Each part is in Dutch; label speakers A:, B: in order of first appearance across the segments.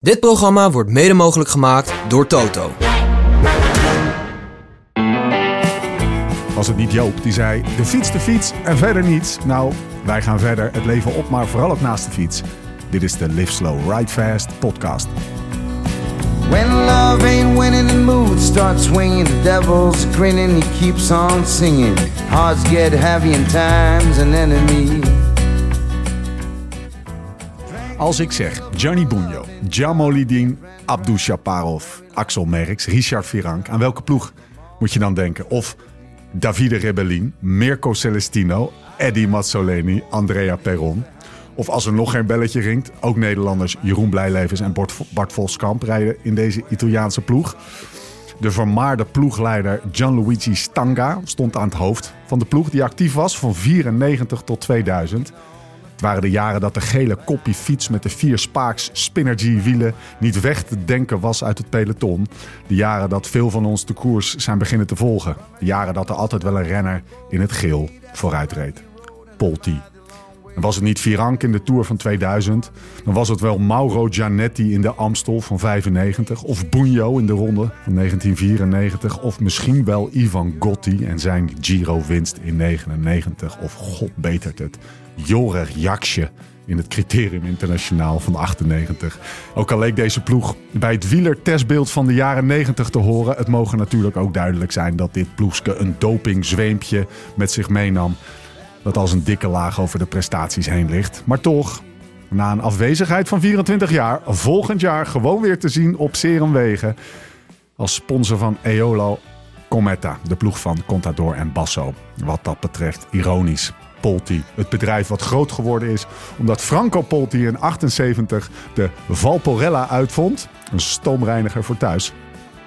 A: Dit programma wordt mede mogelijk gemaakt door Toto.
B: Was het niet Joop die zei: de fiets, de fiets en verder niets? Nou, wij gaan verder het leven op, maar vooral ook naast de fiets. Dit is de Live Slow Ride Fast podcast.
C: When love ain't winning, the mood starts swinging. The devil's grinning, he keeps on singing. Hearts get heavy, and time's an enemy.
B: Als ik zeg Gianni Bugno, Jamolidin, Abdou Shaparov, Axel Merks, Richard Virank, aan welke ploeg moet je dan denken? Of Davide Rebellin, Mirko Celestino, Eddie Mazzoleni, Andrea Perron. Of als er nog geen belletje ringt, ook Nederlanders Jeroen Blijlevens en Bart- Bart Voskamp rijden in deze Italiaanse ploeg. De vermaarde ploegleider Gianluigi Stanga stond aan het hoofd van de ploeg die actief was van 94 tot 2000. Het waren de jaren dat de gele koppie fiets met de vier spaaks Spinergy wielen niet weg te denken was uit het peloton. De jaren dat veel van ons de koers zijn beginnen te volgen. De jaren dat er altijd wel een renner in het geel vooruit reed. Polti. En was het niet Virank in de Tour van 2000, dan was het wel Mauro Gianetti in de Amstel van 95, of Bugno in de Ronde van 1994, of misschien wel Ivan Gotti en zijn Giro-winst in 99, of god betert het, Jorer Jaksje in het Criterium Internationaal van 98. Ook al leek deze ploeg bij het wielertestbeeld van de jaren 90 te horen, het mogen natuurlijk ook duidelijk zijn dat dit ploegske een dopingzweempje met zich meenam dat als een dikke laag over de prestaties heen ligt. Maar toch, na een afwezigheid van 24 jaar, volgend jaar gewoon weer te zien op Serumwegen. Als sponsor van Eolo Cometa, de ploeg van Contador en Basso. Wat dat betreft ironisch. Polti, het bedrijf wat groot geworden is omdat Franco Polti in 78 de Valporella uitvond. Een stoomreiniger voor thuis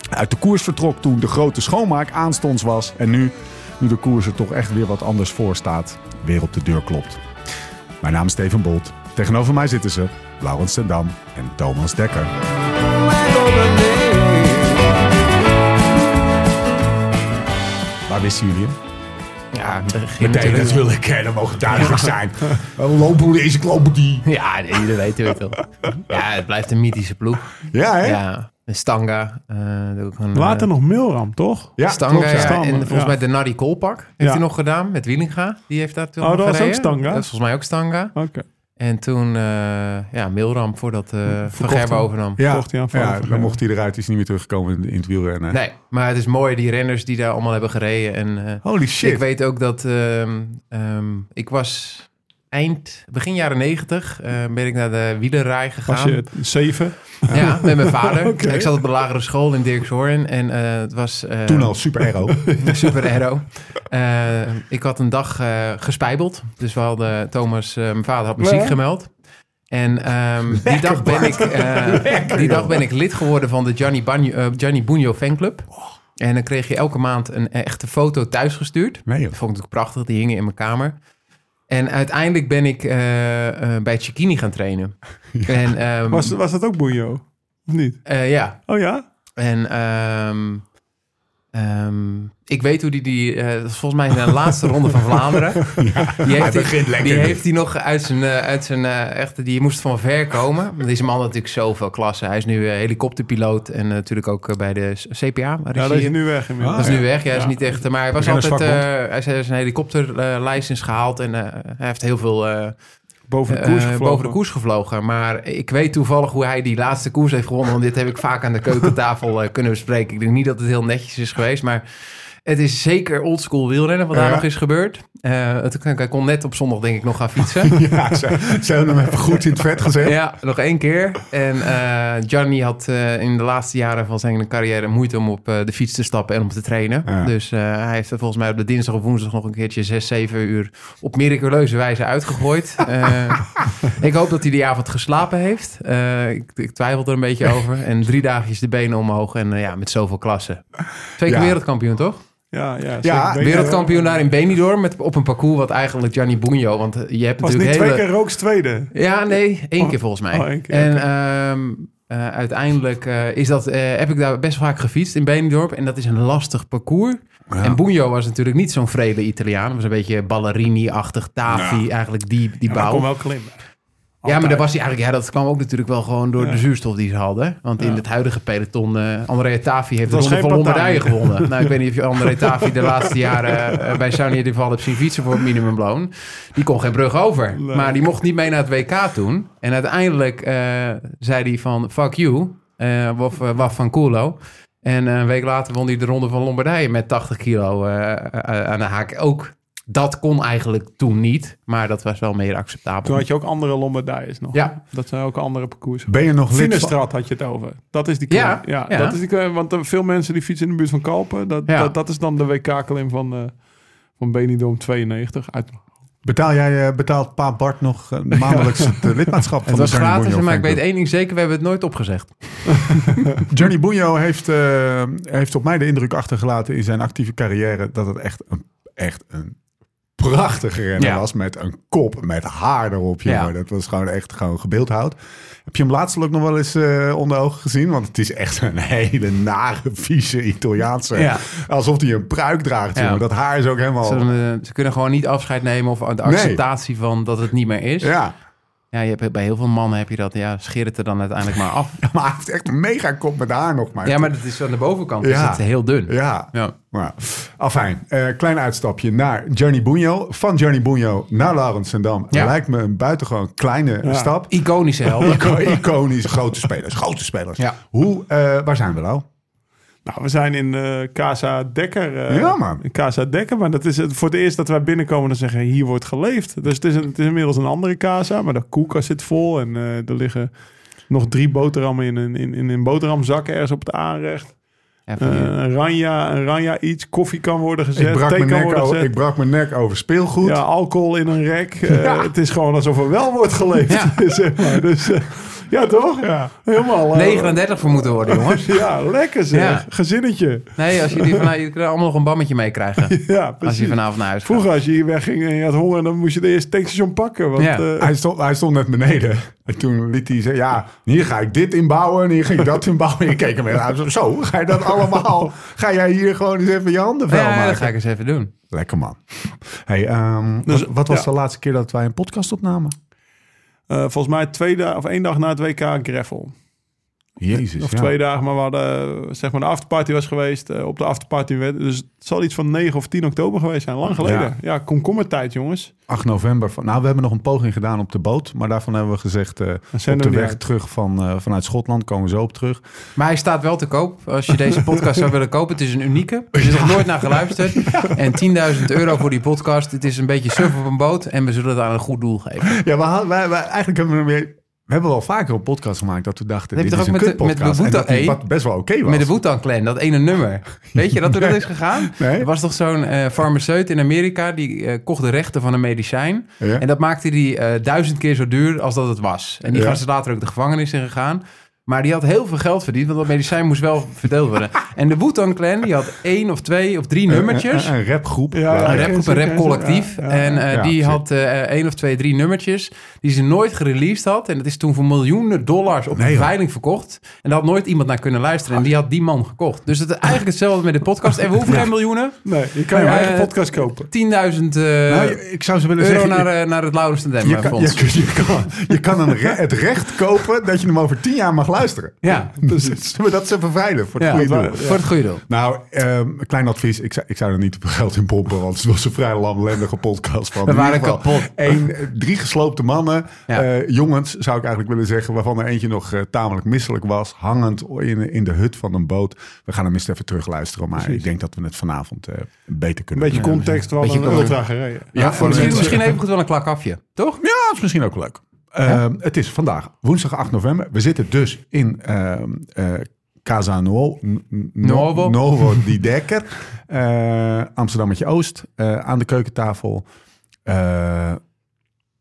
B: uit de koers vertrok toen de grote schoonmaak aanstonds was. En nu, nu de koers er toch echt weer wat anders voor staat, weer op de deur klopt. Mijn naam is Steven Bolt. Tegenover mij zitten ze, Laurens ten Dam en Thomas Dekker.
C: Back over there.
B: Waar wisten jullie hem?
D: Ja, begin natuurlijk.
B: natuurlijk, hè, dat mogen duidelijk zijn. Lopen deze, lopen die.
D: Ja, nee, iedereen weet het wel. Ja, het blijft een mythische ploeg.
B: Ja, hè?
D: Ja, de Stanga. eh, ook een,
E: Later
D: eh,
E: nog Milram, toch?
B: Ja,
D: Stanga
B: klopt, ja.
D: ja,
E: Stanga,
D: en volgens
E: ja.
D: mij de Nadi Kolpak heeft
E: Ja.
D: hij nog gedaan met Wielinga. Die heeft daar toen
E: Oh,
D: nog
E: dat was ook
D: gereden.
E: Stanga?
D: Dat is volgens mij ook Stanga.
E: Oké.
D: En toen, eh, ja, Milram voordat eh Van
E: Verkocht
D: Gerwen
E: hem.
D: overnam.
B: Ja,
E: Mocht hij aan
B: ja,
E: Valvergem.
B: dan mocht hij eruit. is niet meer teruggekomen in, in het wielrennen.
D: Nee, maar het is mooi, die renners die daar allemaal hebben gereden. En eh,
B: Holy
D: Ik
B: shit.
D: weet ook dat ehm, ehm, ik was eind, begin jaren negentig, eh, ben ik naar de wielerrij
E: Was
D: gegaan.
E: je het- zeven?
B: Hmm.
D: Ja, met mijn vader.
E: Oké.
D: Ik zat op de lagere school in Dirkshoorn en eh, het was... eh,
B: Toen al superhero.
D: Super aero. Eh, ik had een dag eh gespijbeld. Dus we hadden Thomas, eh, mijn vader had muziek
E: Ja.
D: gemeld. En ehm, die, dag ben ik, eh, die dag ben ik lid geworden van de Gianni, Bagno, eh, Gianni Bugno fanclub. En dan kreeg je elke maand een echte foto thuisgestuurd.
B: Nee, joh.
D: Dat vond ik natuurlijk prachtig, die hingen in mijn kamer. En uiteindelijk ben ik eh, eh, bij Chikini gaan trainen. En, ehm,
E: Was, was dat ook Boejo? Of niet?
D: eh, ja,
E: Oh ja?
D: en ehm, ehm, ik weet hoe die, die eh, dat is volgens mij zijn laatste ronde van Vlaanderen. die heeft hij
B: begint lekker
D: die
B: nu.
D: heeft hij nog uit zijn, eh, uit zijn eh, echte, die moest van ver komen. Deze man had natuurlijk zoveel klassen. Hij is nu eh, helikopterpiloot en eh, natuurlijk ook eh, bij de CPA. regie.
E: Ja, dat is nu weg inmiddels.
B: Ah,
D: Dat is nu weg. Ja, hij is
E: Ja.
D: niet echt. Maar hij was
B: Renners
D: altijd. eh, hij is- hij is een helikopterlicense gehaald en eh, hij heeft heel veel eh,
E: boven de
D: eh,
E: koers gevlogen.
D: boven de koers gevlogen. Maar ik weet toevallig hoe hij die laatste koers heeft gewonnen. Want dit heb ik vaak aan de keukentafel eh, kunnen bespreken. Ik denk niet dat het heel netjes is geweest. Maar het is zeker oldschool wielrennen wat daar
B: Ja.
D: nog is gebeurd. Eh, het, hij kon net op zondag denk ik nog gaan fietsen.
B: ja, ze, ze hebben hem even goed in het vet gezet.
D: ja, nog één keer. En eh Gianni had eh, in de laatste jaren van zijn carrière moeite om op eh, de fiets te stappen en om te trainen.
B: Ja.
D: Dus eh, hij heeft er volgens mij op de dinsdag of woensdag nog een keertje zes, zeven uur op miraculeuze wijze uitgegooid. Eh, ik hoop dat hij die avond geslapen heeft. Eh, ik, ik twijfel er een beetje over. En drie dagjes de benen omhoog en eh, ja, met zoveel klassen. Twee keer
B: Ja.
D: wereldkampioen, toch?
E: Ja, ja.
B: Ja,
E: zeker.
D: Wereldkampioen daar in Benidorm met, op een parcours wat eigenlijk Gianni Bugno, want eh, je hebt
E: Was niet
D: natuurlijk hele...
E: twee keer Rooks tweede?
D: Ja, nee, één
E: Oh,
D: keer volgens mij.
E: oh, één keer,
D: en ehm, eh, uiteindelijk eh, is dat, eh, heb ik daar best vaak gefietst in Benidorm. En dat is een lastig parcours. En Bugno was natuurlijk niet zo'n vrede Italiaan. Hij was een beetje ballerini-achtig, Tafi, eigenlijk die, die
E: Ja, maar
D: bouw.
E: kon wel klimmen.
D: Ja, maar
E: Altijd.
D: daar was hij eigenlijk, ja, dat kwam ook natuurlijk wel gewoon door de zuurstof die ze hadden. Want in
E: Ja.
D: het huidige peloton, eh André Tafi heeft de
E: Dat was
D: Ronde van
E: geen partij.
D: Lombardije gewonnen. nou, ik weet niet of je André Tafi de laatste jaren eh, bij Saunier de Val hebt zien fietsen voor minimumloon. Die kon geen brug over.
E: Nee.
D: Maar die mocht niet mee naar het WK toen. En uiteindelijk eh, zei hij van, fuck you, eh, waf, eh, waf van Kulo. En eh, een week later won hij de Ronde van Lombardije met 80 kilo eh, eh, aan de haak. Ook dat kon eigenlijk toen niet, maar dat was wel meer acceptabel.
E: Toen had je ook andere Lombardijes nog.
D: Ja.
E: Dat zijn ook andere parcours.
B: Ben je nog lid van...
E: Finestrat had je het over. Dat is die klim.
D: Ja,
E: Ja,
D: ja.
E: Dat is die klim, want eh, veel mensen die fietsen in de buurt van Kalpen. Dat,
D: Ja.
E: dat, dat is dan de WK-klim van, eh van Benidorm 92. Uit,
B: Betaal jij, eh, betaalt pa Bart nog eh, maandelijks het eh, lidmaatschap van
D: Het
B: de
D: was
B: Johnny
D: gratis,
B: Bonjo
D: maar ik weet
B: fanclub?
D: één ding zeker, we hebben het nooit opgezegd.
B: Johnny Bunjo heeft, eh, heeft op mij de indruk achtergelaten in zijn actieve carrière dat het echt een, echt een prachtige renner
D: Ja.
B: was met een kop, met haar erop. jongen.
D: Ja.
B: Dat was gewoon echt gewoon gebeeldhouwd. Heb je hem laatst ook nog wel eens eh, onder ogen gezien? Want het is echt een hele nare, vieze Italiaanse.
D: Ja.
B: Alsof hij een pruik draagt,
D: Ja.
B: jongen. Dat haar is ook helemaal...
D: Ze, eh, ze kunnen gewoon niet afscheid nemen of de acceptatie van dat het niet meer is. Ja.
B: Ja,
D: je hebt, bij heel veel mannen heb je dat. Ja, scheer het er dan uiteindelijk maar af.
B: maar hij heeft echt een mega kop met haar nog maar.
D: Ja, maar dat is aan de bovenkant
B: Ja.
D: is het heel dun. Ja.
B: Ja, Maar, afijn, eh, klein uitstapje naar Johnny Bunjo. Van Johnny Bunjo naar Laurens Sendam.
D: Ja.
B: Lijkt me een buitengewoon kleine
E: Ja.
B: stap.
D: Iconische helden.
B: Ico- Iconisch, grote spelers, grote spelers.
D: Ja.
B: Hoe, eh, waar zijn we nou?
E: nou, we zijn in eh Casa Dekker. eh,
B: Ja, man.
E: In Casa Dekker. Maar dat is het, voor het eerst dat wij binnenkomen en zeggen, hier wordt geleefd. Dus het is, een, het is inmiddels een andere Casa. Maar de koelkast zit vol en eh, er liggen nog drie boterhammen in een, in, in een boterhamzak ergens op het aanrecht.
D: Ja, van
E: Eh,
D: die-
E: een ranja, een ranja iets, koffie kan worden gezet,
B: Ik brak,
E: thee
B: mijn
E: kan
B: nek
E: worden
B: over,
E: gezet.
B: ik brak mijn nek over speelgoed.
E: Ja, alcohol in een rek. Eh, Het is gewoon alsof er wel wordt geleefd. zeg maar. dus, eh, ja, toch? Ja. Helemaal. eh,
D: 39 voor moeten worden, jongens.
E: Ja, lekker zeg.
D: Ja.
E: Gezinnetje.
D: Nee, als jullie vanuit, je kunt allemaal nog een bammetje meekrijgen.
E: Ja,
D: Als je
E: precies.
D: vanavond naar huis gaat.
E: Vroeger als je hier wegging en je had honger, dan moest je de eerste tankstation pakken. Want,
D: Ja.
E: eh,
B: Hij stond, hij stond net beneden. En toen liet hij zeggen, ja, hier ga ik dit inbouwen en hier ga ik dat inbouwen. En ik keek hem aan. Zo, Zo, ga je dat allemaal? Ga jij hier gewoon eens even je handen vuil
D: Ja, dat
B: maken?
D: ga ik eens even doen.
B: Lekker man. Hey, ehm,
E: Dus,
B: wat, wat was
E: ja.
B: de laatste keer dat wij een podcast opnamen?
E: eh, volgens mij twee dagen of één dag na het WK Greffel.
B: Jezus,
E: Of
B: ja.
E: twee dagen, maar we hadden eh, zeg maar de afterparty was geweest. eh, op de afterparty werd, dus het zal iets van 9 of 10 oktober geweest zijn. Lang geleden.
B: Ja.
E: Ja, komkommertijd jongens.
B: 8 november. Van, nou, we hebben nog een poging gedaan op de boot. Maar daarvan hebben we gezegd, eh, op
E: zenden
B: de
E: we die
B: weg
E: uit.
B: terug van, eh, vanuit Schotland komen we zo op terug.
D: Maar hij staat wel te koop. Als je deze podcast zou willen kopen, het is een unieke. Er is nog nooit naar geluisterd. En 10.000 euro voor die podcast. Het is een beetje surf op een boot. En we zullen het aan een goed doel geven. Dat
B: Ja, we hadden- wij, wij, eigenlijk hebben we hem weer... We hebben wel vaker een podcast gemaakt dat we dachten,
D: Heb je
B: dit is
D: toch
B: een
D: ook met de- met de
B: kutpodcast. En
D: Boeta-
B: dat die
D: Hey.
B: wat best wel oké was.
D: Met de Wu-Tang Clan, dat ene nummer. Weet je dat hoe dat is gegaan?
B: Nee.
D: Er was toch zo'n eh, farmaceut in Amerika... die eh, kocht de rechten van een medicijn.
B: Ja.
D: En dat maakte die eh, duizend keer zo duur als dat het was. En die
B: Ja.
D: gast is later ook de gevangenis in gegaan. Maar die had heel veel geld verdiend, want dat medicijn moest wel verdeeld worden. En de Wu-Tang Clan, die had één of twee of drie
B: Een-
D: nummertjes.
B: Een, een rapgroep.
E: Ja, ja,
D: Een
E: ja.
D: rapgroep, een
E: Zeker,
D: rapcollectief.
E: zeker, ja, ja.
D: En eh,
B: Ja,
D: die
B: zeker.
D: had eh, één of twee, drie nummertjes die ze nooit gereleased had. En dat is toen voor miljoenen dollars op
B: Nee,
D: een
B: joh.
D: veiling verkocht. En daar had nooit iemand naar kunnen luisteren. En die had die man gekocht. Dus het is eigenlijk hetzelfde met de podcast. En we hoeven geen miljoenen.
E: Nee, je kan je
D: Eh,
E: eigen podcast kopen.
D: 10.000 eh,
B: Nou, je- ik zou ze willen
D: euro
B: zeggen...
D: naar,
B: je-
D: eh, naar het Laurens en
B: je,
D: Demme
B: kan,
D: Fonds.
B: je, kan, je kan- je kan een re- het recht kopen dat je hem over tien jaar mag luisteren.
D: Ja,
B: Dus zullen we dat ze vervrijden voor het
D: Ja,
B: goede doel?
D: voor het goede doel.
B: Nou, ehm, een klein advies. Ik zou, ik zou er niet op geld in pompen, want het was een vrij lamlendige podcast. Van
D: We
B: In
D: waren
B: ieder geval
D: kapot.
B: één, eh, drie gesloopte mannen,
D: Ja.
B: eh, jongens zou ik eigenlijk willen zeggen, waarvan er eentje nog eh, tamelijk misselijk was, hangend in, in de hut van een boot. We gaan hem eens even terugluisteren, maar ik denk dat we het vanavond eh, beter
E: Een
B: kunnen
E: beetje
B: doen.
E: context, we hadden
D: Beetje
E: een
D: context.
E: ultra gereden.
B: Ja, voor de
D: misschien,
B: mensen-
D: misschien even goed wel een klakafje, toch?
B: Ja, dat is misschien ook leuk. Ehm, Het is vandaag woensdag 8 november. We zitten dus in ehm eh Casa Nuo- N- N-
D: Nuovo.
B: Nuovo di Dekker. Eh, Amsterdammetje Oost. eh, aan de keukentafel. Eh,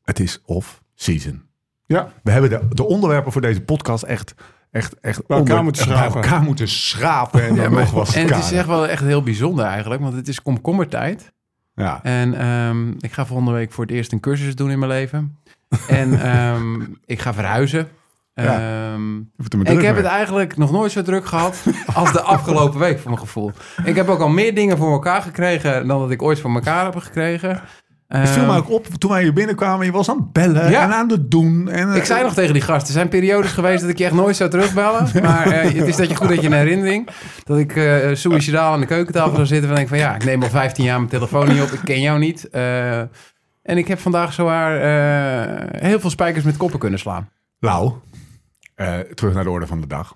B: het is off-season.
E: Ja.
B: We hebben de, de onderwerpen voor deze podcast echt... Echt, echt
E: Bij elkaar moeten
B: bij
E: schrapen.
B: elkaar moeten schrapen en dan
D: maar-
B: nog wat
D: En het is
B: kaderen.
D: echt wel echt heel bijzonder eigenlijk, want het is komkommertijd.
B: ja.
D: En ehm, ik ga volgende week voor het eerst een cursus doen in mijn leven. En ehm, ik ga verhuizen.
B: Ja.
D: Ehm,
B: Je moet er maar
D: en ik
B: druk
D: heb
B: mee.
D: het eigenlijk nog nooit zo druk gehad als de afgelopen week, voor mijn gevoel. Ik heb ook al meer dingen voor elkaar gekregen dan dat ik ooit voor elkaar heb gekregen. Eh,
B: Het viel
D: Ehm,
B: mij ook op toen wij hier binnenkwamen. Je was aan het bellen
D: Ja.
B: en aan het doen. En, eh,
D: Ik zei nog tegen die gast, er zijn periodes geweest dat ik je echt nooit zou terugbellen. Maar eh, het is dat je goed dat je een herinnering. Dat ik eh suicidaal aan de keukentafel zou zitten. En denk van ja, ik neem al 15 jaar mijn telefoon niet op. Ik ken jou niet. Eh, en ik heb vandaag zowaar eh heel veel spijkers met koppen kunnen slaan.
B: Lau, Nou, eh, terug naar de orde van de dag.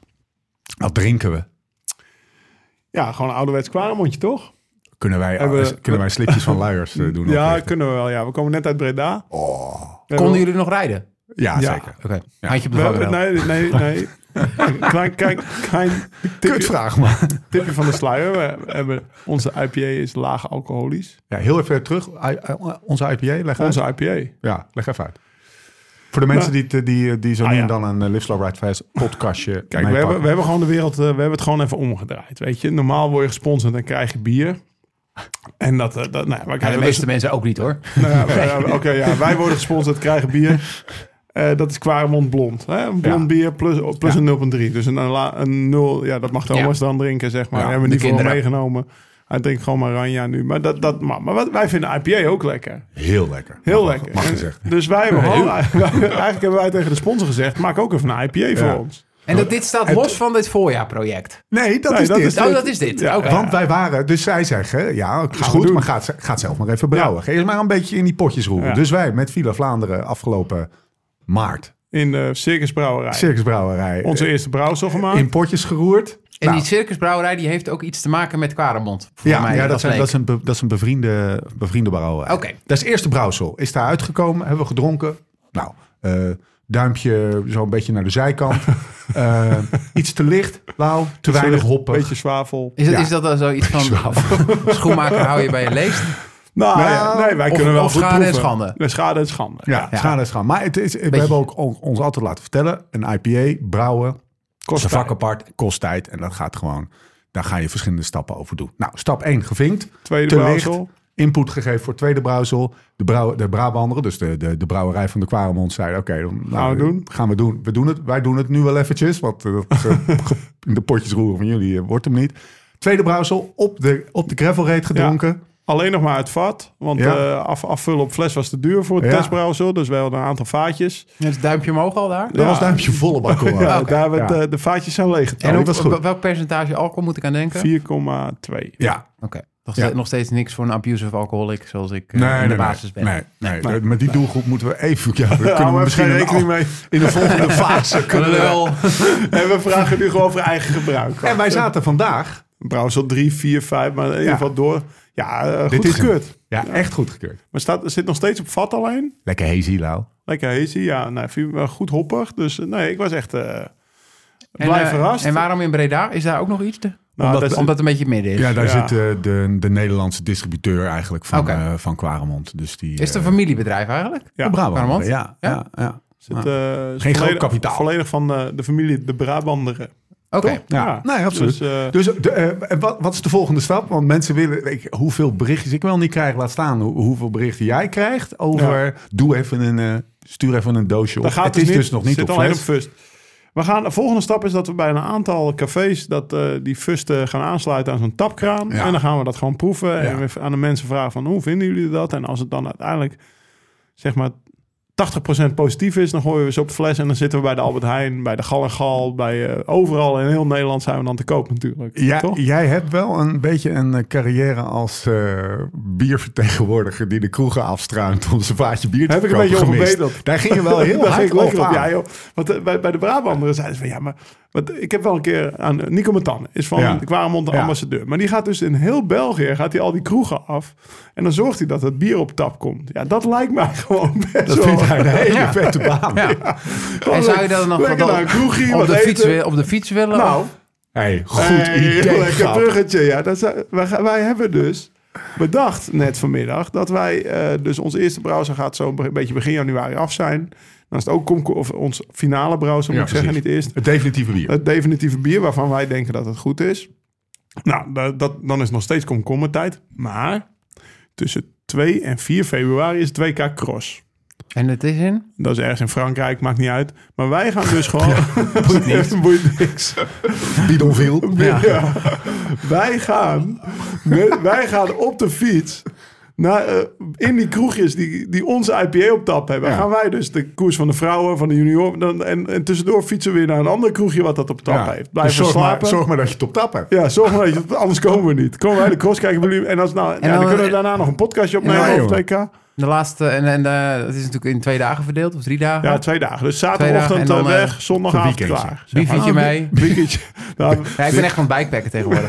B: Wat drinken we?
E: Ja, gewoon een ouderwets kwaremondje, toch?
B: Kunnen wij, eh,
E: Hebben we-
B: kunnen wij slikjes van luiers eh, doen?
E: ja,
B: oplichten?
E: kunnen we wel. Ja, we komen net uit Breda. We
D: Konden
E: hebben-
D: jullie nog rijden?
B: ja,
E: Ja.
B: zeker.
D: Oké, handje op de
E: we hebben-
D: vangrail.
E: Nee, nee, nee. klein, klein, klein tipje,
B: Kutvraag, man.
E: tipje van de sluier. We hebben, onze IPA is laag alcoholisch.
B: Ja, heel even terug. I- I- onze IPA, leg uit.
E: Onze IPA.
B: Ja, leg even uit. Voor de mensen die, het, eh, die, die zo
E: Ah,
B: nu en
E: ja.
B: dan een eh, Live Slow Ride Fast podcastje
E: Kijk, we hebben, we hebben gewoon de wereld, eh, we hebben het gewoon even omgedraaid. Weet je, normaal word je gesponsord en krijg je bier. En dat, eh, dat nou, ja, maar
D: Ja,
E: kijk,
D: de
E: dat is-
D: meeste mensen ook niet hoor.
E: nou ja, maar, ja, Oké, ja, wij worden gesponsord, krijgen bier. Eh, dat is Quaremont blond. Hè? Een blond
B: Ja.
E: bier plus, plus
B: Ja.
E: een 0,3. Dus een, la- een 0, ja, dat mag de
D: Ja.
E: oma's dan drinken, zeg maar.
B: Ja,
E: hebben we
D: de
E: niet voor
D: kinderen.
E: meegenomen. Hij drinkt gewoon Maranja nu. Maar, dat, dat, maar, maar wat, wij vinden IPA ook lekker.
B: Heel lekker.
E: Heel
B: Mag-
E: lekker.
B: Mag
E: En-
B: gezegd.
E: Dus wij hebben gewoon, eigenlijk hebben wij tegen de sponsor gezegd, maak ook even een IPA
B: Ja.
E: voor ons.
D: En dat dit staat los van dit voorjaarproject.
B: Nee, dat
E: Nee,
B: is
E: dat
B: dit.
E: is-
D: Oh, dat is dit.
E: Ja,
D: Oké.
B: Want wij waren, dus zij zeggen, ja, is
E: we
B: goed,
E: doen.
B: maar gaat ze- gaat zelf maar even brouwen. Ga eerst maar een beetje in die potjes roeren.
E: Ja.
B: Dus wij met Villa Vlaanderen afgelopen maart,
E: In de circusbrouwerij.
B: circusbrouwerij,
E: Onze eerste brouwsel
B: eh,
E: gemaakt.
B: in potjes geroerd.
D: En
B: Nou,
D: die circusbrouwerij die heeft ook iets te maken met Quaremont. voor
B: ja,
D: mij,
B: ja dat, zijn,
D: leek.
B: dat, is een be- dat is een bevriende, bevriende brouwerij.
D: Oké.
B: Dat is het eerste brouwsel. Is daar uitgekomen, hebben we gedronken. Nou, eh, duimpje zo'n beetje naar de zijkant. Eh, iets te licht, lauw, te weinig hoppen.
E: Beetje zwavel.
D: Is, dat
B: Ja.
D: is dat dan zoiets van schoenmaker hou je bij je leest?
E: Nou,
B: Nou,
E: ja, nee, wij
D: of-
E: kunnen wel
D: of
E: goed
D: schade en
E: proeven.
D: schande.
E: Nee, Schade en schande.
B: Ja,
D: Ja.
B: schade is gaan. Maar het is, we hebben ook on- ons altijd laten vertellen: een IPA brouwen kost een vak
E: tijd.
B: apart, kost tijd. En dat gaat gewoon, daar ga je verschillende stappen over doen. Nou, stap 1 gevinkt.
E: Tweede
B: te
E: brouwsel.
B: licht, Input gegeven voor het tweede brouwsel. De, brouw, de Brabanderen, dus de, de, de brouwerij van de Quaremond, zeiden: Oké, dan nou,
E: Gaan we doen.
B: Gaan we doen. We doen het. Wij doen het nu wel eventjes, want eh, dat, eh, in de potjes roeren van jullie eh, wordt hem niet. Tweede brouwsel op de, op de gravel rate gedronken.
E: Alleen nog maar het vat. Want
B: Ja.
E: eh, af, afvullen op fles was te duur voor het
B: Ja.
E: testbrouwsel. Dus wij hadden een aantal vaatjes.
D: Dus duimpje omhoog al daar?
B: Dat
E: Ja.
B: was duimpje volle bak. hoor.
E: Ja, Daar werd,
B: Ja.
E: eh, de vaatjes zijn leeg.
B: En
D: hoe-
B: dat is goed.
D: op welk percentage alcohol moet ik aan denken?
E: 4,2.
B: ja,
D: Oké. Nog,
B: Ja.
D: ste- nog steeds niks voor een abusive alcoholic zoals ik eh,
B: Nee,
D: in
B: nee,
D: de
B: nee.
D: basis ben.
B: Nee, nee, nee. met die doelgroep moeten we even. Ja, we
E: Daar
B: kunnen we
E: we
B: misschien
E: Nou, geen rekening
B: een- in
E: mee.
B: de volgende fase kunnen we.
D: Lul.
E: En we vragen nu gewoon voor eigen gebruik.
B: En wij zaten vandaag.
E: Brouwsel 3, 4, 5. Maar in ieder geval door. Ja, eh,
B: Dit
E: goed
B: is
E: gekeurd.
B: Ja, echt goed gekeurd.
E: Maar staat, zit nog steeds op vat alleen.
B: Lekker hazy, Lau.
E: Lekker hazy, ja. Nou, vind ik wel goed hoppig. Dus eh, nee, ik was echt eh
D: En,
E: blij
D: eh,
E: verrast.
D: En waarom in Breda? Is daar ook nog iets? te-
E: Nou,
B: omdat-
E: dat is-
D: Omdat het een beetje midden is.
B: Ja, daar
E: Ja.
B: zit eh, de, de Nederlandse distributeur eigenlijk van,
D: Oké.
B: eh, van Quaremont. Dus die,
D: Is het een
B: eh,
D: familiebedrijf eigenlijk?
E: ja,
B: de Brabant.
D: Quaremont?
B: Ja, ja, ja.
E: zit,
B: Ah.
E: eh, is
B: groot
E: volledig-
B: kapitaal.
E: Volledig van eh, de familie de Brabanderen.
D: Oké.
B: Ja.
E: Ja.
B: nee, absoluut.
E: Dus, eh,
B: Dus de, eh, en wat, wat is de volgende stap? Want mensen willen, ik, hoeveel berichtjes ik wel niet krijg, laat staan hoe- hoeveel berichten jij krijgt over, doe even een, eh, stuur even een doosje op.
E: Dat gaat
B: het
E: dus
B: is dus nog niet
E: zit
B: op
E: alleen
B: fles.
E: op Fust. We gaan, de volgende stap is dat we bij een aantal cafés dat, eh, die Fust eh, gaan aansluiten aan zo'n tapkraan.
B: Ja.
E: En dan gaan we dat gewoon proeven. En
B: Ja.
E: we aan de mensen vragen van hoe vinden jullie dat? En als het dan uiteindelijk zeg maar 80% positief is, dan gooien we ze op fles. En dan zitten we bij de Albert Heijn, bij de Gal en Gal, bij eh, overal in heel Nederland zijn we dan te koop natuurlijk.
B: Ja,
E: Toch?
B: jij hebt wel een beetje een eh, carrière als eh, biervertegenwoordiger die de kroegen afstruimt om zijn vaatje bier te
E: Heb ik een
B: verkopen
E: beetje
B: gemist.
E: onverbeterd.
B: Daar ging je wel heel
E: Daar ging
B: hard
E: ik lekker
B: over
E: op.
B: aan.
E: Ja, joh. Want eh, bij, bij de Brabanderen zeiden ze van ja, maar want ik heb wel een keer aan eh, Nico Matan is van
B: Ja.
E: de Quaremont de
B: Ja.
E: ambassadeur. Maar die gaat dus in heel België gaat hij al die kroegen af en dan zorgt hij dat het bier op tap komt. Ja, dat lijkt mij gewoon best
B: Dat
E: wel.
B: vindt hij een hele
D: Ja.
B: vette baan.
D: Ja.
E: Gewoon
D: En zou je dat dan nog
E: lekker
D: wat
E: naar een
D: op-
E: kroegje,
D: op,
E: wat
D: de
E: eten?
D: fiets, wi- op de fiets willen?
E: Nou,
B: Hey, goed
E: hey,
B: idee.
E: lekker
B: Gap.
E: bruggetje. Ja, dat zou- wij, gaan- wij hebben dus bedacht net vanmiddag dat wij eh, dus ons eerste browser gaat zo'n be- beetje begin januari af zijn. Dan is het ook komko- of ons finale browser
B: Ja,
E: moet ik zeggen,
B: precies.
E: niet eerst.
B: Het definitieve bier.
E: Het definitieve bier waarvan wij denken dat het goed is. Nou, da- dat, dan is het nog steeds komkommertijd. Maar tussen 2 en 4 februari is het WK Cross.
D: En het is in?
E: Dat is ergens in Frankrijk, maakt niet uit. Maar wij gaan dus gewoon... boeit niks. niks.
B: Bidonville.
E: Ja. Wij, gaan, met- wij gaan op de fiets Nou, eh, in die kroegjes die, die onze IPA op tap hebben,
B: Ja.
E: gaan wij dus de koers van de vrouwen, van de junior. Dan, en, en tussendoor fietsen we weer naar een ander kroegje wat dat op tap
B: Ja.
E: heeft.
B: Dus
E: Blijven
B: zorg, maar,
E: slapen.
B: zorg maar dat je het op tap hebt.
E: Ja, zorg maar dat je- anders komen we niet. Komen wij de cross kijken bij jullie. En als nou, ja, dan,
D: dan-
E: kunnen we daarna nog een podcastje opnemen
B: Ja,
E: over
B: joh.
E: 2K.
D: De laatste, en, en eh, het is natuurlijk in twee dagen verdeeld, of drie dagen.
E: Ja, twee dagen. Dus
D: Twee
E: zaterdagochtend
D: dagen en
E: eh,
D: dan,
E: weg,
D: eh,
E: zondagavond
B: een weekendje.
E: klaar.
D: Wie vind je
E: Ah,
D: mee?
E: wie- weekendje. Nou,
D: Ja, ik ben echt van het bikepacken tegenwoordig.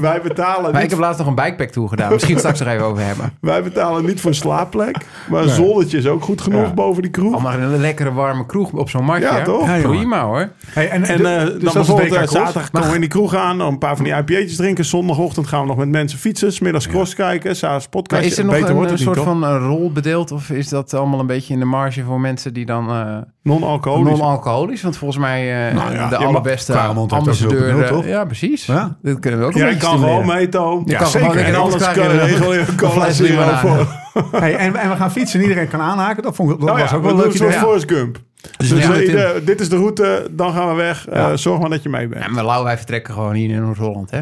E: wij, betalen
D: Maar ik
E: niet,
D: heb laatst nog een bikepack tour gedaan. Misschien straks nog even over hebben.
E: wij betalen niet voor slaapplek. Maar een zoldertje is ook goed genoeg
B: Ja.
E: boven die kroeg.
D: Oh, maar een lekkere warme kroeg op zo'n marktje.
E: Ja,
D: hè?
E: toch?
B: Ja, jongen.
D: Prima hoor.
B: Hey, en
E: En
B: de-
E: eh,
B: dus
E: dan
B: dat was
E: bijvoorbeeld eh,
B: WK Cross.
E: zaterdag komen we in die kroeg aan, dan een paar van die IPA'tjes drinken. Zondagochtend gaan we nog met mensen fietsen. 's middags cross kijken, s'avonds
D: Maar
E: podcast.
D: is er nog
E: Beter
D: een,
E: wordt
D: een
E: het
D: soort
E: niet, toch?
D: van eh, rol bedeeld? Of is dat allemaal een beetje in de marge voor mensen die dan eh,
E: non-alcoholisch?
D: non-alcoholisch? Want volgens mij eh
B: Nou ja,
D: de
B: ja,
D: allerbeste
B: Kwaremond heeft ook
D: ambassadeur...
B: 0,0,
D: eh,
B: toch?
D: ja, precies.
B: Ja.
D: Dat kunnen we ook een
E: Jij
D: beetje
E: kan gewoon
D: stimuleren.
E: mee, Toon.
B: Ja,
D: kan
B: zeker.
D: gewoon lekker
E: En
D: een
E: anders
D: afspraak
E: kan
D: in de-
E: regel je een
D: een
E: cola
D: fles
E: zero
D: limonade.
E: voor.
B: Hey, en, en we gaan fietsen en iedereen kan aanhaken. Dat, vond, ik- dat
E: Nou
B: was
E: ja,
B: ook
E: we
B: wel
E: doen
B: een leuk
E: een soort
B: idee.
E: Forrest Gump. Dus
D: Ja,
E: eh,
D: met
E: ieder- dit is de route, dan gaan we weg. Eh,
B: Ja.
E: zorg maar dat je mee bent.
D: Ja, maar Lau, wij vertrekken gewoon hier in Noord-Holland, hè?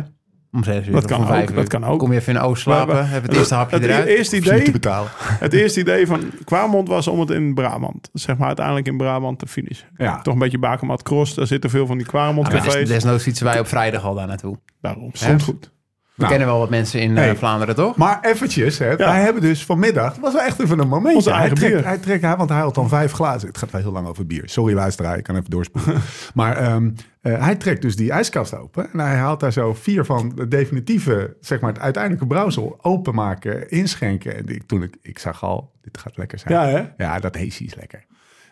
D: Om zes uur.
E: Dat
D: of
E: kan
D: om vijf
E: ook,
D: uur.
E: dat kan ook.
D: Kom je even in Oost slapen,
E: Maar-
D: hebben het eerste hapje
E: het, e-,
D: eruit.
E: eerste
B: Hoef je niet te
E: idee,
B: betalen.
E: het eerste idee van Kwamond was om het in Brabant. Zeg maar uiteindelijk in Brabant te finishen.
B: Ja.
E: Toch een beetje Bakermat Cross. Daar zitten veel van die Kwamond
D: Nou, maar des-
E: cafés.
D: desnoods fietsen wij op vrijdag al daar naartoe. We
E: Daarom, stond
D: Hè?
E: goed.
B: Nou.
D: kennen wel wat mensen in eh,
B: Hey.
D: Vlaanderen, toch?
B: Maar eventjes, hè, wij hebben dus vanmiddag, het was wel echt even een momentje.
E: Onze
B: hij
E: eigen
B: trekt,
E: bier.
B: Hij trekt, hij, want hij had dan vijf glazen. Het gaat wel heel lang over bier. Sorry luisteraar, ik kan even doorspoelen. maar ehm, eh, hij trekt dus die ijskast open. En hij haalt daar zo vier van de definitieve, zeg maar het uiteindelijke brouwsel openmaken, inschenken. En ik, toen ik, ik zag al, dit gaat lekker zijn.
E: Ja, hè?
B: Ja, dat heesie is lekker.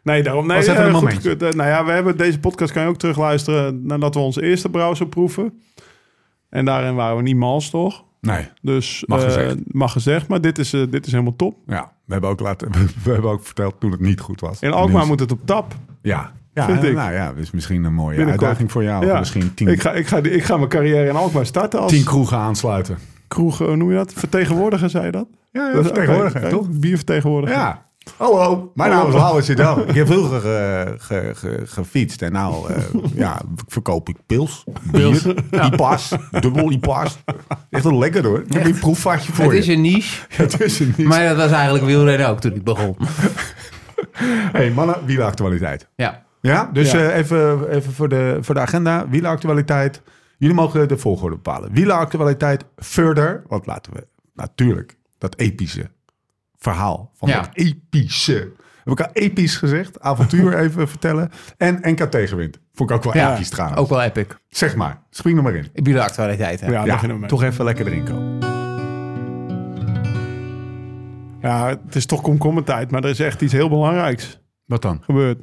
E: Nee, daarom. Nee,
B: Was even
E: eh,
B: een
E: goed
B: momentje.
E: gekut. Eh, nou ja, we hebben deze podcast kan je ook terugluisteren nadat we onze eerste browser proeven. En daarin waren we niet mals, toch?
B: Nee,
E: Dus
B: Mag
E: eh,
B: gezegd.
E: mag gezegd, maar dit is, eh, dit is helemaal top.
B: ja, we hebben ook, laten, we hebben ook verteld toen het niet goed was. Dus-
E: In Alkmaar moet het op tap.
B: Ja, ja
E: Vind ik.
B: nou ja, dus misschien een mooie
E: Binnenkort.
B: uitdaging voor jou. Of Nou, Misschien tien,
E: Ik ga, ik, ga, die- ik ga mijn carrière in Alkmaar starten als
B: tien kroegen aansluiten.
E: kroeg, eh, hoe noem je dat? Vertegenwoordiger, zei je dat?
B: Ja, ja
E: Dat is-
B: vertegenwoordiger,
E: oké,
B: toch?
E: oké, Biervertegenwoordiger.
B: Ja. Hallo, mijn naam is Lauwens Zidel. Ik heb vroeger eh, ge- ge- gefietst en nou eh, ja, verkoop ik pils. Pils. Ipas, dubbel Ipas. Echt wel lekker hoor. Ik heb een proefvatje voor
D: het
B: je.
D: is een niche,
B: Het is een niet.
D: maar dat was eigenlijk wielrennen ook toen ik begon.
B: hey, mannen, wieleractualiteit.
D: Ja.
B: Ja, dus
E: Ja.
B: eh, even, even voor, de, voor de agenda. Wieleractualiteit. Jullie mogen de volgorde bepalen. Wieleractualiteit further. Want laten we natuurlijk dat epische verhaal van
D: Ja.
B: dat epische. Heb ik al episch gezegd? Avontuur even vertellen. En NK tegenwind. Vond ik ook wel
D: Ja,
B: episch trouwens.
D: ook wel epic.
B: Zeg maar, spring er maar in.
D: Ik bied de actualiteit, hè?
E: Ja,
B: Ja,
E: beginnen we mee.
B: toch even lekker erin komen.
E: Ja, het is toch komkommertijd, maar er is echt iets heel belangrijks
B: Wat dan?
E: gebeurd.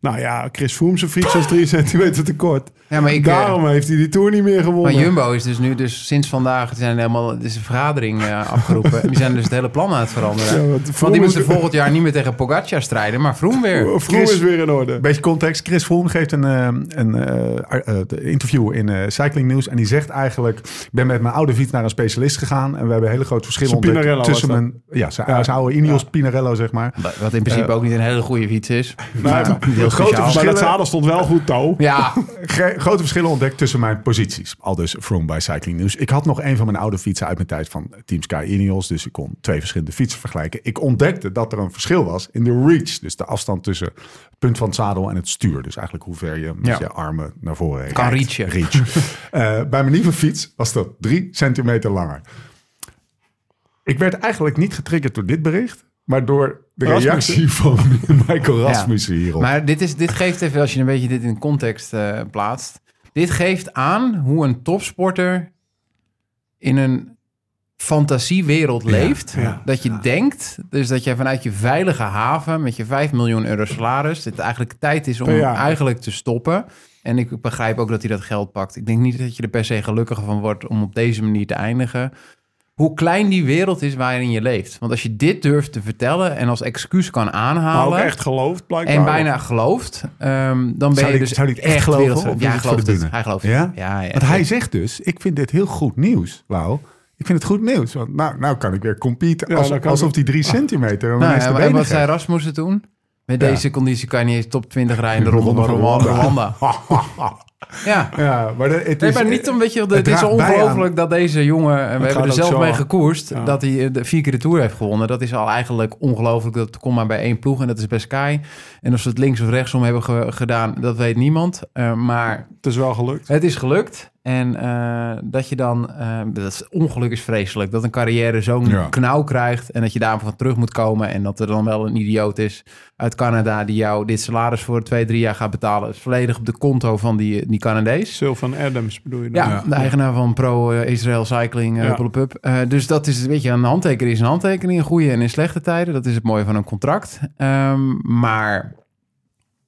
E: Nou ja, Chris Froome zijn fiets was 3 centimeter te kort.
D: Ja, maar ik... eh,
E: Daarom heeft hij die Tour niet meer
D: maar
E: gewonnen.
D: Jumbo is dus nu, dus sinds vandaag, er zijn helemaal, er is een vergadering eh, afgeroepen. En die zijn dus het hele plan aan het veranderen.
E: Ja, want
D: want,
E: Froome
D: die
E: is-
D: moeten volgend jaar niet meer tegen Pogacar strijden, maar Vroom weer.
E: Froome
B: Chris-
E: is weer in orde.
B: Een beetje context. Chris Froome geeft een, ehm, een eh, ar- eh, de interview in eh, Cycling News. En die zegt eigenlijk... Ik ben met mijn oude fiets naar een specialist gegaan. En we hebben een hele groot verschil
E: Zijn
B: ontdekt
E: Pinarello
B: tussen
E: was dat?
B: mijn... Ja, zijn, zijn oude Ineos Pinarello, zeg maar.
D: Wat in principe ook niet een hele goede fiets is.
E: Maar, maar
D: Heel speciaal.
B: verschil-
E: dat zadel stond wel goed, touw.
D: Ja,
B: Ge- grote verschillen ontdekt tussen mijn posities. Al dus Froome bij Cycling News. Ik had nog een van mijn oude fietsen uit mijn tijd van Team Sky Ineos. Dus ik kon twee verschillende fietsen vergelijken. Ik ontdekte dat er een verschil was in de reach. Dus de afstand tussen het punt van het zadel en het stuur. Dus eigenlijk hoe ver je met
D: Ja.
B: je armen naar voren heen
D: Kan
B: reikt.
D: reachen.
B: Reach. Eh, bij mijn nieuwe fiets was dat drie centimeter langer. Ik werd eigenlijk niet getriggerd door dit bericht. Maar door de
E: Rasmussen.
B: reactie van Michael Rasmussen hierop.
D: Maar dit, is, dit geeft even, als je een beetje dit in context eh, plaatst. Dit geeft aan hoe een topsporter in een fantasiewereld leeft. Dat je denkt, dus dat jij vanuit je veilige haven met je 5 miljoen euro salaris, het eigenlijk tijd is om
E: Per jaar.
D: eigenlijk te stoppen. En ik begrijp ook dat hij dat geld pakt. Ik denk niet dat je er per se gelukkiger van wordt om op deze manier te eindigen hoe klein die wereld is waarin je leeft. Want als je dit durft te vertellen en als excuus kan
E: Maar
D: aanhalen...
E: ook echt geloofd, blijkbaar.
D: en bijna gelooft, ehm, dan ben
B: Zou
D: je
B: die-
D: dus
B: zou die het echt geloven,
D: wereld-
B: of is
D: Ja,
B: het
D: hij
B: voor de
D: gelooft het.
B: bühne?
D: Hij gelooft het.
B: Ja?
D: Ja, ja,
B: Want hij zegt dus, ik vind dit heel goed nieuws, Lau. Ik vind het goed nieuws, want nou, nou kan ik weer competen.
E: Ja,
B: als-
E: dan kan
B: alsof die drie centimeter dan
D: Nou,
B: ineens
D: ja,
B: de
D: maar- en
B: benen
D: wat zei
B: geeft.
D: Rasmussen toen? Met
B: Ja.
D: deze conditie kan je niet eens top 20 rijden in de Ronde van Rwanda.
B: Ha, ha, ha.
D: Ja.
B: Ja, maar de- het
D: Nee,
B: is,
D: maar niet omdat je... Het is
B: draagt bij
D: ongelooflijk dat deze jongen... en We hebben
E: gaat
D: er
E: ook
D: zelf
E: zo.
D: mee gekoerst.
E: Ja.
D: Dat hij eh, de vier keer de Tour heeft gewonnen. Dat is al eigenlijk ongelooflijk. Dat komt maar bij één ploeg en dat is bij Sky. En of ze het links of rechtsom hebben ge- gedaan, dat weet niemand. Eh, maar
E: Het is wel gelukt.
D: het is gelukt. En eh, dat je dan... eh, dat ongeluk is vreselijk. Dat een carrière zo'n
B: Ja.
D: knauw krijgt. En dat je daarvan terug moet komen. En dat er dan wel een idioot is uit Canada... die jou dit salaris voor twee, drie jaar gaat betalen. Het is volledig op de konto van die, die Canadees.
E: Sylvan Adams bedoel je dan?
D: Ja, de eigenaar van Pro eh, Israel Cycling,
E: Ja.
D: eh Pulp Up. Eh, dus dat is, weet je, een handtekening is een handtekening. In goede en in slechte tijden. Dat is het mooie van een contract. Ehm, maar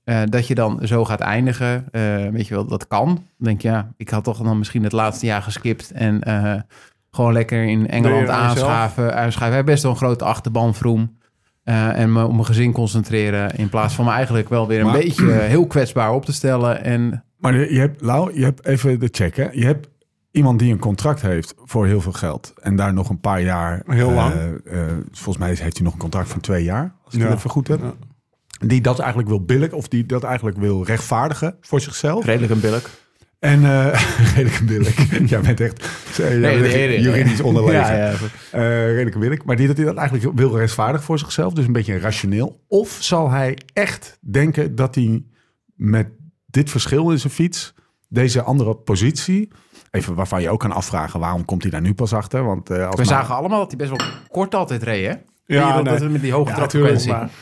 D: eh, dat je dan zo gaat eindigen, eh, weet je wel, dat kan. Dan denk je, ja, ik had toch dan misschien het laatste jaar geskipt. En eh, gewoon lekker in
E: Doe je
D: Engeland
E: dat aan jezelf?
D: aanschaven. aanschaven. Hij heeft best wel een grote achterban, Vroom. Eh, en me op mijn gezin concentreren. In plaats van me eigenlijk wel weer een
B: Maar-
D: beetje eh, heel kwetsbaar op te stellen. En
B: Maar je je hebt, Lau, je hebt even de check, hè? Je hebt iemand die een contract heeft voor heel veel geld. En daar nog een paar jaar...
E: Heel
B: eh,
E: lang.
B: eh, volgens mij heeft hij nog een contract van twee jaar, als ik
E: Ja.
B: het even goed heb. Die dat eigenlijk wil billigen of die dat eigenlijk wil rechtvaardigen voor zichzelf.
D: redelijk een billig.
B: En eh redelijk billig. Jij bent echt eh, jij bent echt
D: nee, nee.
B: juridisch onderlezen.
D: Ja, ja.
B: Eh, redelijk billig. Maar die dat hij dat eigenlijk wil rechtvaardigen voor zichzelf. Dus een beetje rationeel. Of zal hij echt denken dat hij met dit verschil in zijn fiets... deze andere positie... even waarvan je ook kan afvragen... waarom komt hij daar nu pas achter? Want, eh, als
D: We
B: maar-
D: zagen allemaal dat hij best wel kort altijd reed, hè?
E: Ja,
D: Ja, dat,
E: nee.
D: dat we met die hoge
E: Ja,
D: trapfrequentie.
E: tuurlijk,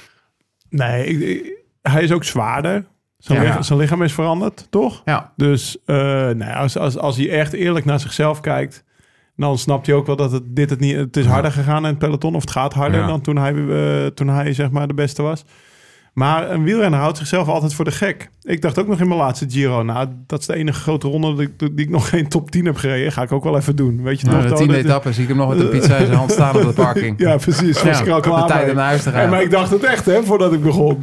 E: maar- Nee, ik- ik- hij is ook zwaarder. Zijn,
D: Ja.
E: lichaam, zijn lichaam is veranderd, toch?
D: Ja.
E: Dus eh, nee, als, als, als hij echt eerlijk naar zichzelf kijkt, dan snapt hij ook wel dat het, dit het niet het is harder gegaan in het peloton. Of het gaat harder
B: Ja.
E: dan toen hij, eh, toen hij zeg maar de beste was. Maar een wielrenner houdt zichzelf altijd voor de gek. Ik dacht ook nog in mijn laatste Giro, nou, dat is de enige grote ronde die, ik- die ik nog geen top 10 heb gereden. Ga ik ook wel even doen. Weet je
D: Nou,
E: toch?
D: de
E: dat-
D: tiende
E: dat-
D: etappe zie ik hem nog met een pizza in zijn hand staan op de parking.
E: Ja, precies. Was ik er al klaar
D: de tijd
E: mee.
D: om naar huis te gaan.
E: En, maar ik dacht het echt, hè, voordat ik begon.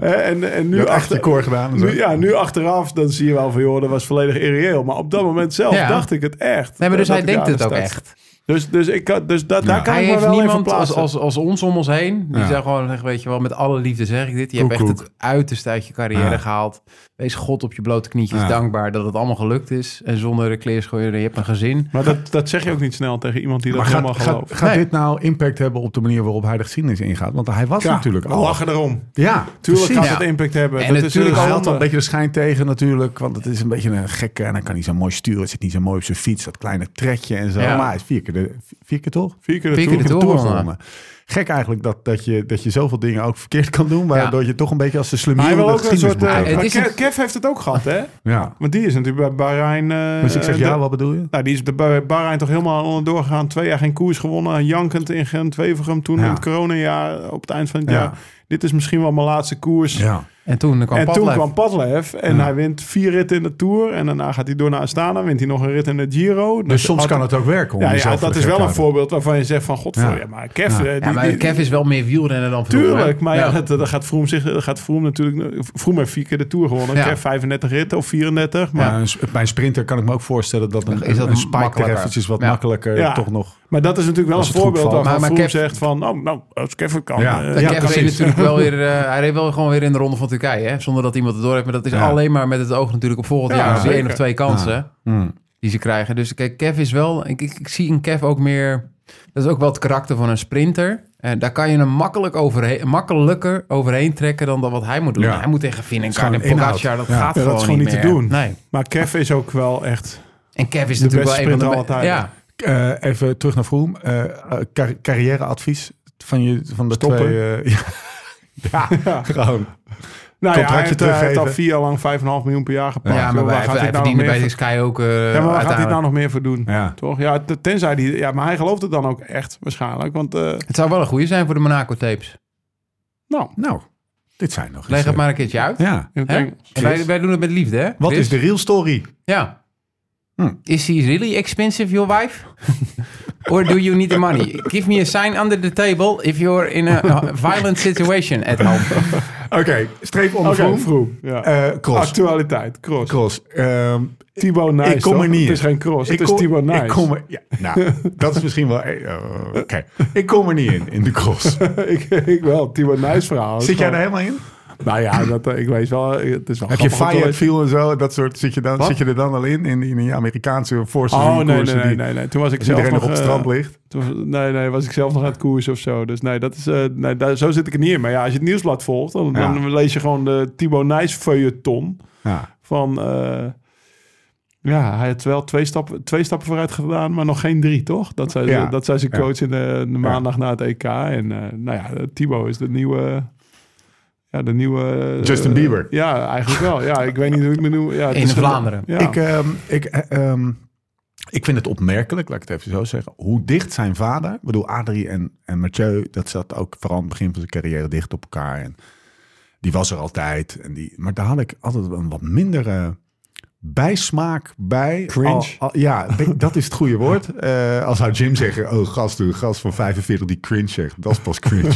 E: Eh, En, en
B: Je
E: nu,
B: hebt echt je
E: achter,
B: koor gedaan. en zo.
E: nu, ja, nu achteraf, dan zie je wel van, joh, dat was volledig irreëel. Maar op dat moment zelf
D: Ja.
E: dacht ik het echt.
D: nee, maar dus
E: Dat
D: hij
E: ik
D: denkt
E: daar
D: het ook
E: sta.
D: echt.
E: Dus, dus, ik, kan- dus da- daar kan
D: Hij
E: ik me
D: heeft
E: wel even
D: niemand als,
E: plaatsen.
D: als, als ons om ons heen. Die
B: Ja.
D: zou gewoon zeggen, weet je wel, met alle liefde zeg ik dit. Je hebt echt
B: Koekoek.
D: het uiterste uit je carrière
B: Ja.
D: gehaald. Wees God op je blote knietjes
B: Ja.
D: dankbaar dat het allemaal gelukt is. En zonder de kleerscheuren, je hebt een gezin.
E: Maar dat, dat zeg je ook niet snel tegen iemand die dat
B: Maar
E: helemaal
B: gaat, gaat,
E: gelooft.
B: gaat
D: Nee.
B: dit nou impact hebben op de manier waarop hij de geschiedenis ingaat? Want hij was natuurlijk
D: Oh,
E: we
B: al...
E: lachen erom.
B: Ja,
E: Tuurlijk
B: precies.
E: gaat het impact hebben.
D: En
E: dat
D: natuurlijk
E: is
B: Hij
E: een
B: had
E: zonde.
B: wel een beetje de schijn tegen natuurlijk, want het is een beetje een gekke en hij kan niet zo mooi sturen. Het zit niet zo mooi op zijn fiets, dat kleine trekje en zo.
D: Ja.
B: Maar hij is vier keer, de, vier keer toch?
E: Vier keer de
D: Vier keer
E: Tour.
D: de Tour. gewonnen.
B: Gek eigenlijk dat, dat, je, dat je zoveel dingen ook verkeerd kan doen, waardoor je toch een beetje als de
E: Maar
B: slemier
E: hij
B: in
E: wil
B: de
E: ook een
B: geschiedenis
E: soort...
B: moet
E: eh,
D: Het
B: kijken.
E: maar
D: is een-
E: Kev, Kev heeft het ook gehad, hè?
B: Ja,
E: Want die is natuurlijk bij Bahrein... eh,
B: dus ik zeg ja,
E: de-
B: wat bedoel je?
E: Nou, die is bij Bahrein toch helemaal onderdoor gegaan. Twee jaar geen koers gewonnen. Jankend in Gent, Wevergem. Toen
B: Ja.
E: in het coronajaar, op het eind van het
B: Ja.
E: jaar. Dit is misschien wel mijn laatste koers.
B: Ja,
D: En toen kwam
E: En toen
D: Padlef.
E: kwam Padlef. En hij wint vier ritten in de Tour. En daarna gaat hij door naar Astana. Wint hij nog een rit in de Giro.
B: dus soms
E: had-
B: kan het ook werken. om
E: Ja, ja
B: jezelf
E: dat
B: te
E: is wel een
B: gek houden.
E: voorbeeld waarvan je zegt van... Godver,
B: Ja.
E: ja. maar Kev...
B: Ja.
E: eh, die-
D: Ja, maar
E: die-
D: Kev is wel meer wielrenner dan Vroom, hè?
E: Tuurlijk, maar ja, dat, dat gaat Vroom, zich, dat gaat Vroom natuurlijk... Vroom heeft vier keer de Tour gewonnen.
D: Ja.
E: Kev 35 ritten of 34. Maar
B: Ja, een s- bij een sprinter kan ik me ook voorstellen dat een,
D: Is dat
B: een spike er
D: makkelijker?
B: eventjes wat
D: Ja.
B: makkelijker
E: Ja.
B: toch nog...
E: Maar dat is natuurlijk wel
B: Als
E: een
B: het goed
E: voorbeeld
B: valt.
E: waarvan
D: Maar- maar
E: Vroom
D: Kev-
E: zegt van... Oh, nou, als ik even kan...
B: Ja.
E: eh,
B: Dat
D: Ja,
E: ja,
D: Kevin
B: precies.
D: reed natuurlijk wel weer, eh, hij reed wel gewoon weer in de ronde van Turkije, hè? zonder dat iemand het door heeft. Maar dat is
B: Ja.
D: alleen maar met het oog natuurlijk op volgend
E: Ja,
D: jaar. Dus die één
E: zeker.
D: of twee kansen
B: Hmm.
D: die ze krijgen. Dus kijk, Kev is wel, ik, ik, ik zie in Kev ook meer, dat is ook wel het karakter van een sprinter. En daar kan je hem makkelijk overheen, makkelijker overheen trekken dan dat wat hij moet doen.
B: Ja.
D: Hij moet tegen Vinnegaard
B: gewoon
D: en Pogacar, dat
B: inhoud. Ja.
D: gaat
E: Ja, dat
D: gewoon,
E: is gewoon
D: niet,
E: niet te
D: meer.
E: doen.
D: Nee.
E: Maar Kev is ook wel echt...
D: En Kev is
E: De
D: natuurlijk wel
E: beste
D: een van de...
E: sprinter
D: be-
E: aller tijden.
D: Ja,
B: Eh, even terug naar Vroom. Eh, eh, car- carrièreadvies van, je, van de
E: Stoppen.
B: twee... eh, ja.
E: Ja.
B: Gewoon.
E: Nou ja, hij
B: Contractje
E: heeft, hij heeft
B: teruggeven.
E: al vier jaar lang 5,5 miljoen per jaar gepakt.
D: ja, maar
E: waar
D: wij,
E: gaat
D: hij
E: dit nou nog
D: verdiende
E: meer
D: bij
E: voor-
D: Sky ook eh
E: Ja, maar waar gaat hij
D: uiteindelijk.
E: nou nog meer voor doen?
B: Ja.
E: Toch? Ja, t- tenzij die, ja, maar hij gelooft het dan ook echt waarschijnlijk. Want eh,
D: Het zou wel een goede zijn voor de Monaco-tapes.
E: nou,
B: Nou, dit zijn nog
D: Leg
B: eens,
D: het
B: eh,
D: maar een keertje uit.
B: Ja.
E: in het
D: Hè?
E: Engels.
D: En wij, wij doen het met liefde, hè?
B: Wat
D: Chris?
B: is de real story?
D: Ja.
B: Hm.
D: Is he really expensive, your wife? Or do you need the money? Give me a sign under the table if you're in a violent situation at home.
B: Oké, streep onder
E: Oké,
B: Vroom.
E: vroeg. Ja. Ah,
B: Eh, cross.
E: Actualiteit, cross.
B: cross. Ehm,
E: Thibaut Nijs,
B: ik kom
E: toch?
B: er niet.
E: Het is geen cross, het is
B: kom-
E: Thibaut Nijs.
B: Ik kom er, ja, nou, dat is misschien wel... eh, eh, Oké, ik kom er niet in, in de cross.
E: ik, ik wel, Timo Nijs verhaal.
B: Zit jij er helemaal in?
E: Nou ja, dat, eh, ik weet wel. eh, Het is wel
B: Heb je
E: grappig om te lezen.
B: Fayetteville en zo? Dat soort, zit, je dan,
E: Wat?
B: zit je er dan al in? In, in die Amerikaanse voorseizoen
E: Oh, nee, nee,
B: koersen
E: nee,
B: die-
E: nee, nee. Toen was ik
B: Als
E: zelf
B: iedereen
E: nog...
B: nog op het
E: eh,
B: strand ligt.
E: toen was- nee, nee, was ik zelf nog aan het koersen of zo. Dus nee, dat is, eh, nee daar, zo zit ik er niet in. Maar ja, als je het nieuwsblad volgt, dan,
B: Ja.
E: dan lees je gewoon de Thibaut Nijs feuilleton.
B: Ja.
E: Van, eh, ja, hij heeft wel twee stappen, twee stappen vooruit gedaan, maar nog geen drie, toch? Dat zei,
B: Ja.
E: dat zei zijn
B: Ja.
E: coach in de, de maandag na het EK. En eh, nou ja, Thibaut is de nieuwe... Ja, de nieuwe... eh,
B: Justin Bieber.
E: Ja, eigenlijk wel. Ja, ik weet niet hoe ik me noem. Ja, het
D: In
E: is een-
D: Vlaanderen.
E: Ja.
B: Ik, ehm, ik, eh, ehm, ik vind het opmerkelijk, laat ik het even zo zeggen, hoe dicht zijn vader... Ik bedoel, Adrie en, en Mathieu, dat zat ook vooral aan het begin van zijn carrière dicht op elkaar. En die was er altijd. En die, maar daar had ik altijd een wat mindere bijsmaak bij.
E: Cringe.
B: Al- al- ja, ik denk, dat is het goede woord. Eh, als zou Jim zeggen, oh gast, een gast van 45 die cringe zegt. Dat is pas cringe.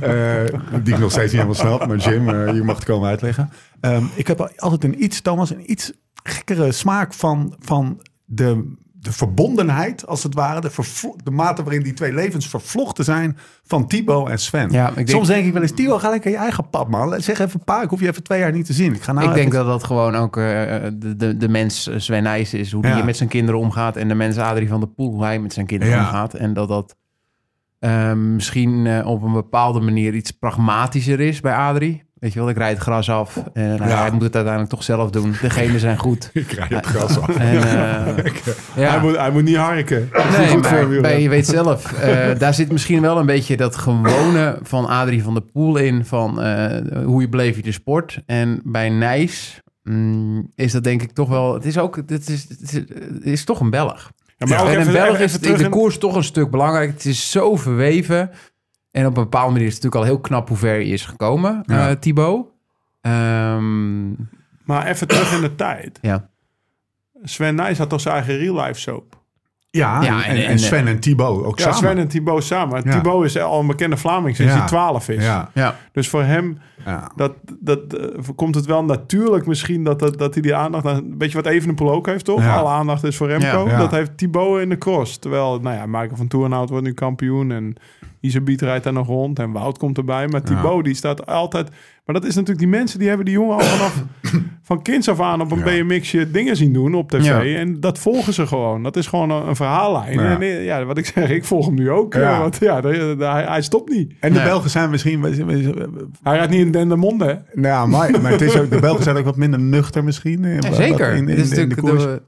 B: Eh, die ik nog steeds niet helemaal snap. Maar Jim, eh, je mag het komen uitleggen. Ehm, ik heb al- altijd een iets, Thomas, een iets gekkere smaak van, van de, de verbondenheid, als het ware. De, vervlo- de mate waarin die twee levens vervlochten zijn van Thibaut en Sven.
D: Ja, ik denk-
B: Soms denk ik wel eens, Thibaut, ga lekker je eigen pad, man. Zeg even, pa, ik hoef je even twee jaar niet te zien. Ik, ga nou
D: ik denk
B: even-
D: dat dat gewoon ook eh, de, de, de mens eh, Sven Nys is. Hoe
B: Ja.
D: hij met zijn kinderen omgaat. En de mens Adrie van der Poel, hoe hij met zijn kinderen
B: Ja.
D: omgaat. En dat dat eh, misschien eh, op een bepaalde manier iets pragmatischer is bij Adrie. Weet je wel, ik rijd het gras af. En hij-
B: Ja.
D: hij moet het uiteindelijk toch zelf doen. De genen zijn goed.
B: Ik rij het gras af.
D: En, eh, ja.
E: Hij, moet, hij moet niet harken. Dat is
D: Nee,
E: niet goed eh,
D: maar
E: voor hem, joh.
D: bij- je weet zelf, eh, daar zit misschien wel een beetje dat gewone van Adrie van der Poel in, van eh, hoe je beleef je de sport. En bij Nijs mm, is dat denk ik toch wel, het is ook, het is, het is, het is toch een Belg.
E: Ja, maar ook
D: en
E: even-
D: in Belg
E: even
D: is het in
E: terug
D: de koers toch een stuk belangrijk. Het is zo verweven. En op een bepaalde manier is het natuurlijk al heel knap hoe ver hij is gekomen, eh
B: Ja.
D: Thibaut. Ehm,
E: Maar even terug in de tijd.
D: ja.
E: Sven Nijs had toch zijn eigen real life soap?
B: Ja,
D: Ja,
B: en,
D: en-
B: en Sven en Thibaut ook
E: Ja,
B: samen.
E: Sven en Thibaut samen.
B: Ja.
E: Thibaut is al een bekende Vlaming sinds
B: Ja.
E: hij 12 is.
B: Ja,
D: ja.
E: Dus voor hem
B: ja.
E: dat, dat, eh, komt het wel natuurlijk misschien dat, dat, dat hij die aandacht... Een beetje wat Evenepoel ook heeft, toch?
B: Ja.
E: Alle aandacht is voor Remco.
B: Ja. Ja.
E: Dat heeft Thibaut in de cross. Terwijl, nou ja, Michael van Toerenhout wordt nu kampioen. En Isabiet rijdt daar nog rond. En Wout komt erbij. Maar Thibaut, die staat altijd... Maar dat is natuurlijk die mensen, die hebben die jongen al vanaf... van kinds af aan op een
B: Ja.
E: BMXje dingen zien doen op tv.
D: Ja.
E: En dat volgen ze gewoon. Dat is gewoon een, een verhaallijn.
B: Ja.
E: En eh, ja, wat ik zeg, ik volg hem nu ook.
B: Ja.
E: Ja. Want ja, daar- daar- hij, hij stopt niet.
B: En de
D: Nee.
B: Belgen zijn misschien... Nou
E: Hij rijdt niet in Dendermonde, hè?
B: ja, maar, maar het is ook, de Belgen zijn ook wat minder nuchter misschien. eh,
D: Ja,
B: wat-
D: zeker.
B: wat In, in,
D: Dit is
B: in de
D: natuurlijk
B: koers.
D: de,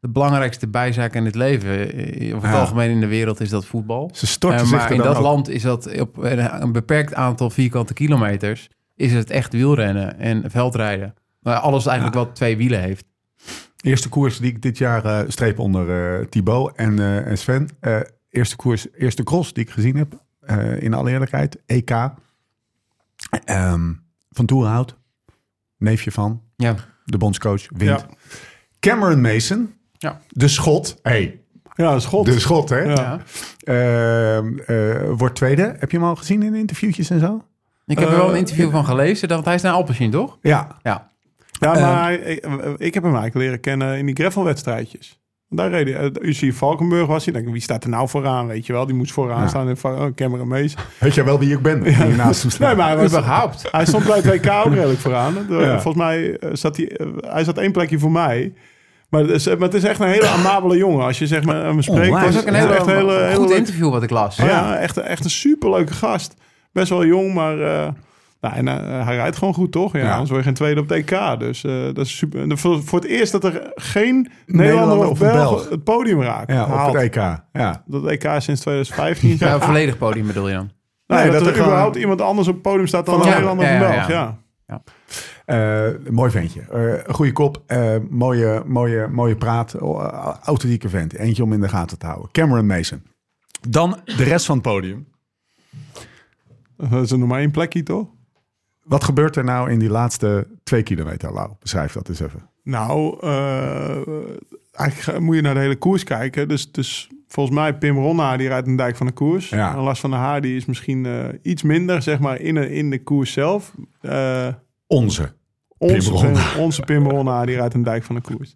D: de belangrijkste bijzaak in het leven. Eh, Over het
B: Ja.
D: algemeen in de wereld is dat voetbal.
B: Ze storten
D: Eh,
B: zich
D: maar
B: er
D: in
B: dan
D: dat
B: ook-
D: land is dat op eh, een, een beperkt aantal vierkante kilometers... is het echt wielrennen en veldrijden. Nou, alles eigenlijk wat twee wielen heeft.
B: Eerste koers die ik dit jaar eh, streep onder eh, Thibaut en, eh, en Sven. Eh, eerste koers, eerste cross die ik gezien heb, eh, in alle eerlijkheid, EK. Ehm, van Toerhout, neefje van,
D: Ja.
B: de bondscoach, wint.
E: Ja.
B: Cameron Mason,
D: Ja.
B: de schot. Hey,
E: Ja, dat is God.
B: de schot, hè?
D: Ja.
E: Ja.
B: Ehm, eh, wordt tweede. Heb je hem al gezien in interviewtjes en zo?
D: Ik heb er
E: Eh,
D: wel een interview van gelezen. Dat hij is naar Alpecin, toch?
B: Ja.
D: Ja. Ehm.
E: Ja, maar ik, ik heb hem eigenlijk leren kennen in die greffelwedstrijdjes. Daar reed hij. eh, UC Valkenburg was hij. Dan Denk, ik, wie staat er nou vooraan? Weet je wel, die moest vooraan
B: Ja.
E: staan. En van, oh, Cameron Mees.
B: Weet jij wel wie ik ben? Die naast hem staat.
E: Nee, maar hij, was,
D: Überhaupt.
E: hij stond bij het WK ook redelijk vooraan. Eh,
B: Ja.
E: Volgens mij eh, zat hij, eh, hij zat één plekje voor mij. Maar het, is, eh, maar het is echt een hele amabele jongen. Als je zeg maar hem spreekt.
B: Onwijs.
E: Het
D: Dat Oh,
E: is
D: is ook een hele,
E: echt een hele, hele
D: goed
E: leuke-
D: interview wat ik las.
B: Oh,
E: Oh Ja, echt, echt een superleuke gast. Best wel jong, maar eh, nou, en, eh, hij rijdt gewoon goed, toch? Ja,
B: Ja.
E: Anders word je geen tweede op DK. Dus eh, dat is super. en voor, voor het eerst dat er geen Nederlander
B: Nederlander
E: of
B: of een
E: Belg,
B: Belg.
E: het podium raakt.
B: ja, op
E: haalt.
B: het EK. Ja.
E: Dat EK is sinds 2015.
D: Ja, een volledig podium bedoel je dan?
E: Nee,
B: Nee,
E: dat,
B: dat
E: er
B: er gewoon-
E: überhaupt iemand anders op het podium staat dan een
D: Ja,
E: Nederlander of
D: ja,
E: een
D: ja,
E: Belg.
D: ja.
E: Ja.
B: Eh, mooi ventje. Eh goede kop. Eh, mooie, mooie, mooie praat. Eh, authentieke vent. Eentje om in de gaten te houden. Cameron Mason. Dan de rest van het podium.
E: Dat is er nog maar één plekje, toch?
B: Wat gebeurt er nou in die laatste twee kilometer, Lau? Beschrijf dat eens even.
E: Nou, eh, eigenlijk ga- moet je naar de hele koers kijken. Dus, dus volgens mij Pim Ronna, die rijdt een dijk van de koers.
B: Ja.
E: En Lars van der Haar, die is misschien eh, iets minder, zeg maar, in, in de koers zelf. Eh,
B: Onze.
E: onze,
B: Pim Ronna.
E: onze Pim Ronna, die rijdt een dijk van de koers.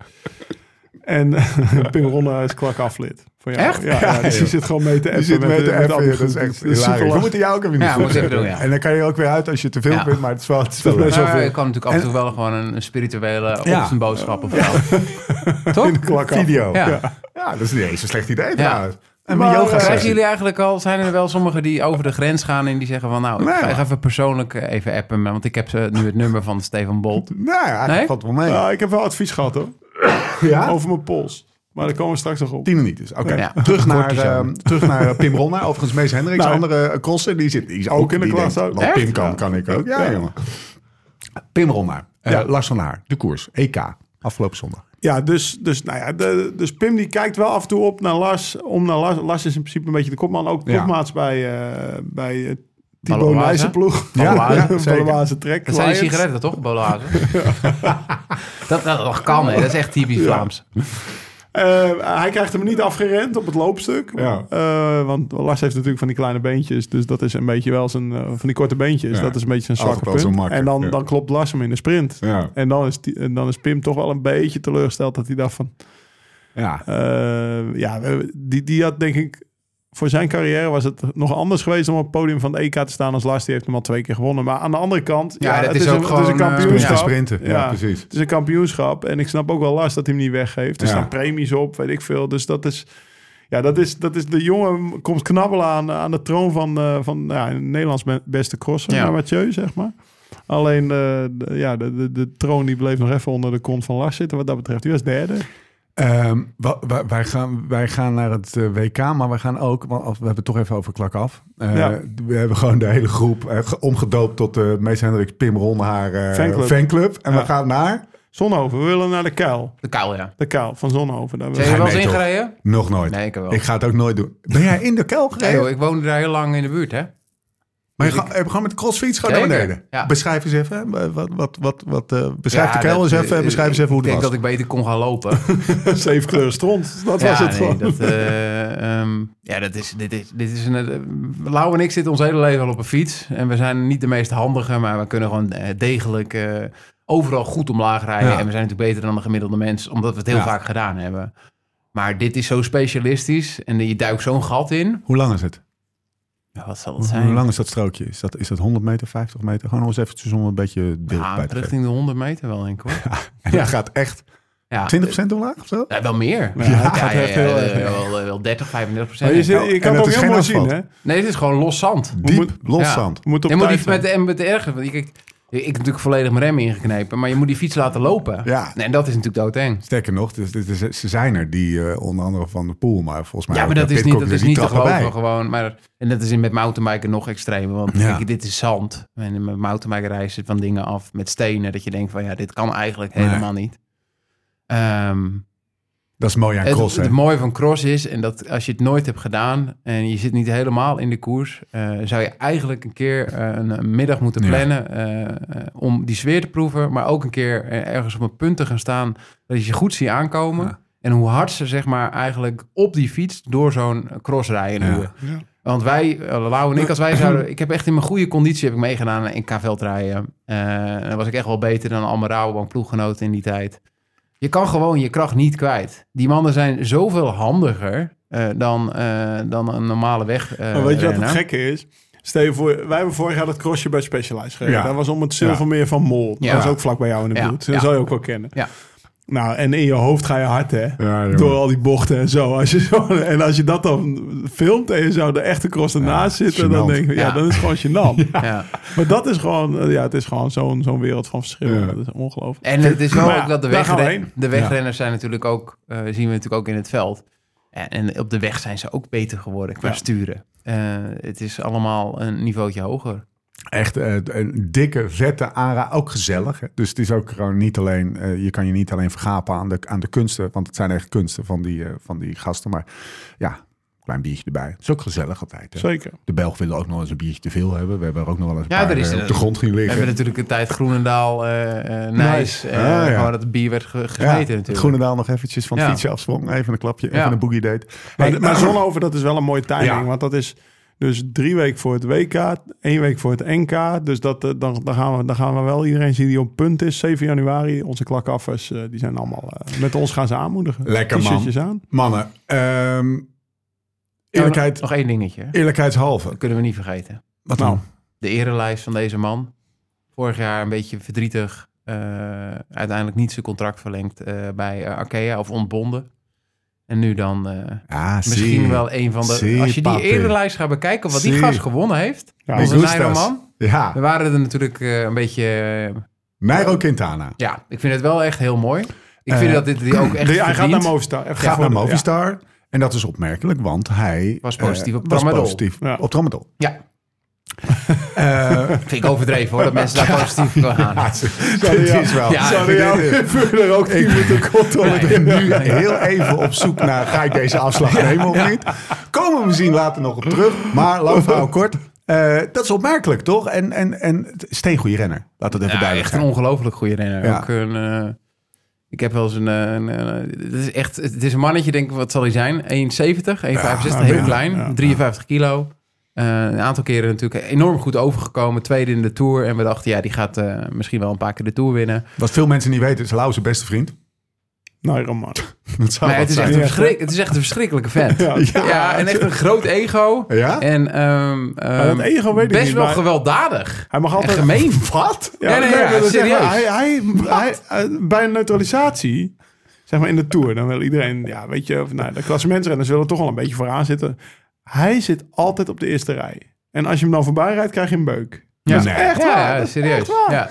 E: En Pim Ronda is klak aflid. Van jou.
D: Echt?
E: Ja, ja, dus die zit gewoon mee te appen.
B: Je zit mee te
E: met- met
B: appen,
E: andere
B: ja, dat is
E: groepen.
B: echt
E: Dat is
B: hilarisch.
E: super
B: We
E: lach.
B: moeten jou ook even
D: Ja,
B: niet
D: moet ik doen, ja.
B: En dan kan je er ook weer uit als je te veel
D: Ja.
B: bent, maar het is wel... Het is wel
E: Dat is
B: leuk.
E: wel
D: Maar
E: veel.
D: je kan natuurlijk af en toe wel gewoon een, een spirituele
B: Ja.
D: ochtendboodschap of zo. Toch?
E: Klak af.
B: video.
D: Ja.
B: Ja. ja, dat is niet eens een slecht idee trouwens. En
E: Maar,
B: mijn yoga
E: eh,
D: Krijgen
B: sessie.
D: jullie eigenlijk al, zijn er wel sommigen die over de grens gaan en die zeggen van nou, ik
B: Nee,
D: ga
B: maar-
D: even persoonlijk eh, even appen, maar- want ik heb eh, nu het nummer van Stefan Bolt.
B: Nou, eigenlijk
D: Nee?
B: valt het wel mee.
E: Nou, ik heb wel advies gehad hoor.
B: ja?
E: Over mijn pols. Maar daar komen we straks nog op.
B: Tien niet dus. Oké.
D: Ja.
B: Terug naar,
D: Kortjes
B: eh, terug naar eh, Pim Ronna. Overigens Mees Hendricks,
E: Nou.
B: andere eh, crosser. Die zit die is ook,
E: Ook in de
B: die
E: klas
B: denkt,
E: ook.
B: Wat
D: Echt?
B: Pim kan, kan ik ook. Ja,
E: Ja.
B: jongen. Pim Ronna. Eh,
E: Ja.
B: Lars van Haar. De koers. EK. Afgelopen zondag.
E: Ja, dus, dus, nou ja, de, dus Pim die kijkt wel af en toe op naar Lars. Om naar Lars. Lars is in principe een beetje de kopman. Ook
B: Ja.
E: topmaats bij, eh bij eh Thibaut
D: Ballenwazen.
E: Nijsenploeg.
D: Ballenwazen,
B: zeker.
E: Ballenwazen Trek.
D: Dat zijn die
E: Lions.
D: sigaretten toch, Bolazen? dat, dat, dat kan, hè. dat is echt typisch Vlaams.
E: Eh, hij krijgt hem niet afgerend op het loopstuk.
B: Ja.
E: Eh, want Lars heeft natuurlijk van die kleine beentjes. Dus dat is een beetje wel zijn... eh, van die korte beentjes.
B: Ja.
E: Dat is een beetje zijn
B: Altijd
E: zwakke
B: wel zo'n
E: punt.
B: makker,
E: En dan,
B: ja.
E: dan klopt Lars hem in de sprint.
B: Ja.
E: En, dan is die, en dan is Pim toch wel een beetje teleurgesteld dat hij dacht van...
B: Ja.
E: Eh, ja, we- die, die had denk ik... Voor zijn carrière was het nog anders geweest om op het podium van de EK te staan als Lars. Die heeft hem al twee keer gewonnen. Maar aan de andere kant...
D: Ja, dat
E: het
D: is ook
E: een, het
D: gewoon, eh,
E: een
B: Sprinten,
E: kampioenschap.
B: sprinten. Ja,
E: Ja.
B: precies.
E: Het is een kampioenschap. En ik snap ook wel Lars dat hij hem niet weggeeft. Er
B: Ja.
E: staan premies op, weet ik veel. Dus dat is... Ja, dat is, dat is de jongen komt knabbelen aan, aan de troon van, eh, van ja, een Nederlands be- beste crosser,
D: Ja.
E: ja. Mathieu, zeg maar. Alleen eh, de, ja, de, de, de troon die bleef nog even onder de kont van Lars zitten wat dat betreft. Die was derde.
B: Ehm, wa- wa- wij, gaan, wij gaan naar het eh, WK, maar we gaan ook, want als- we hebben het toch even over klak af. Eh,
E: Ja.
B: We hebben gewoon de hele groep eh, ge- omgedoopt tot de Mees Hendricks Pim Ron haar eh, fanclub.
E: Fanclub.
B: En
E: Ja.
B: we gaan naar?
E: Zonhoven, we willen naar de kuil.
D: De kuil, ja.
E: De kuil van Zonhoven. Daar
D: Zijn jullie wel
B: nee,
D: eens
B: toch.
D: ingereden?
B: Nog nooit.
D: Nee, ik heb wel.
B: Ik ga het ook nooit doen. Ben jij in de kuil
D: Nee,
B: gereden?
D: joh, ik woonde daar heel lang in de buurt, hè.
B: maar je gaat je hebt gewoon met de crossfiets gewoon
D: Zeker,
B: naar beneden.
D: ja.
B: Beschrijf eens even. eh, Wat, wat, wat, wat, eh, beschrijf
D: Ja,
B: de kuil
D: dat-
B: eens even. en
D: eh,
B: beschrijf eens even hoe
D: Ik
B: het
D: denk
B: was.
D: dat ik beter kon gaan lopen.
E: zeven kleuren stront. Dat was
D: ja, nee,
E: het gewoon.
D: dat, eh, ehm, ja, dat is, dit is, dit is een... eh, Lau en ik zitten ons hele leven al op een fiets. En we zijn niet de meest handige, maar we kunnen gewoon eh, degelijk eh, overal goed omlaag rijden.
B: Ja.
D: En we zijn natuurlijk beter dan de gemiddelde mens, omdat we het heel
B: Ja.
D: vaak gedaan hebben. Maar dit is zo specialistisch en je duikt zo'n gat in.
B: Hoe lang is het?
D: Ja, wat zal het
B: Hoe
D: zijn?
B: lang is dat strookje? Is dat, is dat 100 meter, 50 meter? Gewoon nog eens eventjes om een beetje beeld
D: Ja,
B: bij te geven.
D: richting de 100 meter wel, denk ik hoor.
B: En
D: Ja.
B: het gaat echt
D: Ja,
B: 20% omlaag of zo?
D: Ja, wel meer.
E: Ja, het gaat echt heel erg.
D: wel, eh, wel 30, 35 procent.
E: Maar je, zit, je
B: Nou, En
E: kan
B: dat
E: het ook
B: is
E: heel
B: geen
E: mooi
B: asfalt.
E: zien, hè?
D: Nee, dit is gewoon los zand.
B: Diep,
E: moeten-
B: los
D: ja.
B: zand.
E: Je moet op
D: Je moet die,
E: tijd
D: met,
E: zijn.
D: en met de erger, want ik, ik, ik heb natuurlijk volledig mijn rem ingeknepen, maar je moet die fiets laten lopen.
B: Ja.
D: Nee, en dat is natuurlijk doodeng.
B: Sterker nog, dus, dus, dus- ze zijn er die eh, onder andere van de pool, maar volgens mij.
D: Ja, maar
B: ook,
D: dat
B: eh,
D: is niet,
B: Pidcock,
D: dat
B: dus
D: is
B: die
D: niet te
B: trappen bij.
D: geloven gewoon. Maar, en dat is in, met mountainbiken nog extremer, want
B: Ja.
D: kijk, dit is zand. En met mountainbiken reizen van dingen af met stenen, dat je denkt van ja, dit kan eigenlijk
B: Nee.
D: helemaal niet. Ehm,
B: Dat is mooi aan
D: het,
B: cross, hè?
D: het mooie van cross is, en dat als je het nooit hebt gedaan en je zit niet helemaal in de koers, eh, zou je eigenlijk een keer eh, een, een middag moeten
B: Ja.
D: plannen eh, eh, om die sfeer te proeven, maar ook een keer eh, ergens op een punt te gaan staan dat je ze goed ziet aankomen.
B: Ja.
D: En hoe hard ze zeg maar eigenlijk op die fiets door zo'n cross rijden.
B: Ja.
D: duwen. Want wij, eh, Lau en ik, als wij zouden... Ik heb echt in mijn goede conditie heb ik meegedaan in K-veldrijden. Eh, en dan was ik echt wel beter dan allemaal Rabobank ploeggenoten in die tijd. Je kan gewoon je kracht niet kwijt. Die mannen zijn zoveel handiger eh, dan, eh, dan een normale weg. eh,
E: Maar weet je wat het
D: renner.
E: gekke is? Stel je voor, wij hebben vorig jaar dat crossje bij Specialized gereden.
B: Ja.
E: Dat was om het Zilvermeer van Mol. Dat
D: Ja.
E: was ook vlak bij jou in de
D: Ja.
E: buurt. Dat
D: Ja.
E: zal je ook wel kennen.
D: Ja.
E: Nou, en in je hoofd ga je hard, hè?
B: Ja, jongen.
E: Door al die bochten en zo. Als je zo. En als je dat dan filmt en je zou de echte cross ernaast
B: Ja,
E: zitten, dan
B: gênant.
E: denk je, ja,
D: Ja.
E: dan is het gewoon gênant.
D: Ja.
E: Maar dat is gewoon, eh, ja, het is gewoon zo'n zo'n wereld van verschil.
B: Ja.
E: Dat is ongelooflijk.
D: En het is wel
E: Maar ja,
D: ook dat de,
E: daar gaan we
D: wegren-
E: heen.
D: de wegrenners zijn natuurlijk ook, eh, zien we natuurlijk ook in het veld. En, en op de weg zijn ze ook beter geworden qua
E: Ja.
D: sturen. Eh, het is allemaal een niveautje hoger.
B: Echt eh, een dikke, vette ARA. Ook gezellig. Hè? Dus het is ook gewoon niet alleen. eh, je kan je niet alleen vergapen aan de, aan de kunsten. Want het zijn echt kunsten van die, eh, van die gasten. Maar ja, klein biertje erbij. Het is ook gezellig altijd. Hè?
E: Zeker.
B: De Belg willen ook nog eens een biertje te veel hebben. We hebben er ook nog wel eens een
D: Ja,
B: paar
D: er is
B: eh,
D: een-
B: op de grond ging
D: We hebben
B: liggen.
D: natuurlijk een tijd Groenendaal, eh eh Nijs.
B: Nice.
D: eh,
B: Ah, ja.
D: Gewoon dat het bier werd ge-
B: Ja,
D: gesmeten natuurlijk.
B: Groenendaal nog eventjes van het
D: Ja.
B: fietsje afsprong. Even een klapje,
D: Ja.
B: even een boogie date.
E: Maar,
B: Hey,
E: maar Zonhoven, dat is wel een mooie timing.
B: Ja.
E: Want dat is... Dus drie weken voor het WK, één week voor het NK. Dus dat, eh, dan, dan, gaan we, dan gaan we wel iedereen zien die op punt is. 7 januari, onze klakaffers, eh, die zijn allemaal... eh, met ons gaan ze aanmoedigen.
B: Lekker, man.
E: T-shirtjes aan.
B: Mannen, ehm,
D: Ja, Oh.
B: eerlijkheid,
D: Nog één dingetje. hè.
B: eerlijkheidshalve.
D: Dat kunnen we niet vergeten.
B: Wat nou?
D: de erenlijst van deze man. Vorig jaar een beetje verdrietig. eh, uiteindelijk niet zijn contract verlengd eh, bij eh, Arkea of ontbonden. En nu dan eh,
B: Ja,
D: misschien
B: zie.
D: wel een van de...
B: Zie,
D: als je die
B: papi.
D: erenlijst gaat bekijken, wat die
B: Zie.
D: gast gewonnen heeft.
E: Ja,
D: onze
B: Augustus.
D: Nairo man.
B: Ja,
D: We waren er natuurlijk eh, een beetje... eh,
B: Nairo Quintana.
D: ja, ik vind het wel echt heel mooi. Ik
B: Eh,
D: vind dat dit die ook echt
E: Die- hij gaat naar
D: verdient.
E: Movistar. Even
B: Gaat
E: gewoon-
B: naar Movistar. En dat is opmerkelijk, want hij...
D: Was
B: eh,
D: positief op
B: was
D: tramadol.
B: positief
E: Ja.
B: op tramadol.
D: Ja,
B: Eh,
D: vind ik overdreven hoor, dat mensen daar positief voor gaan.
B: dit is wel...
D: Ja,
B: Sorry,
E: Ja.
B: dit is-
E: Ja, verder ook niet met de controle.
B: Ik ben nu heel even op zoek naar... ga ik deze afslag nemen of niet? Komen we misschien later nog op terug. Maar lang verhaal kort. eh, dat is opmerkelijk, toch? En, en, en steengoede renner. Laat dat even
D: Ja,
B: duidelijk
D: echt een
B: zijn.
D: ongelooflijk goede renner.
B: Ja.
D: Ook een, eh, ik heb wel eens een... eh, een, eh, het, is echt, het is een mannetje, denk ik, wat zal hij zijn? 1,70, 1,65, heel
E: ja,
D: klein,
E: ja, ja.
D: 53 kilo. Eh, een aantal keren natuurlijk enorm goed overgekomen. Tweede in de Tour. En we dachten, ja, die gaat eh, misschien wel een paar keer de Tour winnen.
B: Wat veel mensen niet weten, is Lau zijn beste vriend.
E: Nee, Roman.
B: Dat zou wat
D: Maar het is,
B: zijn.
D: echt een
E: Ja.
D: verschrik- het is echt een verschrikkelijke vent. Ja,
E: Ja.
D: en echt een groot ego.
B: Ja?
D: En ehm, ehm,
E: dat ego weet ik
D: best
E: niet,
D: wel
E: maar-
D: gewelddadig.
E: Hij mag
D: En
E: altijd...
D: gemeen.
B: Wat?
D: Ja, nee, ja,
E: dat is echt
D: serieus.
E: waar. hij, hij, hij, eh, bij een neutralisatie, zeg maar in de Tour, dan wil iedereen, ja, weet je, of, nou, de klassementsrenners willen toch al een beetje vooraan zitten. Hij zit altijd op de eerste rij. En als je hem dan voorbij rijdt, krijg je een beuk.
D: Ja,
B: is
E: echt
D: ja,
E: waar,
D: ja,
E: dat is
D: serieus.
E: echt waar.
D: Ja.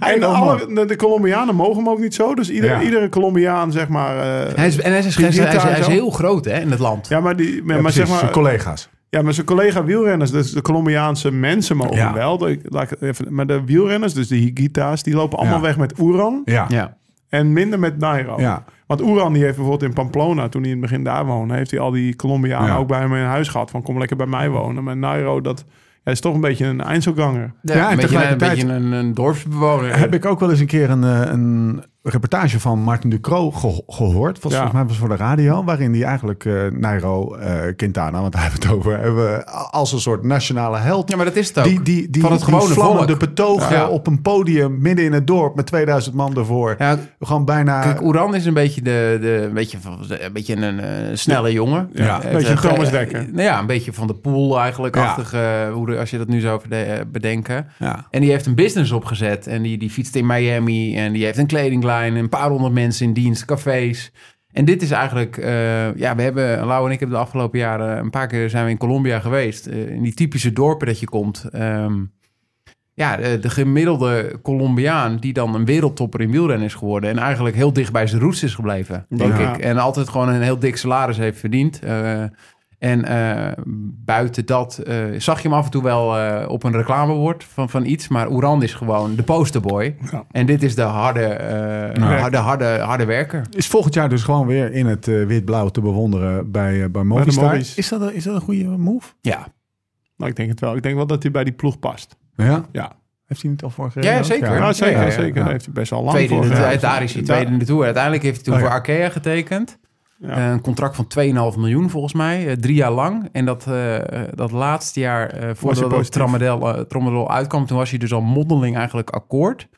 E: en
B: oh,
E: alle, de, de Colombianen mogen hem ook niet zo. Dus ieder,
B: Ja.
E: iedere Colombiaan, zeg maar... eh,
D: Hij is, en hij is,
E: Die-
D: hij is-
E: die
D: hij is- hij
E: daar
D: is
E: zo?
D: heel groot hè, in het land.
E: ja, maar, die, maar,
B: Ja,
E: zeg
B: precies,
E: maar
B: zijn collega's.
E: Ja, maar zijn collega wielrenners, dus de Colombiaanse mensen mogen
B: Ja.
E: wel. De, laat ik het even, maar de wielrenners, dus de Higuita's, die lopen allemaal
B: Ja.
E: weg met Oeran
B: Ja.
D: Ja.
E: en minder met Nairo.
B: Ja.
E: Want Oeran die heeft bijvoorbeeld in Pamplona, toen hij in het begin daar woonde, heeft hij al die Colombianen
B: Ja.
E: ook bij hem in huis gehad. Van kom lekker bij mij wonen. Maar Nairo, dat hij is toch een beetje een Einzelganger.
B: Ja, en
D: een beetje, een,
B: tegelijkertijd-
D: beetje een, een dorpsbewoner.
B: Heb ik ook wel eens een keer een, eh, een reportage van Martin Ducro geho- gehoord. Was,
E: Ja.
B: Volgens mij was het voor de radio. Waarin hij eigenlijk eh, Nairo eh, Quintana, want daar hebben we het over, hebben, we als een soort nationale held.
D: Ja, maar dat is het ook.
B: Die, die, die,
D: Van het gewone
B: die vlammende
D: volk.
B: betogen
D: Ja.
B: op een podium midden in het dorp met 2000 man ervoor.
D: Ja,
B: Gewoon bijna...
D: kijk, Oeran is een beetje, de, de, een, beetje, van- een, beetje een eh, snelle jongen.
B: Ja, een
D: Heeft,
E: beetje
D: eh,
E: Thomas
D: eh,
E: Dekker.
D: nou ja, een beetje van de pool eigenlijk.
B: Ja.
D: Achtig, eh, hoe de- als je dat nu zou verde- eh, bedenken.
B: ja.
D: En die heeft een business opgezet. En die, die fietst in Miami. En die heeft een kledinglijn. Een paar honderd mensen in dienst. Cafés. En dit is eigenlijk... eh, ja, we hebben... Lau en ik hebben de afgelopen jaren... Een paar keer zijn we in Colombia geweest. eh, in die typische dorpen dat je komt. Ehm, ja, de, de gemiddelde Colombiaan... die dan een wereldtopper in wielrennen is geworden... en eigenlijk heel dicht bij zijn roots is gebleven, denk
E: Ja.
D: ik. En altijd gewoon een heel dik salaris heeft verdiend... Eh, en eh, buiten dat eh, zag je hem af en toe wel eh, op een reclamebord van, van iets. Maar Oeran is gewoon de posterboy.
E: Ja.
D: En dit is de harde, eh,
B: Nou.
D: harde, harde, harde werker.
B: Is volgend jaar dus gewoon weer in het eh, wit-blauw te bewonderen bij, eh, bij Movistar.
E: Movies.
B: Is, dat, een- is dat een goede move?
D: Ja,
E: Nou, ik denk het wel. Ik denk wel dat hij bij die ploeg past.
B: Ja.
E: Ja,
B: Heeft hij niet al voor
D: Ja, zeker.
E: ja zeker.
D: Ja, ja, ja.
E: zeker.
B: Ja.
E: Daar heeft hij best wel lang
D: tweede in
E: voor
D: de,
E: gewerkt.
D: daar is hij tweede in de Tour. Uiteindelijk heeft hij toen
B: Oh, ja.
D: voor Arkea getekend.
E: Ja.
D: Eh, een contract van 2,5 miljoen volgens mij. eh, drie jaar lang. En dat, eh, dat laatste jaar, eh voordat
E: positief?
D: dat tramadel, eh, Tramadol uitkwam... toen was hij dus al mondeling eigenlijk akkoord...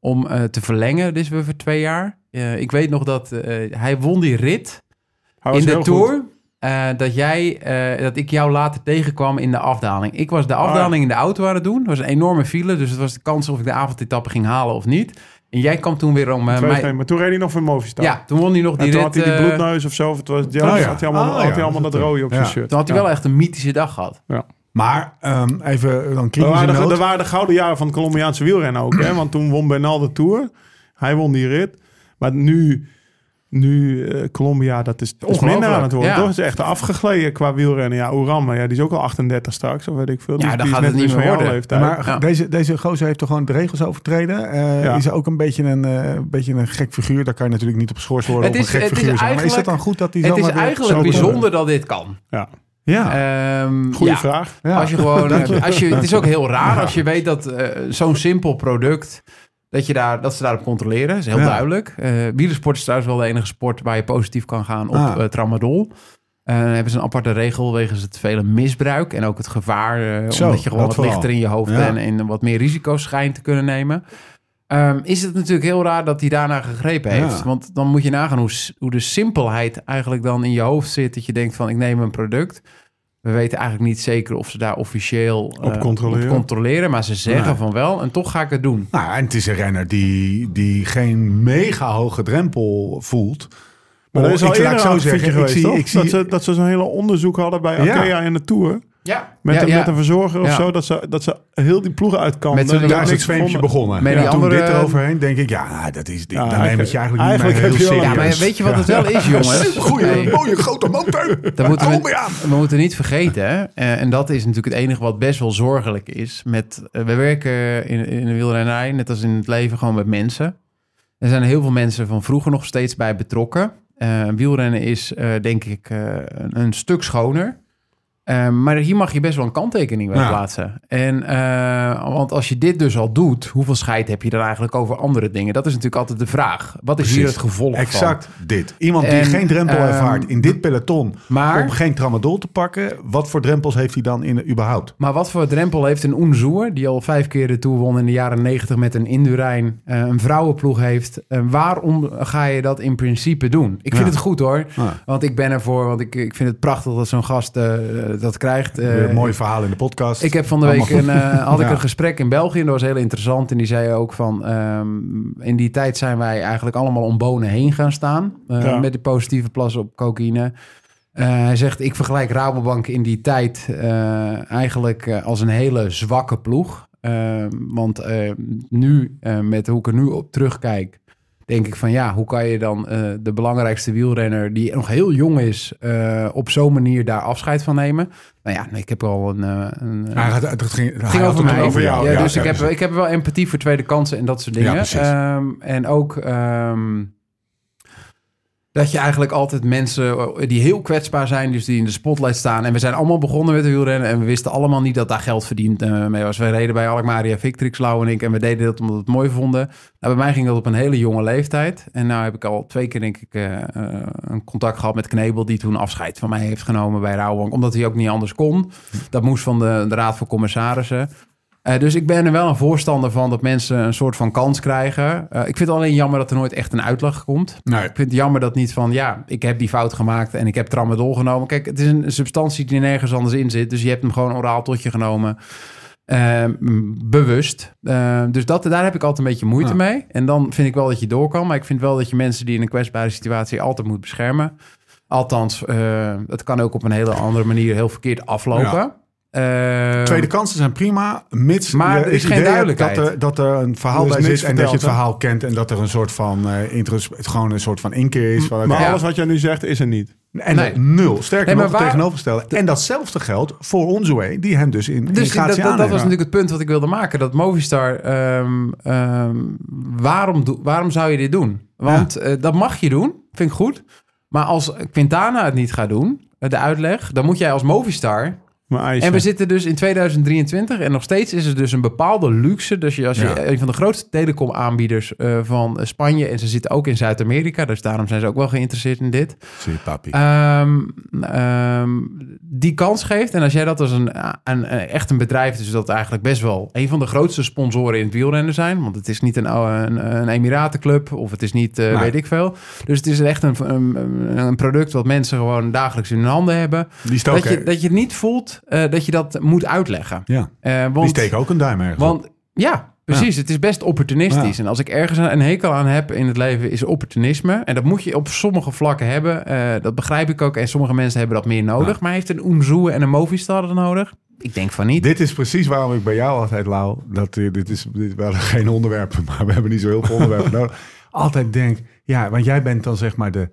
D: om eh, te verlengen, dus weer voor twee jaar. Eh, ik weet nog dat eh, hij won die rit...
E: Hij was
D: in de
E: Oh, heel
D: tour.
E: goed.
D: eh, dat, jij, eh, dat ik jou later tegenkwam in de afdaling. Ik was de
E: Oh,
D: afdaling in de auto aan het doen. Het was een enorme file, dus het was de kans of ik de avondetappe ging halen of niet. En jij kwam toen weer om eh,
E: Twee,
D: mij...
E: Maar toen reed hij nog voor Movistar.
D: Ja, toen won hij nog
E: En
D: die
E: toen
D: rit.
E: had hij
D: eh,
E: die bloedneus of zo. Of het was, ja,
B: Oh ja.
E: had hij allemaal,
B: Ah,
E: had
B: ja,
E: hij allemaal
B: dat
E: dat
B: is het.
E: rode op
B: Ja.
E: zijn shirt.
D: toen had hij wel echt een mythische dag gehad.
B: Maar ehm, even dan
E: Dat
B: kritische
E: waren, de,
B: noot.
E: dat waren de gouden jaren van het Colombiaanse wielrennen ook. Hè? Want toen won Bernal de Tour. Hij won die rit. Maar nu, nu eh, Colombia, dat is, is
D: Ongelooflijk,
E: minder aan het worden.
D: ja.
E: Toch? Het is echt afgegleden qua wielrennen. Ja, Oeran, maar ja, die is ook al 38 straks. Of weet ik veel. Die
D: Ja,
E: is-
D: dan
E: die is
D: gaat het
E: net
D: niet
E: iets
D: meer
E: van jouw
D: worden.
E: leeftijd.
B: Maar
D: Ja.
B: deze, deze gozer heeft toch gewoon de regels overtreden? Eh,
E: Ja.
B: Is ook een beetje een, eh, beetje een gek figuur? Daar kan je natuurlijk niet op geschorst worden
D: Het
B: of
D: is-
B: een gek
D: het is
B: figuur zijn. Maar is dat
D: eigenlijk-
B: dan goed dat hij
D: het
B: zomaar
D: is
B: weer
D: eigenlijk
B: zo-
D: bijzonder dat dit kan.
E: ja.
B: Ja,
D: Ehm,
E: Goeie
D: ja.
E: vraag.
B: ja.
D: Als je gewoon, eh,
B: Dank je.
D: als je, het is ook heel raar als je weet dat eh, zo'n simpel product, dat, je daar, dat ze daarop controleren. is heel
B: Ja.
D: duidelijk. Eh wielersport is trouwens wel de enige sport waar je positief kan gaan op
B: Ah.
D: eh, tramadol. Eh, Eh, dan hebben ze een aparte regel wegens het vele misbruik en ook het gevaar. eh,
B: Zo,
D: omdat je
B: dat
D: gewoon wat
B: vooral.
D: lichter in je hoofd
B: Ja.
D: bent en wat meer risico's schijnt te kunnen nemen. Ehm, is het natuurlijk heel raar dat hij daarna gegrepen heeft.
B: Ja.
D: Want dan moet je nagaan hoe, s- hoe de simpelheid eigenlijk dan in je hoofd zit. Dat je denkt van ik neem een product. We weten eigenlijk niet zeker of ze daar officieel eh,
E: Op controleren.
D: op controleren. Maar ze zeggen
B: Nee.
D: van wel en toch ga ik het doen.
B: Nou, en het is een renner die, die geen mega hoge drempel voelt.
E: Maar
B: Oh,
E: dat is al
B: ik laat
E: eerder
B: het
E: zo
B: zo
E: zeggen,
B: zeggen,
E: geweest,
B: ik zie-
E: toch?
B: ik zie-
E: dat, ze, dat ze zo'n hele onderzoek hadden bij
B: Ja.
E: Akea in de Tour.
D: Ja,
E: Met,
D: ja,
E: een,
D: ja.
E: met een verzorger of
D: Ja.
E: zo. Dat ze, dat ze heel die ploegen uitkampen.
D: Met zo'n-
E: Ik
B: Daar
E: heb
B: is het
E: niks
B: zweempje
E: gevonden.
B: begonnen.
D: Met
B: ja,
D: die
B: toen
D: andere-
B: dit eroverheen denk ik, ja, nou, dat is,
E: Ja,
B: dan neem het je eigenlijk niet meer
E: eigenlijk
B: heel
E: heb je wel
B: serieus.
E: een-
D: Ja, maar weet je wat het wel is, jongens?
B: Goeie,
D: Hey.
B: mooie grote motor.
D: Dat moeten
B: Hou
D: we,
B: mee aan.
D: we moeten niet vergeten, hè? Eh, en dat is natuurlijk het enige wat best wel zorgelijk is. Met, eh, we werken in, in de wielrennij, net als in het leven, gewoon met mensen. Er zijn heel veel mensen van vroeger nog steeds bij betrokken. Eh, wielrennen is, eh, denk ik, eh, een, een stuk schoner. Eh, maar hier mag je best wel een kanttekening bij
B: Ja.
D: plaatsen. En, eh, want als je dit dus al doet, hoeveel scheid heb je dan eigenlijk over andere dingen? Dat is natuurlijk altijd de vraag. Wat is hier
B: Precies.
D: het gevolg van?
B: Exact dit. Iemand die
D: En,
B: geen drempel
D: ehm,
B: ervaart in dit peloton
D: maar-
B: om geen tramadol te pakken, wat voor drempels heeft hij dan in, überhaupt?
D: Maar wat voor drempel heeft een Unzoer, die al vijf keer de Tour won in de jaren negentig met een Indurain, eh, een vrouwenploeg heeft. eh, Waarom ga je dat in principe doen? Ik vind
B: Ja.
D: het goed hoor,
B: Ja.
D: want ik ben ervoor, want ik, ik vind het prachtig dat zo'n gast eh, dat krijgt. Eh,
B: Weer een mooi verhaal in de podcast.
D: ik heb van de week een,
B: Allemaal
D: eh, had ik
B: Ja.
D: een gesprek in België. en Dat was heel interessant. En die zei ook van... ehm, in die tijd zijn wij eigenlijk allemaal om bonen heen gaan staan. eh,
E: Ja.
D: Met de positieve plas op cocaïne. Eh, hij zegt, ik vergelijk Rabobank in die tijd eh, eigenlijk eh, als een hele zwakke ploeg. Eh, want eh, nu, eh, met hoe ik er nu op terugkijk, denk ik van ja, hoe kan je dan eh, de belangrijkste wielrenner die nog heel jong is, eh, op zo'n manier daar afscheid van nemen? Nou ja, nee, ik heb al een. eh, een eh,
B: Hij gaat- het ging,
D: het ging over mij.
B: over jou.
D: Ja,
B: Ja,
D: dus
B: ja,
D: ik, heb,
B: precies.
D: ik heb wel empathie voor tweede kansen en dat soort dingen.
B: Ja, precies.
D: Ehm, en ook ehm, dat je eigenlijk altijd mensen eh, die heel kwetsbaar zijn, dus die in de spotlight staan. En we zijn allemaal begonnen met de wielrennen en we wisten allemaal niet dat daar geld verdiend eh, mee was. We reden bij Alkmaria Victrix, Lau en ik, en we deden dat omdat we het mooi vonden. Nou, bij mij ging dat op een hele jonge leeftijd. En nou heb ik al twee keer, denk ik, eh, eh, een contact gehad met Knebel, die toen afscheid van mij heeft genomen bij Rauwbank, omdat hij ook niet anders kon. Dat moest van de, de Raad van Commissarissen. Eh, dus ik ben er wel een voorstander van dat mensen een soort van kans krijgen. Eh, ik vind het alleen jammer dat er nooit echt een uitleg komt.
B: Nee.
D: Ik vind het jammer dat niet van, ja, ik heb die fout gemaakt en ik heb tramadol genomen. Kijk, het is een substantie die nergens anders in zit. Dus je hebt hem gewoon oraal tot je genomen. Ehm, bewust. Ehm, dus dat, daar heb ik altijd een beetje moeite
B: Ja.
D: mee. En dan vind ik wel dat je door kan. Maar ik vind wel dat je mensen die in een kwetsbare situatie altijd moet beschermen. Althans, eh, het kan ook op een hele andere manier heel verkeerd aflopen. Ehm,
B: Tweede kansen zijn prima, mits
D: Maar
B: je
D: er is
B: het
D: geen
B: idee hebt
D: duidelijkheid.
B: Dat er, dat er een verhaal
E: Er is
B: bij
E: niks
B: zit en dat je het
E: verteld, hè?
B: verhaal kent en dat er een soort van eh intrus, het gewoon een soort van inkeer is. Van,
E: Maar
B: oké,
E: alles wat jij nu zegt is er niet.
B: En
D: Nee.
B: nul. Sterker
D: Nee, maar
B: nog, het
D: waar-
B: tegenovergestelde. En datzelfde geldt voor Onzoe, die hem dus in
D: Dus dat,
B: gaat
D: dat, dat was
B: aannemen.
D: natuurlijk het punt wat ik wilde maken. Dat Movistar, ehm, ehm, waarom, doe- waarom zou je dit doen? Want eh, dat mag je doen, vind ik goed. Maar als Quintana het niet gaat doen, eh, de uitleg, dan moet jij als Movistar...
E: Maar eisen.
D: En we zitten dus in 2023 en nog steeds is er dus een bepaalde luxe. Dus je, als je
B: Ja.
D: een van de grootste telecomaanbieders eh, van Spanje... en ze zitten ook in Zuid-Amerika, dus daarom zijn ze ook wel geïnteresseerd in dit...
B: Zie, papi.
D: Ehm, ehm, die kans geeft. En als jij dat als een, een, een- echt een bedrijf, dus dat eigenlijk best wel een van de grootste sponsoren in het wielrennen zijn. Want het is niet een, eh, een, een Emiratenclub of het is niet eh,
B: Nee.
D: weet ik veel. Dus het is echt een, een, een product wat mensen gewoon dagelijks in hun handen hebben.
B: die stook,
D: Dat, je, dat je het niet voelt eh, dat je dat moet uitleggen.
B: ja,
D: Eh,
B: die
D: want,
B: steken ook een duim ergens. op.
D: want ja, precies. Het is best opportunistisch. En als ik ergens een hekel aan heb in het leven, is opportunisme. En dat moet je op sommige vlakken hebben. Eh, dat begrijp ik ook. En sommige mensen hebben dat meer nodig. Maar heeft een Oemzoe en een Movistar dat nodig? Ik denk van niet.
B: Dit is precies waarom ik bij jou altijd, Lau, dat eh, dit is dit wel geen onderwerp, maar we hebben niet zo heel veel onderwerpen nodig. Altijd denk, ja, want jij bent dan zeg maar de,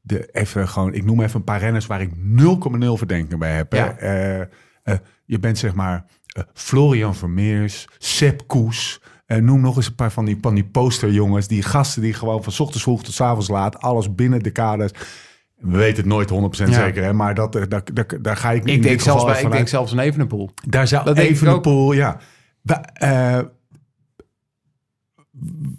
B: de even gewoon, ik noem even een paar renners waar ik 0,0 verdenking bij heb. hè.
D: Ja.
B: Eh, eh, je bent zeg maar eh, Florian Vermeers, Sepp Koes. eh, noem nog eens een paar van die, van die posterjongens. Die gasten die gewoon van 's ochtends vroeg tot 's avonds laat. Alles binnen de kaders. We weten het nooit 100%
D: Ja.
B: zeker. Hè? Maar dat, eh, daar, daar, daar ga ik in
D: ik
B: dit
D: denk,
B: geval
D: zelfs bij, ik
B: vanuit.
D: denk zelfs een Evenepoel.
B: Daar zou
D: Dat
B: dat
D: denk ik
B: even een pool, ja. Wa- eh,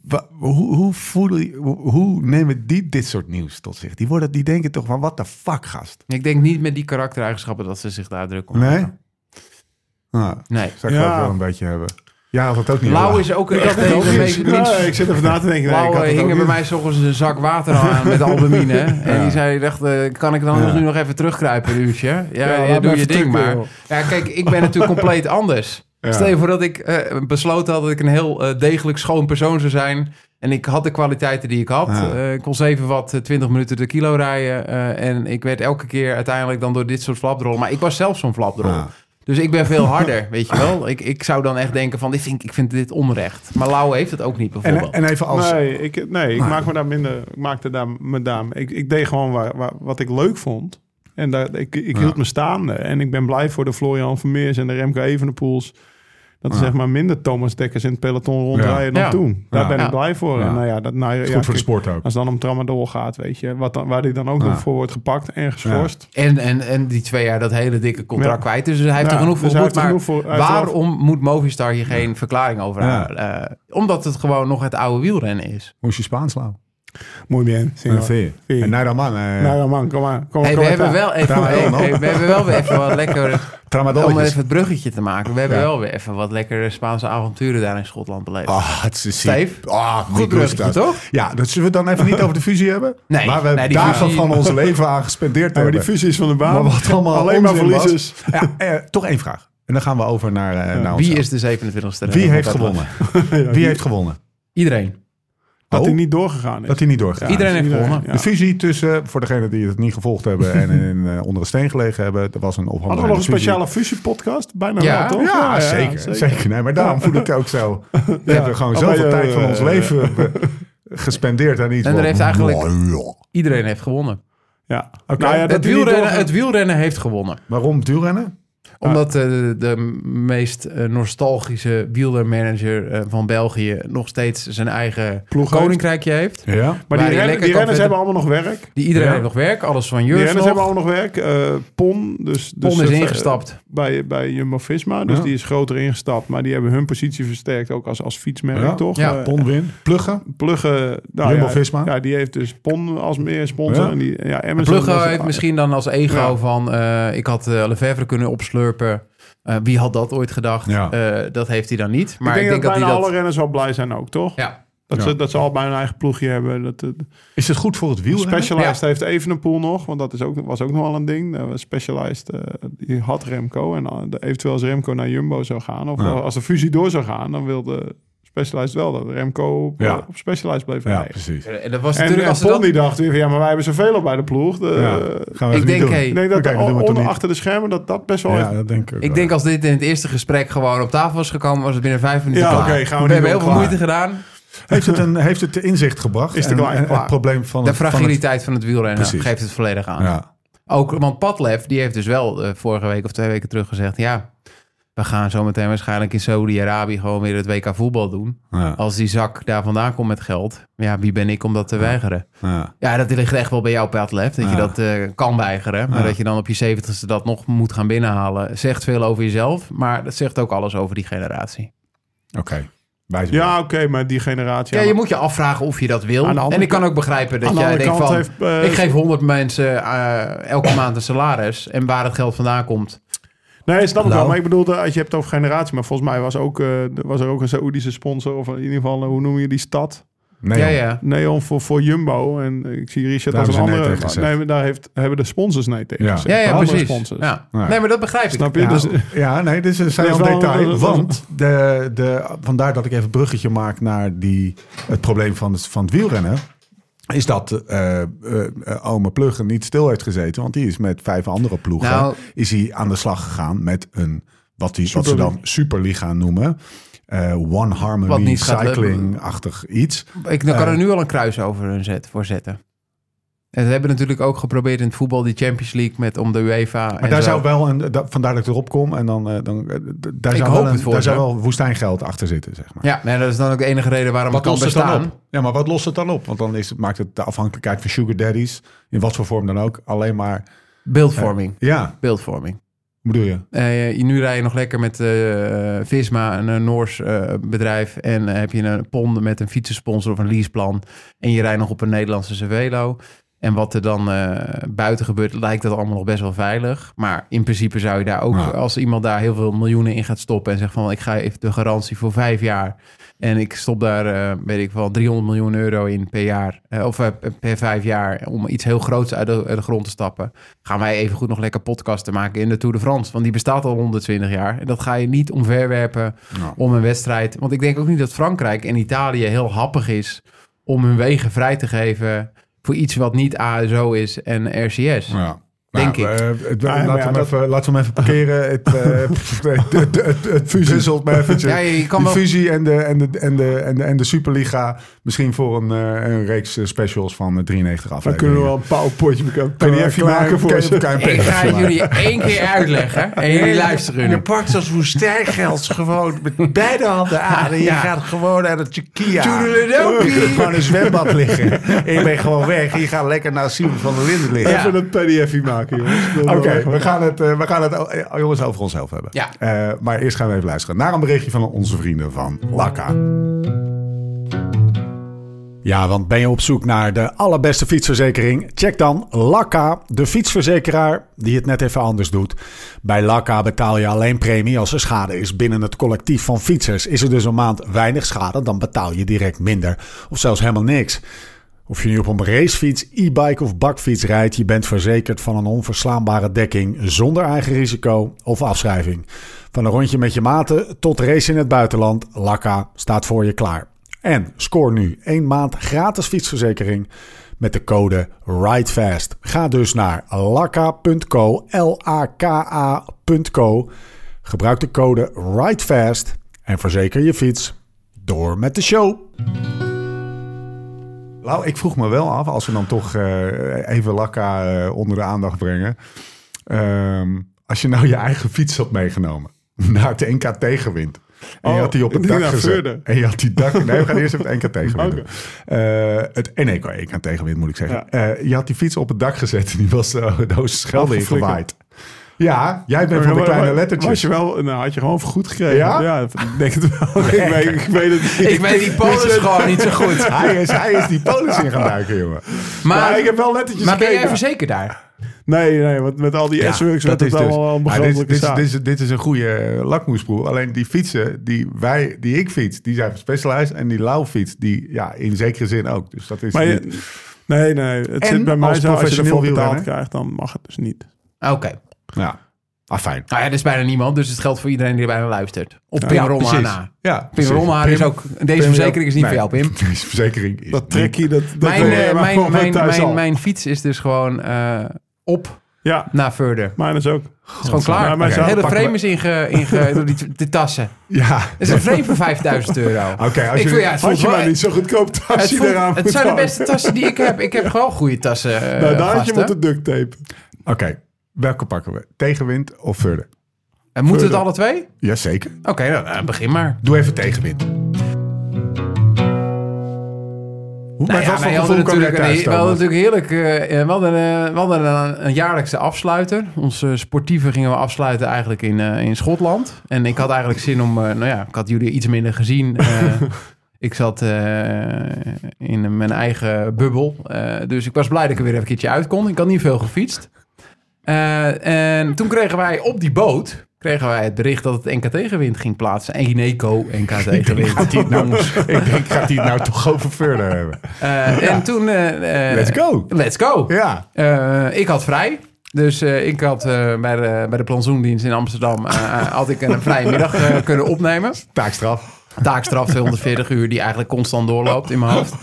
B: Wa- hoe, hoe, voelen, hoe, hoe nemen die dit soort nieuws tot zich? Die, worden, die denken toch van, wat de fuck, gast?
D: Ik denk niet met die karaktereigenschappen dat ze zich daar druk om
B: Nee?
D: maken.
B: Ah,
D: Nee.
B: zou ik
E: Ja.
B: geloof wel een beetje hebben. Ja, had dat ook niet.
D: Lauw
B: gedaan.
D: is ook echt een van de
E: Ja,
D: meest... minst-
E: ik zit even na te denken. Nee, ik
D: Lauw
E: had het
D: eh,
E: ook
D: hingen bij
E: niet.
D: mij s'ochtends een zak water aan met albumine. hè. En die zei, dacht, eh, kan ik dan
B: Ja.
D: nu nog even terugkruipen een uurtje? Ja, ja,
E: laat me
D: doe je
E: even
D: ding
E: tukken,
D: maar.
E: joh.
D: Ja, kijk, ik ben natuurlijk compleet anders.
B: Ja.
D: Stel je voor dat ik eh, besloten had dat ik een heel eh, degelijk schoon persoon zou zijn. En ik had de kwaliteiten die ik had.
B: Ja.
D: Eh, ik kon 7 watt, eh, 20 minuten de kilo rijden. eh, en ik werd elke keer uiteindelijk dan door dit soort flapdrol. Maar ik was zelf zo'n flapdrol.
B: Ah.
D: Dus ik ben veel harder, weet je wel. Ik, ik zou dan echt denken van, dit vind, ik- ik vind dit onrecht. Maar Lau heeft het ook niet,
E: eh,
D: bijvoorbeeld.
B: En, en even als...
E: Nee, ik, nee, ik maak me daar minder. Ik maakte daar me daar. Ik, ik deed gewoon waar, waar- wat ik leuk vond. En daar, ik, ik hield me staande. En ik ben blij voor de Florian Vermeers en de Remco Evenepoels. Dat er zeg maar minder Thomas Dekkers in het peloton rondrijden dan
D: Ja.
E: toen. Daar
B: Ja.
E: ben
D: Ja.
E: ik blij voor.
B: Ja.
E: En nou ja, dat, nou, ja,
B: Goed voor de
E: kijk,
B: sport ook.
E: Als het dan om Tramadol gaat, weet je. Wat dan, waar die dan ook
B: Ja.
E: nog voor wordt gepakt en geschorst.
D: En, en, en die twee jaar dat hele dikke contract
E: Ja.
D: kwijt. Dus hij heeft
E: Ja,
D: er genoeg voor
E: dus hij
D: geboekt.
E: heeft er
D: Maar
E: genoeg voor- hij heeft er
D: waarom moet Movistar hier geen verklaring over
B: Ja.
D: hebben? Eh, omdat het gewoon nog het oude wielrennen is.
B: Hoe is je Spaans, Lau?
E: Mooi bien. señor.
B: En Vee.
E: Vee.
B: En Nairaman. eh,
E: Nou ja, man, kom maar. Kom,
D: Hey,
E: kom
D: we,
E: maar
D: hebben
E: daar.
D: wel even,
B: Daar
D: hey,
B: wel, man.
D: hey, we hebben wel weer even wat lekker... Om
B: Tramadolletjes.
D: even het bruggetje te maken. We hebben
B: Ja.
D: wel weer even wat lekkere Spaanse avonturen daar in Schotland beleefd.
B: Ah, het is ziek.
D: Steve?
B: Ah,
D: Goed
B: niet
D: bruggetje,
B: rustig.
D: toch?
B: Ja, dat zullen we het dan even niet over de fusie hebben.
D: Nee,
B: Maar we hebben
D: nee, die
B: dagen
D: fusie-
B: van ons leven aan gespendeerd
E: Ja, maar die
B: hebben.
E: fusies van de
B: Maar
E: baan.
B: wat allemaal
E: Alleen maar
B: onzin was.
E: verliezers.
B: Ja, eh, toch één vraag. En dan gaan we over naar, eh, naar
D: Wie
B: onszelf. Eh,
D: is de 27e?
B: Wie heeft
D: Dat-
B: gewonnen? Wie heeft gewonnen?
D: Iedereen.
E: Dat
B: Oh,
E: hij niet doorgegaan is.
B: dat hij niet doorgegaan is.
D: Iedereen heeft gewonnen.
E: ja.
B: De fusie tussen, voor degenen die het niet gevolgd hebben en in, eh, onder een steen gelegen hebben, er was een ophandeling.
D: Oh,
E: Hadden we nog een speciale fusiepodcast? Bijna
D: Ja.
E: wel, toch?
B: Ja, zeker. zeker. Nee, maar daarom voel ik het ook zo. We hebben gewoon
E: Ja,
B: zoveel
E: maar, eh,
B: tijd van ons
E: eh,
B: leven eh, gespendeerd aan iets.
D: En er
B: wat-
D: heeft eigenlijk-
B: Ja.
D: Iedereen heeft gewonnen.
E: Ja.
B: Nou ja,
D: Het wielrennen, het wielrennen heeft gewonnen.
B: Waarom duurrennen?
D: Omdat eh, de, de meest eh, nostalgische wielermanager eh, van België nog steeds zijn eigen
E: Ploeg
D: koninkrijkje heeft.
B: Ja.
E: Maar
D: Waar
E: die,
D: je
E: rennen-
D: lekker
E: die
D: kan
E: renners
D: verder-
E: hebben allemaal nog werk.
D: Die iedereen
B: Ja.
D: heeft nog werk, alles van
E: Die
D: Jurs
E: renners
D: nog.
E: hebben allemaal nog werk. Eh, Pon, dus, dus
D: Pon is
E: eh,
D: ingestapt.
E: Bij, bij Jumbo-Visma, dus
B: Ja.
E: die is groter ingestapt. Maar die hebben hun positie versterkt, ook als, als fietsmerk,
B: Ja.
E: toch?
D: Ja,
E: Eh,
B: Pon win. Pluggen.
E: Pluggen, nou
B: Jumbo-Visma.
E: Ja, ja, die heeft dus Pon als meer sponsor.
B: Ja.
E: En die, ja, Emerson was-
D: Plugge heeft misschien dan als ego
E: Ja.
D: van... eh, ik had eh Lefebvre kunnen opslurpen. Eh, wie had dat ooit gedacht?
B: Ja.
D: Eh, dat heeft hij dan niet. Maar
E: ik denk, dat,
D: hij
E: bijna
D: dat...
E: alle renners wel blij zijn ook, toch?
D: Ja.
E: Dat,
B: Ja.
E: Ze, dat ze al bij hun eigen ploegje hebben. Dat, dat-
B: Is het goed voor het wielrennen?
E: Specialized heeft Evenepoel nog, want dat is ook, was ook nog wel een ding. Eh, Specialized eh, die had Remco en eh, de- eventueel als Remco naar Jumbo zou gaan of
B: Ja.
E: als de fusie door zou gaan, dan wilde Specialized wel dat Remco op, eh,
B: Ja.
E: op Specialized bleef
B: Ja,
E: rijden.
B: precies.
D: En dat was
E: En,
D: natuurlijk...
E: en
D: als ze
E: Pon
D: dat...
E: die dacht weer van ja, maar wij hebben zoveel op bij de ploeg. De,
B: Ja, gaan we
D: Ik
B: even niet
D: denk,
B: doen.
D: hey,
E: ik denk dat
B: Oké, dat doen we
E: on-
B: toch
E: onder
B: niet?
E: achter de schermen dat dat best wel...
B: Ja,
E: even-
B: dat denk ik. ook
D: Ik
B: wel.
D: denk als dit in het eerste gesprek gewoon op tafel was gekomen... was het binnen vijf minuten
E: Ja,
D: klaar.
E: oké, gaan we
D: we
E: niet
D: hebben
E: doen,
D: heel veel
E: klaar.
D: moeite gedaan.
B: Heeft het, een, heeft het de inzicht gebracht?
E: Is de
B: En-
E: klaar-
B: en,
E: klaar.
B: het probleem van
D: De
B: het- van het-
D: fragiliteit van het wielrennen
B: Precies.
D: geeft het volledig aan.
B: Ja.
D: Ook, want Padlef, die heeft dus wel eh, vorige week of twee weken terug gezegd... ja, we gaan zometeen waarschijnlijk in Saudi-Arabië... gewoon weer het WK voetbal doen.
B: Ja.
D: Als die zak daar vandaan komt met geld... ja, wie ben ik om dat te weigeren?
B: Ja.
D: Ja, dat ligt echt wel bij jou, Padlef. Dat
B: Ja.
D: je dat eh, kan weigeren. Maar
B: Ja.
D: dat je dan op je zeventigste dat nog moet gaan binnenhalen... zegt veel over jezelf, maar dat zegt ook alles over die generatie.
B: Oké. Wijze
E: Ja, oké, maar die generatie...
D: Ja,
E: ja,
D: je moet je afvragen of je dat wil.
E: Aan de andere
D: En ik kan
E: kant-
D: ook begrijpen dat
E: aan de
D: jij
E: andere
D: denkt
E: kant
D: van...
E: heeft, eh,
D: ik geef 100 mensen eh, elke maand een salaris. En waar het geld vandaan komt,
E: Nee, snap ik
D: Nou.
E: wel. Maar ik bedoel, dat- als je hebt het over generatie. Maar volgens mij was, ook, eh, er- was er ook een Saoedische sponsor. Of in ieder geval, eh, hoe noem je die stad?
B: Nee,
D: Ja,
B: joh.
D: ja.
E: Neon voor, voor Jumbo. En ik zie Richard
B: Daar hebben
E: als een
B: ze nee
E: andere.
B: tegen gezegd.
E: nee, maar daar heeft, hebben de sponsors nee tegen
B: Ja.
E: gezegd.
D: Ja, ja,
E: De andere
D: precies.
E: Sponsors.
D: Ja.
B: Ja.
D: Nee, maar dat begrijp ik.
E: Snap je?
B: Ja,
E: Dus,
B: ja, nee, dit is een
E: Dat
B: saai
E: is wel-
B: detail.
E: dat is-
B: want de, de, vandaar dat ik even een bruggetje maak naar die, het probleem van het, van het wielrennen. Is dat eh eh eh, ome Pluggen niet stil heeft gezeten. Want die is met vijf andere ploegen
D: Nou-
B: is hij aan de slag gegaan met een, wat, die, wat ze dan Superliga noemen. Eh, One
D: Wat
B: Harmony
D: niet gaat lukken.
B: Cycling-achtig iets.
D: Ik dan kan er nu al een kruis over een zet, voor zetten. En we hebben natuurlijk ook geprobeerd in het voetbal die Champions League met om de UEFA.
B: Maar
D: en
B: daar
D: zo.
B: zou wel een, da- vandaar dat ik erop kom. En dan, eh, dan eh, d- daar,
D: Ik
B: zou
D: hoop
B: wel, een-
D: het voor
B: daar
D: ze.
B: zou wel woestijngeld achter zitten, zeg maar.
D: Ja, nee, dat is dan ook de enige reden waarom
B: Wat
D: het
B: lost
D: kan
B: het dan
D: bestaan.
B: op? Ja, maar wat lost het dan op? Want dan is het, maakt het de afhankelijkheid van sugar daddies, in wat voor vorm dan ook, alleen maar...
D: Beeldvorming.
B: Ja,
D: Beeldvorming.
B: Hoe bedoel je?
D: Eh, nu rij je nog lekker met eh, Visma, een, eh, Noors eh, bedrijf. En eh, heb je een pond met een fietsensponsor of een leaseplan. En je rijdt nog op een Nederlandse Cervelo. En wat er dan eh, buiten gebeurt, lijkt dat allemaal nog best wel veilig. Maar in principe zou je daar ook,
B: Ja.
D: als iemand daar heel veel miljoenen in gaat stoppen... en zegt van, ik ga even de garantie voor vijf jaar... en ik stop daar, eh, weet ik wel, 300 miljoen euro in per jaar... eh, of eh, per vijf jaar, om iets heel groots uit de, uit de grond te stappen... gaan wij even goed nog lekker podcasten maken in de Tour de France. Want die bestaat al 120 jaar. En dat ga je niet omverwerpen
B: Nou.
D: om een wedstrijd. Want ik denk ook niet dat Frankrijk en Italië heel happig is... om hun wegen vrij te geven voor iets wat niet ASO is en RCS.
B: Ja.
D: Denk
B: Nou,
D: ik.
B: eh, het-
E: maar
B: laten, we
E: ja,
B: hem
E: dat-
B: even, laten we hem even parkeren. Het, eh, pff, nee, het, het, het, het puzzelt me eventjes.
D: Ja, je kan
B: die
D: wel...
B: fusie en de, en, de, en, de, en, de, en de Superliga misschien voor een, eh, een reeks eh, specials van eh, 93 afleveringen.
E: Dan kunnen we wel een powerpointje met een
B: Kun je
E: PDF maken voor ze.
D: Ik ga het jullie één keer uitleggen en jullie luisteren nu.
F: Je pakt als woestijngelds gewoon met beide handen aan. En je
D: Ja.
F: gaat gewoon naar de Turkia.
D: Toedeledokie.
F: Gewoon in een zwembad liggen. En je bent gewoon weg. En je gaat lekker naar Simon van der Linden liggen.
E: Even een PDF maken, jongens. Dat
B: Oké,
E: wil ik wel.
B: we gaan het, eh, we gaan het eh, jongens over onszelf hebben.
D: Ja.
B: Eh, maar eerst gaan we even luisteren naar een berichtje van onze vrienden van Laka. Ja, want ben je op zoek naar de allerbeste fietsverzekering? Check dan Laka, de fietsverzekeraar die het net even anders doet. Bij Laka betaal je alleen premie als er schade is binnen het collectief van fietsers. Is er dus een maand weinig schade, dan betaal je direct minder of zelfs helemaal niks. Of je nu op een racefiets, e-bike of bakfiets rijdt, je bent verzekerd van een onverslaanbare dekking zonder eigen risico of afschrijving. Van een rondje met je maten tot race in het buitenland, Lakka staat voor je klaar. En scoor nu 1 maand gratis fietsverzekering met de code RIDEFAST. Ga dus naar lakka.co, L-A-K-A.co. Gebruik de code RIDEFAST en verzeker je fiets door met de show. Lau, ik vroeg me wel af, als we dan toch eh, even Lakka eh, onder de aandacht brengen. Ehm, als je nou je eigen fiets had meegenomen naar het NK tegenwind. En je
E: Oh,
B: had die op het
E: ik denk
B: dak
E: naar
B: gezet.
E: Veurden.
B: En je had die dak... Nee, we gaan eerst even het NK tegenwind.
E: Oké.
B: doen. Eh, het NK, NK tegenwind moet ik zeggen.
E: Ja.
B: Eh, je had die fiets op het dak gezet en die was eh, de Oosterschelde
E: Afgeflikkerd.
B: ingewaaid. Ja, jij bent van de
E: Maar- maar-
B: kleine
E: maar-
B: lettertjes.
E: Was je wel, nou, had je gewoon goed gekregen.
B: Ja?
E: ik denk het wel. ik, weet, ik weet het niet.
D: Ik weet die Polen gewoon niet zo goed.
B: Hij is, hij is die polis in gaan duiken, jongen.
E: Maar
D: Maar,
E: ik heb wel lettertjes
D: maar ben
E: gekeken.
D: jij verzekerd daar?
E: Nee, nee, want met al die S-Works werd het allemaal wel een
B: Ja, dus- dit,
E: begrijpelijke
B: dit, dit,
E: zaak.
B: is, dit is een goede eh, lakmoesproef. Alleen die fietsen die, wij, die ik fiets, die zijn van Specialized. En die Lau fiets, die ja, in zekere zin ook. Dus dat is
E: Maar je-
B: niet-
E: nee, nee, het
B: En
E: zit bij mij
B: als
E: zo, als je
B: professioneel
E: ervoor betaald
B: wielrenner.
E: krijgt, dan mag het dus niet.
D: Oké.
B: Ja, ah, fijn.
D: Nou ja, er is bijna niemand, dus het geldt voor iedereen die bijna luistert. Op Pim
B: Ja,
D: Romhaar
B: precies.
D: na.
B: Ja,
D: Pim
B: precies.
D: Romhaar is ook... Deze
B: Pim-
D: verzekering is niet
B: Nee.
D: voor jou, Pim.
B: Deze verzekering is
E: Dat trekje, dat, dat
D: Mijn,
E: wil je
D: eh,
E: maar
D: mijn,
E: gewoon
D: mijn,
E: thuis
D: mijn,
E: al.
D: mijn fiets is dus gewoon eh, op
E: Ja,
B: Nou.
D: naar verder.
E: mijn is ook.
D: Het is gewoon klaar.
E: Ja, maar
D: Het
E: zou-
D: hele
E: pakken we-
D: frame is inge, inge, door die de tassen.
B: niet. Ja,
D: Het is een frame van 5000 euro.
B: oké. als
D: Ik
B: je...
D: vind- ja, het voelt
E: Had je
D: wel-
E: maar niet zo goedkoop
D: Het,
E: tasje
D: voelt-
E: eraan
D: het
E: moet
D: zijn de
E: hangen.
D: beste tassen die ik heb. Ik heb gewoon goede tassen. eh,
E: Nou, daar had je
D: gasten.
E: moeten duct tape.
B: Oké, welke pakken we? Tegenwind of verder?
D: En moeten het
E: Vullen.
D: alle twee?
B: Jazeker.
D: Oké, nou, nou, begin maar.
B: Doe even tegenwind. Hoe
D: Nou
B: bij
D: ja,
B: wat voor
D: wij
B: gevoel
D: hadden
B: kwam jij
D: natuurlijk, een,
B: thuis
D: we hadden
B: dan?
D: natuurlijk heerlijk. eh, eh, we hadden, eh, we hadden een, een jaarlijkse afsluiter. Onze sportieve gingen we afsluiten eigenlijk in, eh, in Schotland. En ik had eigenlijk zin om. eh, nou ja, ik had jullie iets minder gezien. Eh, ik zat eh, in mijn eigen bubbel. Eh, dus ik was blij dat ik er weer even een keertje uit kon. Ik had niet veel gefietst. Eh, en toen kregen wij op die boot. Kregen wij het bericht dat het NK tegenwind ging plaatsen? En Gineco NK tegenwind. Jongens.
B: Ik denk, gaat hij het nou toch over verder hebben?
D: Eh, En toen. eh, eh,
B: Let's go!
D: Let's go.
B: Ja.
D: Eh, ik had vrij. Dus eh, ik had eh, bij, de, bij de plantsoendienst in Amsterdam... eh, had ik een vrije middag eh, kunnen opnemen.
B: Taakstraf.
D: Taakstraf 240 uur die eigenlijk constant doorloopt in mijn hoofd.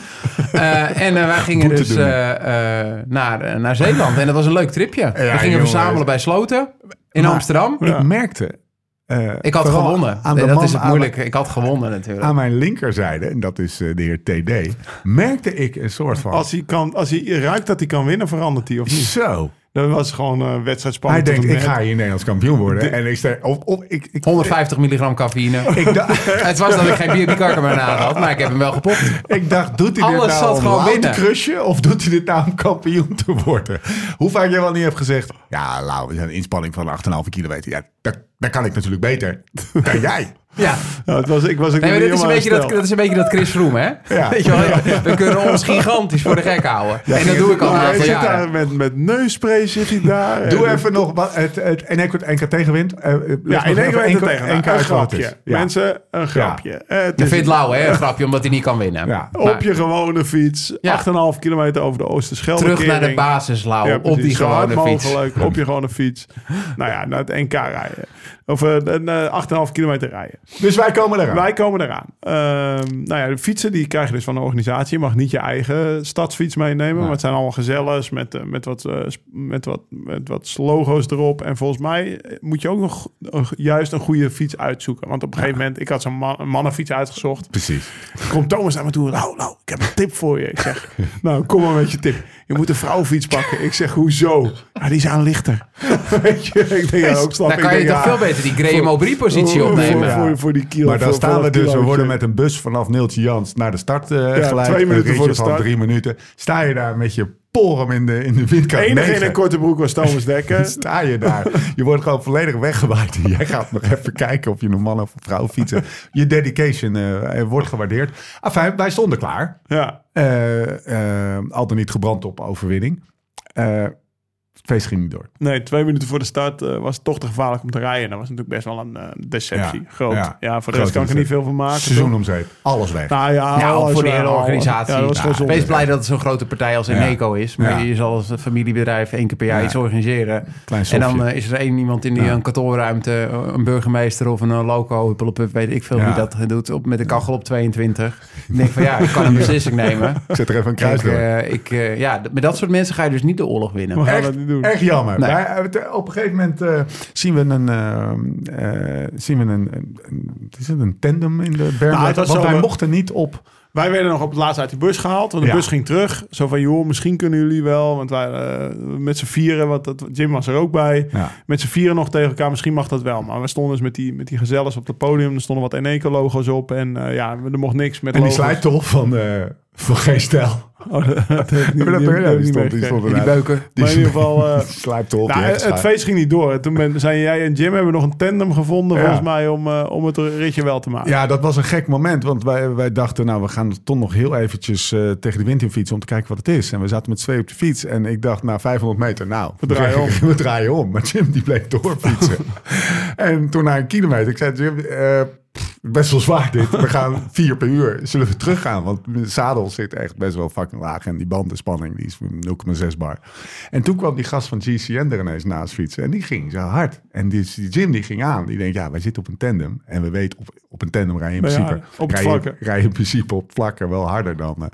D: Eh, en eh, wij gingen
B: Boete
D: dus
B: doen.
D: eh, eh, naar, eh, naar Zeeland. En dat was een leuk tripje. we gingen
B: jongen.
D: verzamelen bij Sloten in
B: Maar-
D: Amsterdam.
B: Ik merkte. eh,
D: Ik had
B: vooral
D: gewonnen.
B: Aan de
D: Nee, dat
B: man
D: is het
B: aan-
D: moeilijke. Ik had gewonnen
B: Aan,
D: natuurlijk.
B: mijn linkerzijde, en dat is eh, de heer TD, merkte ik een soort van.
E: Als hij, kan, als hij ruikt dat hij kan winnen, verandert hij of niet?
B: zo.
E: Dat was gewoon eh wedstrijdspanning.
B: Hij
E: tot
B: denkt, ik
E: en met.
B: ga hier Nederlands kampioen worden. En ik sta, of, of, ik, ik,
D: 150 milligram cafeïne.
B: ik, dacht,
D: Het was dat ik geen bierbikarker meer aan had, maar ik heb hem wel gepopt.
B: ik dacht, doet hij dit
D: Alles
B: nou
D: zat
B: om
D: gewoon
B: Lau te
D: binnen.
B: crushen? Of doet hij dit nou om kampioen te worden? Hoe vaak jij wel niet hebt gezegd, ja, Lau, is een inspanning van 8,5 kilometer. Ja, dat, dat kan ik natuurlijk beter dan jij.
D: Ja.
E: Ja, het was, ik was ook
D: Nee, maar
E: niet
D: dit is, een
E: helemaal
D: beetje dat,
E: hersteld.
D: dat is een beetje dat Chris Froome, hè?
B: Ja.
D: Weet je wel, we kunnen ons gigantisch voor de gek houden. en dat doe ik al
E: Maar
D: een
E: hij
D: aantal
E: zit
D: jaren.
E: daar met, met neusspray zit hij daar.
B: Doe
E: En-
B: even nog wat- het, het NK, NK tegenwint. Eh, eh,
E: Ja,
B: leg
E: in
B: nog
E: één
B: even NK
E: keer tegen.
B: NK
E: een
B: uit wat het
E: grapje.
B: is. Ja.
E: Mensen, een grapje. Eh, het
D: Ik
E: is
D: vind het lauw, hè? Een grapje, omdat hij niet kan winnen.
B: Ja.
D: Maar
E: op je gewone fiets.
D: Ja.
E: 8,5 kilometer over de Oosterschelde.
D: terug naar de
E: kering.
D: basis, lauw.
E: Ja,
D: op
E: precies.
D: die
E: Zo hard
D: gewone fiets.
E: mogelijk, op je gewone fiets. nou ja, naar het NK rijden. Of eh, een eh 8,5 kilometer rijden.
B: Dus wij komen eraan.
E: Wij komen eraan. Ehm, nou ja, de fietsen die krijg je dus van de organisatie. Je mag niet je eigen stadsfiets meenemen. Maar het zijn allemaal gezellers met, eh, met, wat, eh, sp- met, wat, met wat logo's erop. En volgens mij eh, moet je ook nog een- juist een goede fiets uitzoeken. Want op een gegeven moment, ik had zo'n man- een mannenfiets uitgezocht.
B: Precies.
E: Komt Thomas naar me toe. Nou, nou, ik heb een tip voor je. Ik zeg, nou, kom maar met je tip. Je moet een vrouwfiets pakken. Ik zeg, hoezo? Ja, die is aan lichter. Weet je, ik denk, ja, ook snap
D: Dan
E: ik
D: Nou, kan je
E: denk,
D: toch
E: ja,
D: veel beter die Graham O'Brien-positie
E: voor-
D: opnemen.
E: Voor, voor, voor die kilo.
B: Maar dan
E: voor-
B: staan
E: voor
B: we
E: dat
B: dus, we
E: kilo.
B: worden met een bus vanaf Neeltje Jans naar de start eh geleid.
E: twee minuten
B: Een ritje
E: voor de
B: van
E: start.
B: drie minuten. Sta je daar met je porum in de, in de windkant
E: Enige in
B: negen.
E: een korte broek was Thomas Dekker.
B: Sta je daar. Je wordt gewoon volledig weggewaaid. En jij gaat nog even kijken of je een man of een vrouw fietsen. Je dedication eh, eh, wordt gewaardeerd. Enfin, wij stonden klaar.
E: Ja,
B: Eh, eh, al dan niet gebrand op overwinning. Eh, het feest ging niet door.
E: nee, twee minuten voor de start eh, was het toch te gevaarlijk om te rijden. Dat was natuurlijk best wel een eh, deceptie.
B: Ja,
E: Groot.
B: ja.
E: Ja, voor de
B: Groot
E: rest kan ik er niet
B: inzet.
E: veel van maken.
B: Seizoen
E: toch?
B: om zeep. Alles weg.
E: Nou ja,
D: Nou,
E: alles
D: voor de hele
E: wel.
D: organisatie.
E: Ja, dat was gewoon
D: Nou,
E: zonde.
D: Wees blij dat het zo'n grote partij als Eneco is. Maar
B: Ja.
D: je zal als familiebedrijf één keer per jaar
B: Ja.
D: iets organiseren.
B: Klein
D: En dan
B: sofje.
D: eh, is er één iemand in die een kantoorruimte, eh, een burgemeester of een eh, loco, huppelepup, weet ik veel
B: Ja.
D: wie dat doet, op, met de kachel op 22. Ik denk van ja, ik kan een beslissing nemen.
B: Ik zet er even een kruis
D: Ik,
B: door.
D: eh, ik, eh, ja, d- met dat soort mensen ga je dus niet de oorlog winnen.
E: We gaan dat
B: Echt,
E: niet doen.
B: echt jammer.
D: Nee.
B: Wij, eh, het- op een gegeven moment eh, zien we een, eh, eh, zien we een, een, een- wat is het, een tandem in de berg.
E: Nou, het was
B: want
E: zo,
B: wij
E: eh,
B: mochten niet op.
E: Wij werden nog op het laatst uit die bus gehaald. Want de
B: Ja.
E: bus ging terug. Zo van, joh, misschien kunnen jullie wel. Want wij eh, met z'n vieren, want dat, Jim was er ook bij.
B: Ja.
E: Met z'n vieren nog tegen elkaar, misschien mag dat wel. Maar we stonden dus met die, met die gezellers op het podium. Er stonden wat Eneco-logo's op. En eh, ja, er mocht niks met
B: En die
E: logo's.
B: slijptol van, eh, van geen stijl.
E: Oh, dat heb ik
B: Hebben
E: niet-
B: we
E: die
B: dat-
E: heb ik
B: ja,
E: niet
B: Die stond- die
E: meegekregen.
B: stond
D: Die
B: eruit.
D: beuken.
B: Die
E: Maar in ieder geval, eh,
B: slijptol. die
E: Nou,
B: heeft
E: het
B: geslijpt.
E: feest ging niet door. Toen ben, zijn jij en Jim hebben nog een tandem gevonden,
B: Ja.
E: volgens mij, om, eh, om het ritje wel te maken.
B: Ja, dat was een gek moment. Want wij, wij dachten, nou, we gaan toch nog heel eventjes eh, tegen de wind in fietsen om te kijken wat het is. En we zaten met twee op de fiets. En ik dacht, na 500 meter, nou, we
E: draaien om.
B: We draaien om. Maar Jim, die bleef doorfietsen. en toen na een kilometer, ik zei, Jim, eh, pff, best wel zwaar dit. We gaan vier per uur. Zullen we teruggaan? Want mijn zadel zit echt best wel fucking laag. En die bandenspanning, die is 0,6 bar. En toen kwam die gast van GCN er ineens naast fietsen. En die ging zo hard. En die, die Jim, die ging aan. Die denkt, ja, wij zitten op een tandem. En we weten, op, op een tandem rij je in
E: Ja,
B: principe...
E: op het
B: rij je-
E: vlakke.
B: rij je in principe op vlakken wel harder dan. eh.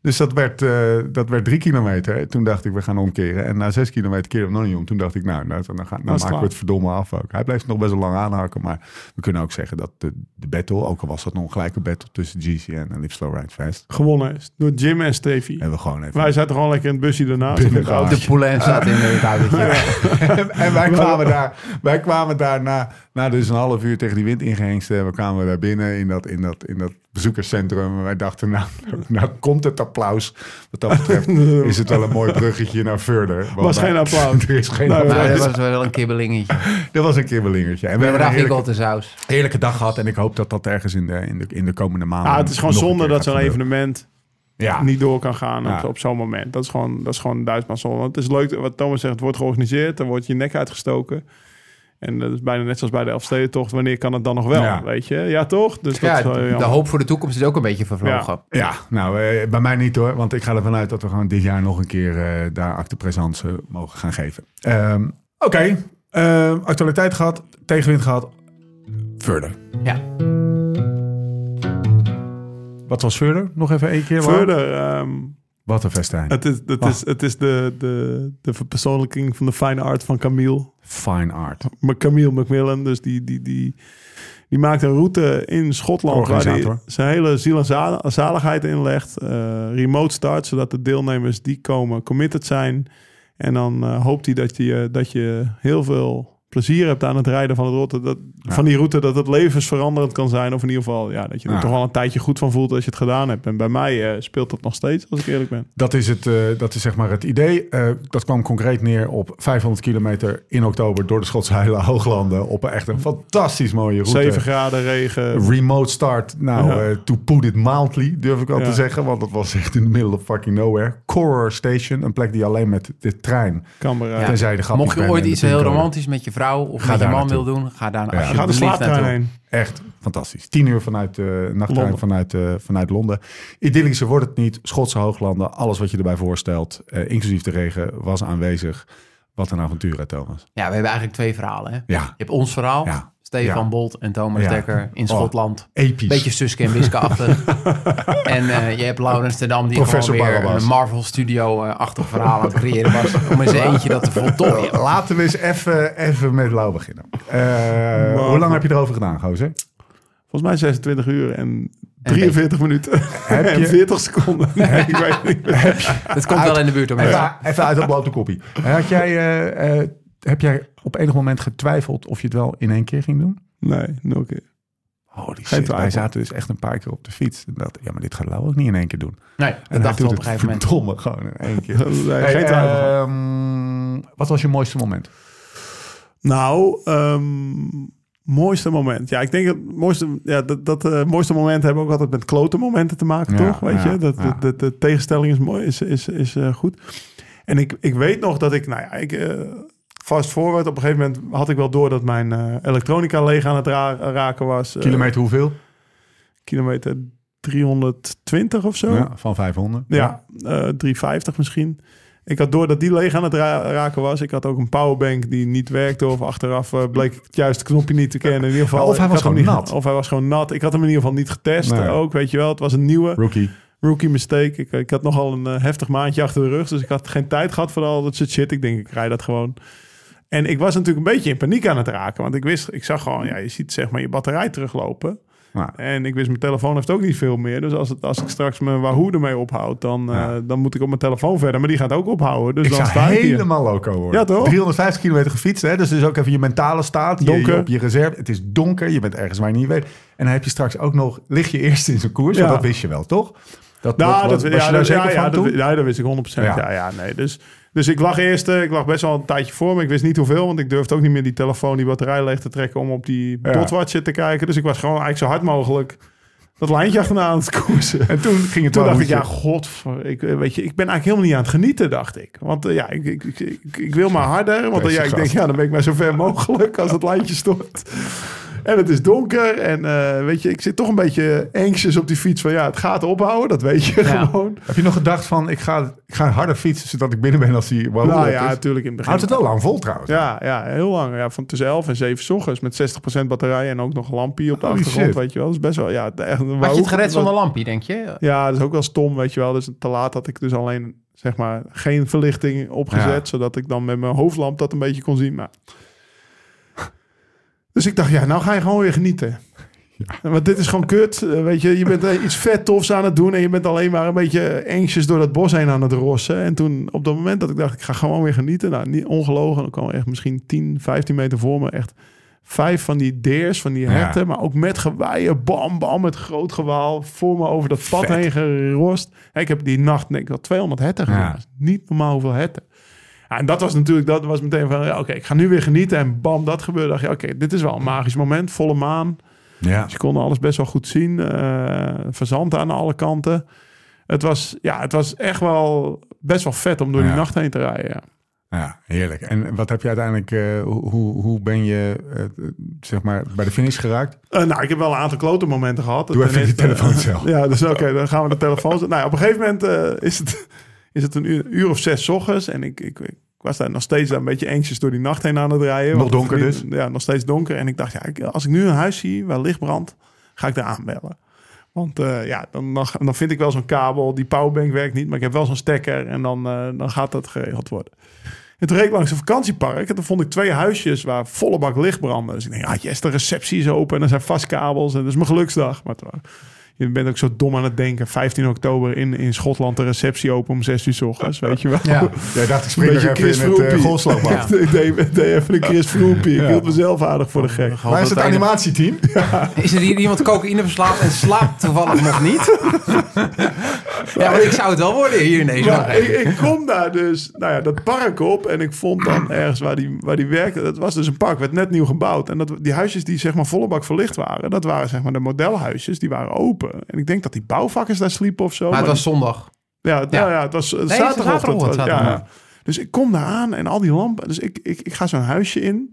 B: Dus dat werd, eh, dat werd drie kilometer. Toen dacht ik, we gaan omkeren. En na zes kilometer keerde we nog niet om. Toen dacht ik, nou, nou dan, gaan, nou
E: is
B: maken
E: klaar.
B: we het verdomme af ook. Hij blijft nog best wel lang aanhaken. Maar we kunnen ook zeggen dat de, de battle, ook al was dat nog een gelijke battle tussen GCN en Live Slow Ride Fast,
E: Gewonnen is door Jim en Stevie.
B: hebben we gewoon even...
E: Wij zaten gewoon lekker in het busje daarnaast.
B: Binnen
E: Met de auto.
B: gehad.
D: De poulain staat in het autootje.
B: en, en wij kwamen daar, wij kwamen daar na, na dus een half uur tegen die wind ingehengst. eh, We kwamen daar binnen in dat, in dat, in dat bezoekerscentrum. En wij dachten, nou, nou komt het applaus. Wat dat betreft is het wel een mooi bruggetje naar verder. Want
E: Was
B: wij-
E: geen applaus.
B: er is geen
E: Nou,
B: applaus.
D: Nou, dat was wel een kibbelingetje.
B: Dat was een kibbelingetje. En we
D: We hebben
B: dus hebben een
D: daar
B: heerlijke,
D: de saus.
B: heerlijke dag gehad. En ik hoop dat dat ergens in de, in de, in de komende maanden...
E: Ah, het is gewoon
B: nog een
E: zonde
B: keer
E: dat
B: gaat
E: zo'n
B: gebeuren.
E: evenement
B: Ja.
E: niet door kan gaan op-
B: Ja.
E: op, zo'n moment. Dat is gewoon, dat is gewoon Duitsman zonde. Want het is leuk, wat Thomas zegt, het wordt georganiseerd. Er wordt je nek uitgestoken. En dat is bijna net zoals bij de Elfstedentocht. Wanneer kan het dan nog wel,
B: Ja.
E: weet je? Ja, toch? Dus dat
D: Ja,
E: is wel
D: de
E: jammer.
D: hoop voor de toekomst is ook een beetje vervlogen.
B: Ja, nou, eh, bij mij niet hoor. Want ik ga ervan uit dat we gewoon dit jaar nog een keer eh, daar acte présence eh, mogen gaan geven. Ehm, Oké, ehm, actualiteit gehad, tegenwind gehad. Verder.
D: Ja.
B: Wat was verder? Nog even één keer. Lau?
E: Verder, ehm,
B: Wat een festijn.
E: het is, het is, het is de, de, de verpersoonlijking van de fine art van Camille.
B: Fine art.
E: Maar Camille Macmillan, dus die, die, die, die maakt een route in Schotland waar hij
B: Organisator.
E: zijn hele ziel en za- zaligheid in legt. Eh, remote start, zodat de deelnemers die komen committed zijn. En dan eh, hoopt hij dat je, eh, dat je heel veel plezier hebt aan het rijden van, het rotte, dat, van die route. Dat het levensveranderend kan zijn. Of in ieder geval ja, dat je er
B: Ja.
E: toch wel een tijdje goed van voelt als je het gedaan hebt. En bij mij eh, speelt dat nog steeds, als ik eerlijk ben.
B: Dat is, het, eh, dat is zeg maar het idee. Eh, dat kwam concreet neer op 500 kilometer in oktober door de Schotse Heila Hooglanden. Op een echt een fantastisch mooie route.
E: 7 graden regen.
B: Remote start. Nou,
E: Ja.
B: eh, to put it mildly, durf ik wel
E: Ja.
B: te zeggen. Want dat was echt in the middle of fucking nowhere. Correr Station, een plek die alleen met de trein.
E: Canberra.
D: Ja.
B: Tenzij je de grap
D: Mocht je
B: bent
D: ooit
B: en de
D: iets heel
B: pincode.
D: romantisch met je vrouw of
B: Ga
D: met je
B: daar
D: man wil
B: naartoe.
D: doen, ga daar
B: Ja.
D: alsjeblieft
E: Ga de slaaptrein
D: naartoe.
E: heen.
B: Echt fantastisch. Tien uur vanuit de nachttrein
E: Londen.
B: vanuit, eh, vanuit Londen. Idyllischer wordt het niet. Schotse hooglanden, alles wat je erbij voorstelt, eh, inclusief de regen, was aanwezig. Wat een avontuur, hè, Thomas.
D: Ja, we hebben eigenlijk twee verhalen. Hè?
B: Ja,
D: Je hebt ons verhaal,
B: Ja.
D: Stefan
B: Ja.
D: Bolt en Thomas
B: Ja.
D: Dekker in
B: Oh.
D: Schotland.
B: episch.
D: Beetje Suske en Wiske achter. en eh, je hebt Laurens ten Dam die
B: Professor
D: gewoon weer
B: Barabas.
D: een Marvel Studio eh, achtig verhaal aan het creëren was. Om in zijn eentje dat te voltooien.
B: Laten we eens even even met Lau beginnen. Eh, hoe lang heb je erover gedaan, gozer?
E: Volgens mij 26 uur en 43 minuten.
B: Heb
E: en
B: je-
E: 40 seconden. Nee, ik weet het niet.
D: Het komt wel in de buurt. Hoor.
B: Even, even uit dat blote koppie. Had jij, eh, eh, heb jij op enig moment getwijfeld of je het wel in één keer ging doen?
E: Nee, nul keer.
B: Holy shit,
E: twijfel.
B: wij zaten dus echt een paar keer op de fiets. En dat, ja, maar dit gaat Lau ook niet in één keer doen.
D: Nee, dat dachten we op een gegeven moment.
B: Verdomme, gewoon in één keer.
E: Nee,
B: Hey,
E: geen twijfel.
B: eh,
E: van. Eh,
B: ehm, wat was je mooiste moment?
E: Nou, ehm, mooiste moment. Ja, ik denk dat mooiste, ja, dat, dat eh, mooiste momenten hebben ook altijd met klote momenten te maken,
B: Ja,
E: toch? Weet
B: ja,
E: je, dat,
B: ja.
E: dat, dat- de tegenstelling is mooi, is, is, is eh, goed. En ik, ik weet nog dat ik, nou ja, ik eh, fast forward. Op een gegeven moment had ik wel door dat mijn eh, elektronica leeg aan het ra- raken was. Eh,
B: Kilometer hoeveel?
E: kilometer 320 of zo.
B: Ja, van 500.
E: Ja, eh 350 misschien. Ik had door dat die leeg aan het ra- raken was. Ik had ook een powerbank die niet werkte. Of achteraf eh, bleek ik het juiste knopje niet te kennen. In ieder
B: Ja,
E: geval,
B: of hij
E: ik
B: was
E: had hem
B: gewoon
E: niet-
B: nat.
E: Of hij was gewoon nat. Ik had hem in ieder geval niet getest
B: Nee.
E: ook, weet je wel. Het was een nieuwe
B: Rookie.
E: rookie mistake. Ik, ik had nogal een eh, heftig maandje achter de rug. Dus ik had geen tijd gehad voor al dat soort shit. Ik denk, ik rij dat gewoon. En ik was natuurlijk een beetje in paniek aan het raken. Want ik wist, ik zag gewoon, ja, je ziet zeg maar je batterij teruglopen.
B: Nou,
E: En ik wist, mijn telefoon heeft ook niet veel meer. Dus als, het, als ik straks mijn Wahoo ermee ophoud, dan, eh,
B: Ja.
E: dan moet ik op mijn telefoon verder. Maar die gaat ook ophouden. Dus
B: ik
E: dan
B: zou
E: sta ik hier.
B: helemaal loco worden.
E: Ja, toch?
B: 350 kilometer gefietst, hè? dus dus ook even je mentale staat. Je,
E: Donker.
B: Je, op je reserve. Het is donker, je bent ergens waar je niet weet. En dan heb je straks ook nog, lig je eerst in zo'n koers,
E: Ja.
B: want dat wist je wel, toch? Dat,
E: Nou,
B: wat-
E: dat,
B: was
E: ja,
B: je daar
E: dat-
B: zeker
E: ja, ja,
B: van
E: dat-
B: toen?
E: ja, dat wist ik 100%.
B: Ja.
E: Ja, ja, nee. Dus, dus ik lag eerst, eh, ik lag best wel een tijdje voor me. Ik wist niet hoeveel, want ik durfde ook niet meer die telefoon, die batterij leeg te trekken om op die
B: Ja.
E: botwatcher te kijken. Dus ik was gewoon eigenlijk zo hard mogelijk dat lijntje achterna aan het koersen.
B: En toen ging het
E: Toen
B: wel
E: dacht
B: goed.
E: ik, ja, god, ik, eh, weet je, ik ben eigenlijk helemaal niet aan het genieten, dacht ik. Want eh, ja, ik, ik, ik, ik, ik wil maar harder. Want dan, ja,
B: Deze
E: ik denk,
B: gast.
E: ja, dan ben ik maar zo ver mogelijk als het lijntje stopt. En het is donker en eh, weet je, ik zit toch een beetje anxious op die fiets van ja, het gaat ophouden, dat weet je
D: Ja.
E: gewoon.
B: Heb je nog gedacht van, ik ga, ik ga harder fietsen zodat ik binnen ben als die Wahoo
E: nou
B: op
E: ja,
B: is?
E: natuurlijk in het begin.
B: Houdt het wel lang vol trouwens.
E: Ja, ja, heel lang. Ja, van tussen 11 en 7 's ochtends met 60% batterij en ook nog een lampje op de
B: Holy
E: achtergrond,
B: shit.
E: weet je wel. Dat is best wel, ja. Echt,
D: Had je het gered zonder lampje, denk je?
E: Ja, dat is ook wel stom, weet je wel. Dus te laat had ik dus alleen, zeg maar, geen verlichting opgezet.
B: Ja.
E: Zodat ik dan met mijn hoofdlamp dat een beetje kon zien. Maar... Dus ik dacht, ja, nou ga je gewoon weer genieten. Want dit is gewoon kut, eh, weet je. Je bent eh, iets vet tofs aan het doen en je bent alleen maar een beetje anxious door dat bos heen aan het rossen. En toen, op dat moment dat ik dacht, ik ga gewoon weer genieten. Nou, niet ongelogen, dan kwam echt misschien 10, 15 meter voor me echt vijf van die deers, van die
B: Ja.
E: herten. Maar ook met gewaaien, bam, bam, met groot gewaal. Voor me over dat pad heen gerost. Hé, Ik heb die nacht, denk ik, wel 200 herten
B: Ja.
E: gezien. Dat is Niet normaal hoeveel herten. Ja, en dat was natuurlijk, dat was meteen van, ja, oké, ik ga nu weer genieten. En bam, dat gebeurde. dacht je, oké, dit is wel een magisch moment. Volle maan.
B: Ja.
E: Ze konden alles best wel goed zien. eh verzand aan alle kanten. Het was, ja, het was echt wel best wel vet om door
B: Ja.
E: die nacht heen te rijden. Ja.
B: Ja, heerlijk. En wat heb je uiteindelijk, eh, hoe- hoe, hoe ben je eh, zeg maar bij de finish geraakt?
E: Eh, nou, ik heb wel een aantal klote momenten gehad.
B: Doe even
E: Ten
B: die
E: eerste-
B: telefoon zelf.
E: Ja, dus oké, dan gaan we de telefoon zetten. Nou, ja, op een gegeven moment eh, is, het, is het een uur, uur of zes 's ochtends. En ik, ik, ik was daar nog steeds een beetje anxious door die nacht heen aan het rijden.
B: Nog
E: Want het
B: donker dus?
E: vriend- Ja, nog steeds donker. En ik dacht, ja, ik- als ik nu een huis zie waar licht brandt, ga ik daar aanbellen. Want eh, ja, dan, dan, dan vind ik wel zo'n kabel. Die powerbank werkt niet, maar ik heb wel zo'n stekker. En dan, eh, dan gaat dat geregeld worden. En toen reed ik langs een vakantiepark. En toen vond ik twee huisjes waar volle bak licht brandde. Dus ik denk, ah yes, de receptie is open. En er zijn vastkabels. En dat is mijn geluksdag. Maar het wa- je bent ook zo dom aan het denken. 15 oktober in, in Schotland de receptie open om 6 uur s ochtends, weet je wel.
D: Ja.
F: Jij dacht, ik
E: Een
F: spring nog
E: beetje
F: even
E: Chris
F: in het
E: Froopie.
F: eh, golfslagbad.
D: Ja.
E: ik deed, ik deed even een Chris Froopie. Ik hield mezelf aardig voor de gek.
F: Waar is het animatieteam?
D: Is er hier iemand cocaïne verslaafd en slaapt toevallig nog niet? ja, want ik zou het wel worden hier in deze
E: Maar ik, oh ik kom daar dus, nou ja, dat park op. En ik vond dan ergens waar die, waar die werkte. Dat was dus een park, werd net nieuw gebouwd. En dat, die huisjes die zeg maar volle bak verlicht waren, dat waren zeg maar de modelhuisjes, die waren open. En ik denk dat die bouwvakkers daar sliepen of zo.
D: Maar het
E: Maar-
D: was zondag.
E: ja, het-
D: ja.
E: nou ja, het was
D: het is
E: zaterdagochtend.
D: zaterdagochtend,
E: was- ja,
D: zaterdag.
E: ja. Dus ik kom daar aan en al die lampen. Dus ik, ik, ik ga zo'n huisje in.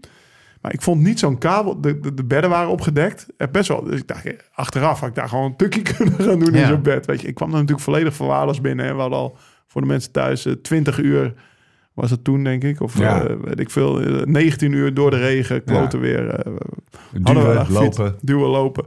E: Maar ik vond niet zo'n kabel. De, de, de bedden waren opgedekt. Eh, Best wel. Dus ik dacht, eh, achteraf had ik daar gewoon een tukje kunnen gaan doen in
D: Ja.
E: zo'n bed. Weet je, ik kwam er natuurlijk volledig verwaarloosd binnen. En we hadden al voor de mensen thuis eh, 20 uur was het toen, denk ik. Of
B: Ja.
E: eh, weet ik veel. eh, 19 uur door de regen, kloten weer. eh, Hadden we
B: Duwen,
E: daar gefietst.
B: lopen.
E: Duwen, lopen.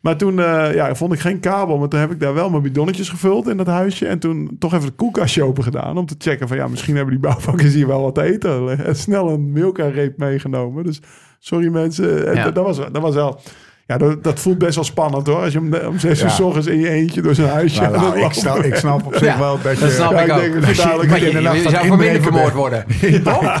E: Maar toen eh, ja, vond ik geen kabel. Maar toen heb ik daar wel mijn bidonnetjes gevuld in dat huisje. En toen toch even het koelkastje open gedaan. Om te checken van ja, misschien hebben die bouwvakkers hier wel wat te eten. En snel een Milka-reep meegenomen. Dus sorry mensen. En
D: Ja.
E: dat, dat was, dat was wel... Ja, dat, dat voelt best wel spannend hoor. Als je om, om zes
B: Ja.
E: uur s ochtends in je eentje door zo'n huisje...
F: Nou,
E: aan
F: nou,
E: het
F: ik,
E: lopen
F: snap, ik snap op zich
D: Ja,
F: wel dat je...
D: Dat snap
E: Ja,
D: ik
E: ik
D: ook.
E: denk dat je dadelijk
D: Maar
E: in
D: je,
E: de
D: je,
E: nacht
D: je
F: aan het
D: zou familie
F: inbreken
D: vermoord
F: bent.
D: worden.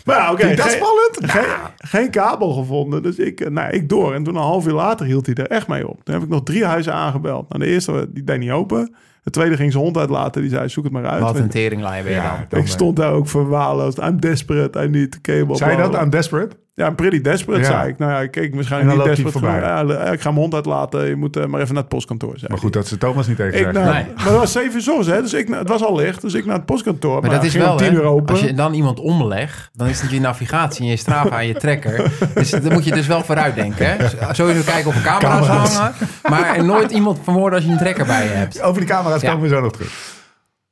E: Maar ja, oké.
F: Oh. Vind je dat
E: geen-
F: spannend?
E: Geen, geen kabel gevonden. Dus ik, eh, nou, ik door. En toen een half uur later hield hij er echt mee op. Toen heb ik nog drie huizen aangebeld. Nou, de eerste die deed niet open. De tweede ging zijn hond uitlaten. Die zei, zoek het maar uit.
D: Wat een teringlaai ben je
F: Ja,
D: dan.
F: dan,
E: ik stond daar ook verwaarloosd. I'm desperate. I need cable.
F: eh, Zei je
E: bla,
F: dat
E: bla.
F: aan Desperate?
E: Ja, I'm pretty desperate,
F: Ja.
E: zei ik. Nou ja, ik keek waarschijnlijk
F: En
E: niet
F: dan loopt hij
E: desperate
F: voorbij.
E: genoeg. Ja, eh, ik ga mijn hond uitlaten. Je moet eh, maar even naar het postkantoor, zijn.
F: Maar goed, dat ze Thomas niet tegen
E: Ik nou.
F: zeggen.
E: naar,
D: Nee.
E: Maar het was zeven uur 's ochtends, hè. Dus ik, na- het was al licht. Dus ik naar het postkantoor.
D: Maar dat
E: ja,
D: is
E: ging om
D: wel,
E: tien uur
D: hè,
E: open.
D: als je dan iemand omlegt, dan is het je navigatie en je Strava aan je trekker. Dus dan moet je dus wel vooruit denken. Hè? Z- Sowieso kijken of er camera's,
F: Camera's.
D: hangen, maar nooit iemand vermoorden als je een trekker bij je hebt.
F: Over die camera's
D: Ja.
F: komen we zo nog terug.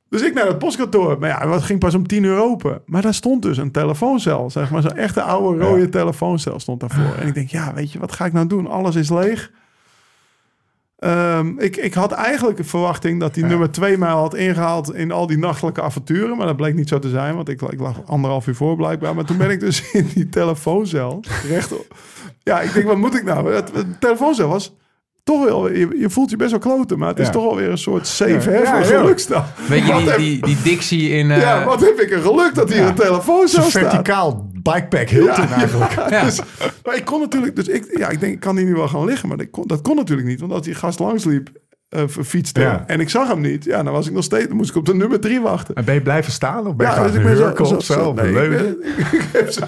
E: Dus ik naar het postkantoor. Maar ja, wat ging pas om tien uur open. Maar daar stond dus een telefooncel, zeg maar. Zo'n echte oude rode telefooncel stond daarvoor. En ik denk, ja, weet je, wat ga ik nou doen? Alles is leeg. Ehm, ik, ik had eigenlijk de verwachting dat die nummer twee mij al had ingehaald in al die nachtelijke avonturen. Maar dat bleek niet zo te zijn, want ik, ik lag anderhalf uur voor blijkbaar. Maar toen ben ik dus in die telefooncel rechtop. Ja, ik denk, wat moet ik nou? Het, het telefooncel was toch wel... Je, je voelt je best wel kloten, maar het is
F: Ja.
E: toch wel weer een soort safe
F: Ja,
E: haven
F: ja,
E: voor
F: ja.
E: gelukstap.
D: Weet je,
E: Wat
D: die,
E: heb-
D: die, die Dixie in... eh,
E: ja, wat heb ik een geluk dat hier
F: ja.
E: een telefoon zo
F: Zo'n
E: staat.
F: verticaal bikepack Hilton
E: Ja.
F: eigenlijk.
D: ja.
E: Dus, maar ik kon natuurlijk, dus ik, ja, ik denk, ik kan hier nu wel gaan liggen. Maar dat kon, dat kon natuurlijk niet, want als die gast langsliep, eh fietste
F: Ja.
E: en ik zag hem niet, ja, dan was ik nog steeds, dan moest ik op de nummer drie wachten.
F: En ben je blijven staan of ben je
E: Ja,
F: gaan
E: dus ik ben zo,
F: hurken of zo? Of
E: nee,
F: een
E: ik
F: leunen?
E: ben- ik, ik heb zo,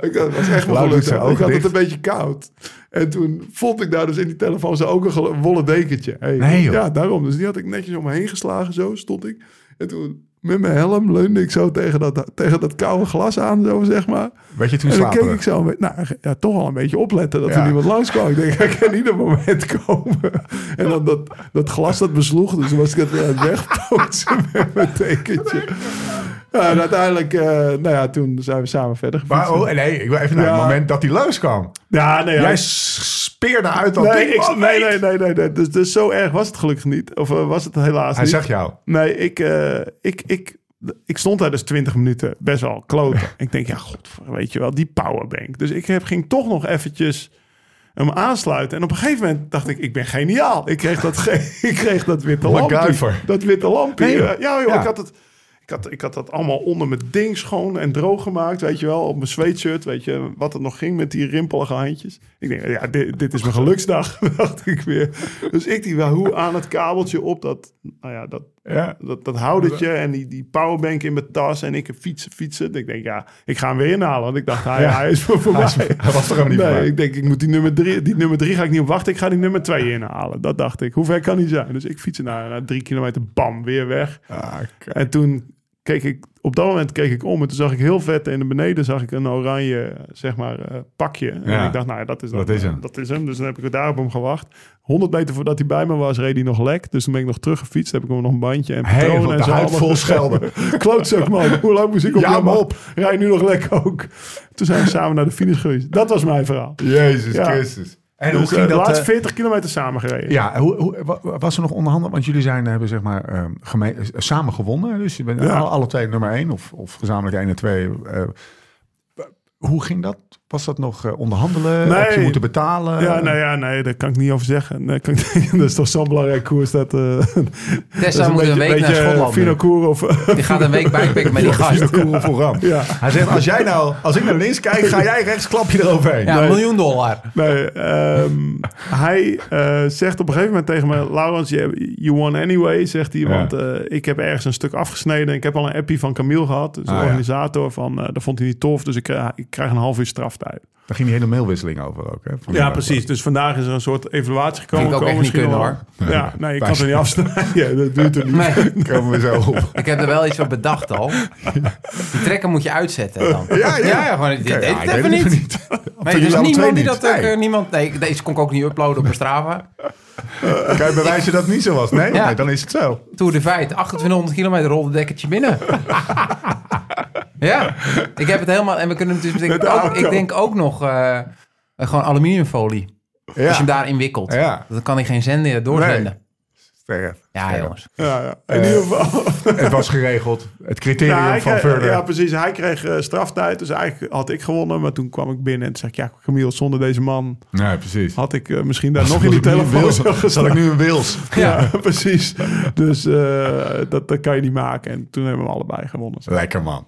E: ik, dat was echt mijn
F: Lauw
E: geluk.
F: doet zijn
E: Ik had
F: ogen
E: het
F: dicht.
E: een beetje koud. En toen vond ik daar dus in die telefoon zo ook een gel- wollen dekentje. Hey,
F: Nee, joh.
E: Ja, daarom. Dus die had ik netjes om me heen geslagen, zo stond ik. En toen met mijn helm leunde ik zo tegen dat, tegen dat koude glas aan, zo zeg maar.
F: Weet je, toen
E: En dan keek
F: slapen
E: ik zo, een be- nou ja, toch al een beetje opletten dat er
F: Ja.
E: niemand langs kwam. Ik denk, hij kan ieder moment komen. En dan dat, dat glas dat besloeg, dus was ik het weer aan het wegpootsen met mijn tekentje. Ja, en uiteindelijk, eh, nou ja, toen zijn we samen verder
F: Maar
E: gefietst.
F: oh, nee, ik wil even naar
E: Ja.
F: het moment dat hij langskwam.
E: Ja, nee, ja,
F: Jij
E: ik-
F: s- speerde uit dat
E: nee,
F: ding.
E: ik,
F: man,
E: nee,
F: weet.
E: nee, nee, nee, nee. Dus, dus zo erg was het gelukkig niet. Of eh, was het helaas
F: Hij
E: niet.
F: zag jou.
E: Nee, ik, eh, ik, ik, ik stond daar dus 20 minuten best wel kloten. ik denk, ja, god, weet je wel, die powerbank. Dus ik heb, ging toch nog eventjes hem aansluiten. En op een gegeven moment dacht ik, ik ben geniaal. Ik kreeg dat, ge- ik kreeg dat witte lampje.
F: MacGyver.
E: Dat witte lampje.
F: Nee, joh.
E: ja, joh,
F: Ja.
E: ik had het... Ik had, ik had dat allemaal onder mijn ding schoon en droog gemaakt, weet je wel. Op mijn sweatshirt, weet je, wat het nog ging met die rimpelige handjes. Ik denk, ja, dit, dit is mijn geluksdag, dacht ik weer. Dus ik die hoe aan het kabeltje op dat, nou ja, dat,
F: Ja.
E: dat, dat houdertje en die, die powerbank in mijn tas en ik fietsen, fietsen. Ik denk, ja, ik ga hem weer inhalen. Want ik dacht, hij,
F: Ja.
E: hij is voor
F: Hij
E: voorbij.
F: is- hij was er helemaal niet
E: nee,
F: voorbij.
E: ik denk, ik moet die nummer drie, die nummer drie ga ik niet op wachten. Ik ga die nummer twee inhalen. Dat dacht ik. Hoe ver kan hij zijn? Dus ik fiets naar, naar drie kilometer, bam, weer weg.
F: Ah, k-
E: En toen keek ik, op dat moment keek ik om en toen zag ik heel vet in de beneden zag ik een oranje, zeg maar, eh, pakje. En
F: Ja.
E: ik dacht, nou ja, dat is, dan-
F: Dat is hem.
E: dat is hem. Dus dan heb ik daar op hem gewacht. 100 meter voordat hij bij me was, reed hij nog lek. Dus toen ben ik nog teruggefietst. Heb ik hem nog een bandje en
F: Helemaal
E: patronen en
F: de
E: zo.
F: huid
E: allemaal
F: vol
E: gegeven. Klootzak man, hoe lang moest ik op
F: Ja,
E: jou
F: man.
E: op? Rij nu nog lek ook. Toen zijn we samen naar de finish geweest. Dat was mijn verhaal.
F: Jezus
E: Ja.
F: Christus. En
E: Dus,
F: hoe
E: eh,
F: ging
E: de
F: dat?
E: laatste
F: eh,
E: 40 kilometer samen gereden.
F: ja, hoe, hoe, wa- wa- was er nog onderhandeld? Want jullie
B: eh,
F: zijn, hebben zeg maar ehm, geme- eh, samen gewonnen. Dus je bent
E: Ja.
F: alle, alle twee nummer één of, of gezamenlijk één en twee. eh, hoe ging dat?
B: Was dat nog eh, onderhandelen?
E: Nee.
B: Heb je moeten betalen?
E: Ja, nou ja, nee, daar kan ik niet over zeggen. Nee, kan ik, dat is toch zo'n belangrijk koers dat... eh, dat is
D: Tessa moet een week naar
E: eh,
D: Schotland. nu.
E: Vinokour of...
D: Die gaat een week bijpakken met die gast.
B: Cool vooraf.
E: ja.
B: Hij zegt, als jij nou, als ik naar links kijk, ga jij rechts klap je eroverheen.
D: Ja,
E: Nee.
D: een miljoen dollar.
E: Nee, ehm, hij eh, zegt op een gegeven moment tegen mij... Laurens, you, you won anyway, zegt hij. Want eh, ik heb ergens een stuk afgesneden. Ik heb al een appie van Camille gehad. Dus de
B: Ah, ja.
E: organisator van... eh, dat vond hij niet tof, dus ik, krijg- ik krijg een half uur straftijd.
B: Daar ging die hele mailwisseling over ook. Hè? Van die-
E: Ja, precies. Dus vandaag is er een soort evaluatie gekomen.
D: Vind ik ook
E: Komen
D: echt niet
E: misschien
D: kunnen,
E: wel- Ja, nee, je kan ze niet afsnijden. Dat duurt er niet.
D: Nee,
B: Komen we zo op.
D: ik heb er wel iets van bedacht al. Die trekker moet je uitzetten dan.
B: Ja, ja.
D: gewoon, dit
B: Oké,
D: deed
B: ja,
D: ik
B: ik
D: even
B: weet het
D: niet.
B: even
D: Nee, er is
B: jullie alle twee
D: niemand die
B: niet.
D: dat ook...
B: Nee.
D: eh, Niemand, nee, deze kon ik ook niet uploaden op Strava.
B: Kan je bewijzen dat het niet zo was? Nee?
D: Ja.
B: Nee, dan is het zo.
D: Tour de Veit, 2800 kilometer rolde dekkertje binnen. ja, ik heb het helemaal... En we kunnen het dus...
E: Met
D: Ik,
E: de
D: ook,
E: auto.
D: ik denk ook nog eh, eh, gewoon aluminiumfolie.
B: Ja.
D: Als je hem daarin wikkelt.
B: Ja.
D: Dan kan hij geen zender doorvinden.
B: Sterf.
D: Ja,
B: Sterf.
D: jongens.
E: Ja, ja. In ieder geval...
B: Het was geregeld. Het criterium
D: Nou,
E: Ja, hij
B: van
D: eh,
E: kreeg-
B: Verder.
E: ja, precies. Hij kreeg eh, straftijd. Dus eigenlijk had ik gewonnen. Maar toen kwam ik binnen en toen zei ik... Ja, Camille, zonder deze man
B: Nee, precies.
E: had ik eh, misschien daar nog in die telefoon
B: Wils,
E: zo
B: Zal
E: gestaan.
B: ik nu een Wils?
E: Ja, precies. Dus eh, dat, dat kan je niet maken. En toen hebben we allebei gewonnen.
B: Lekker man.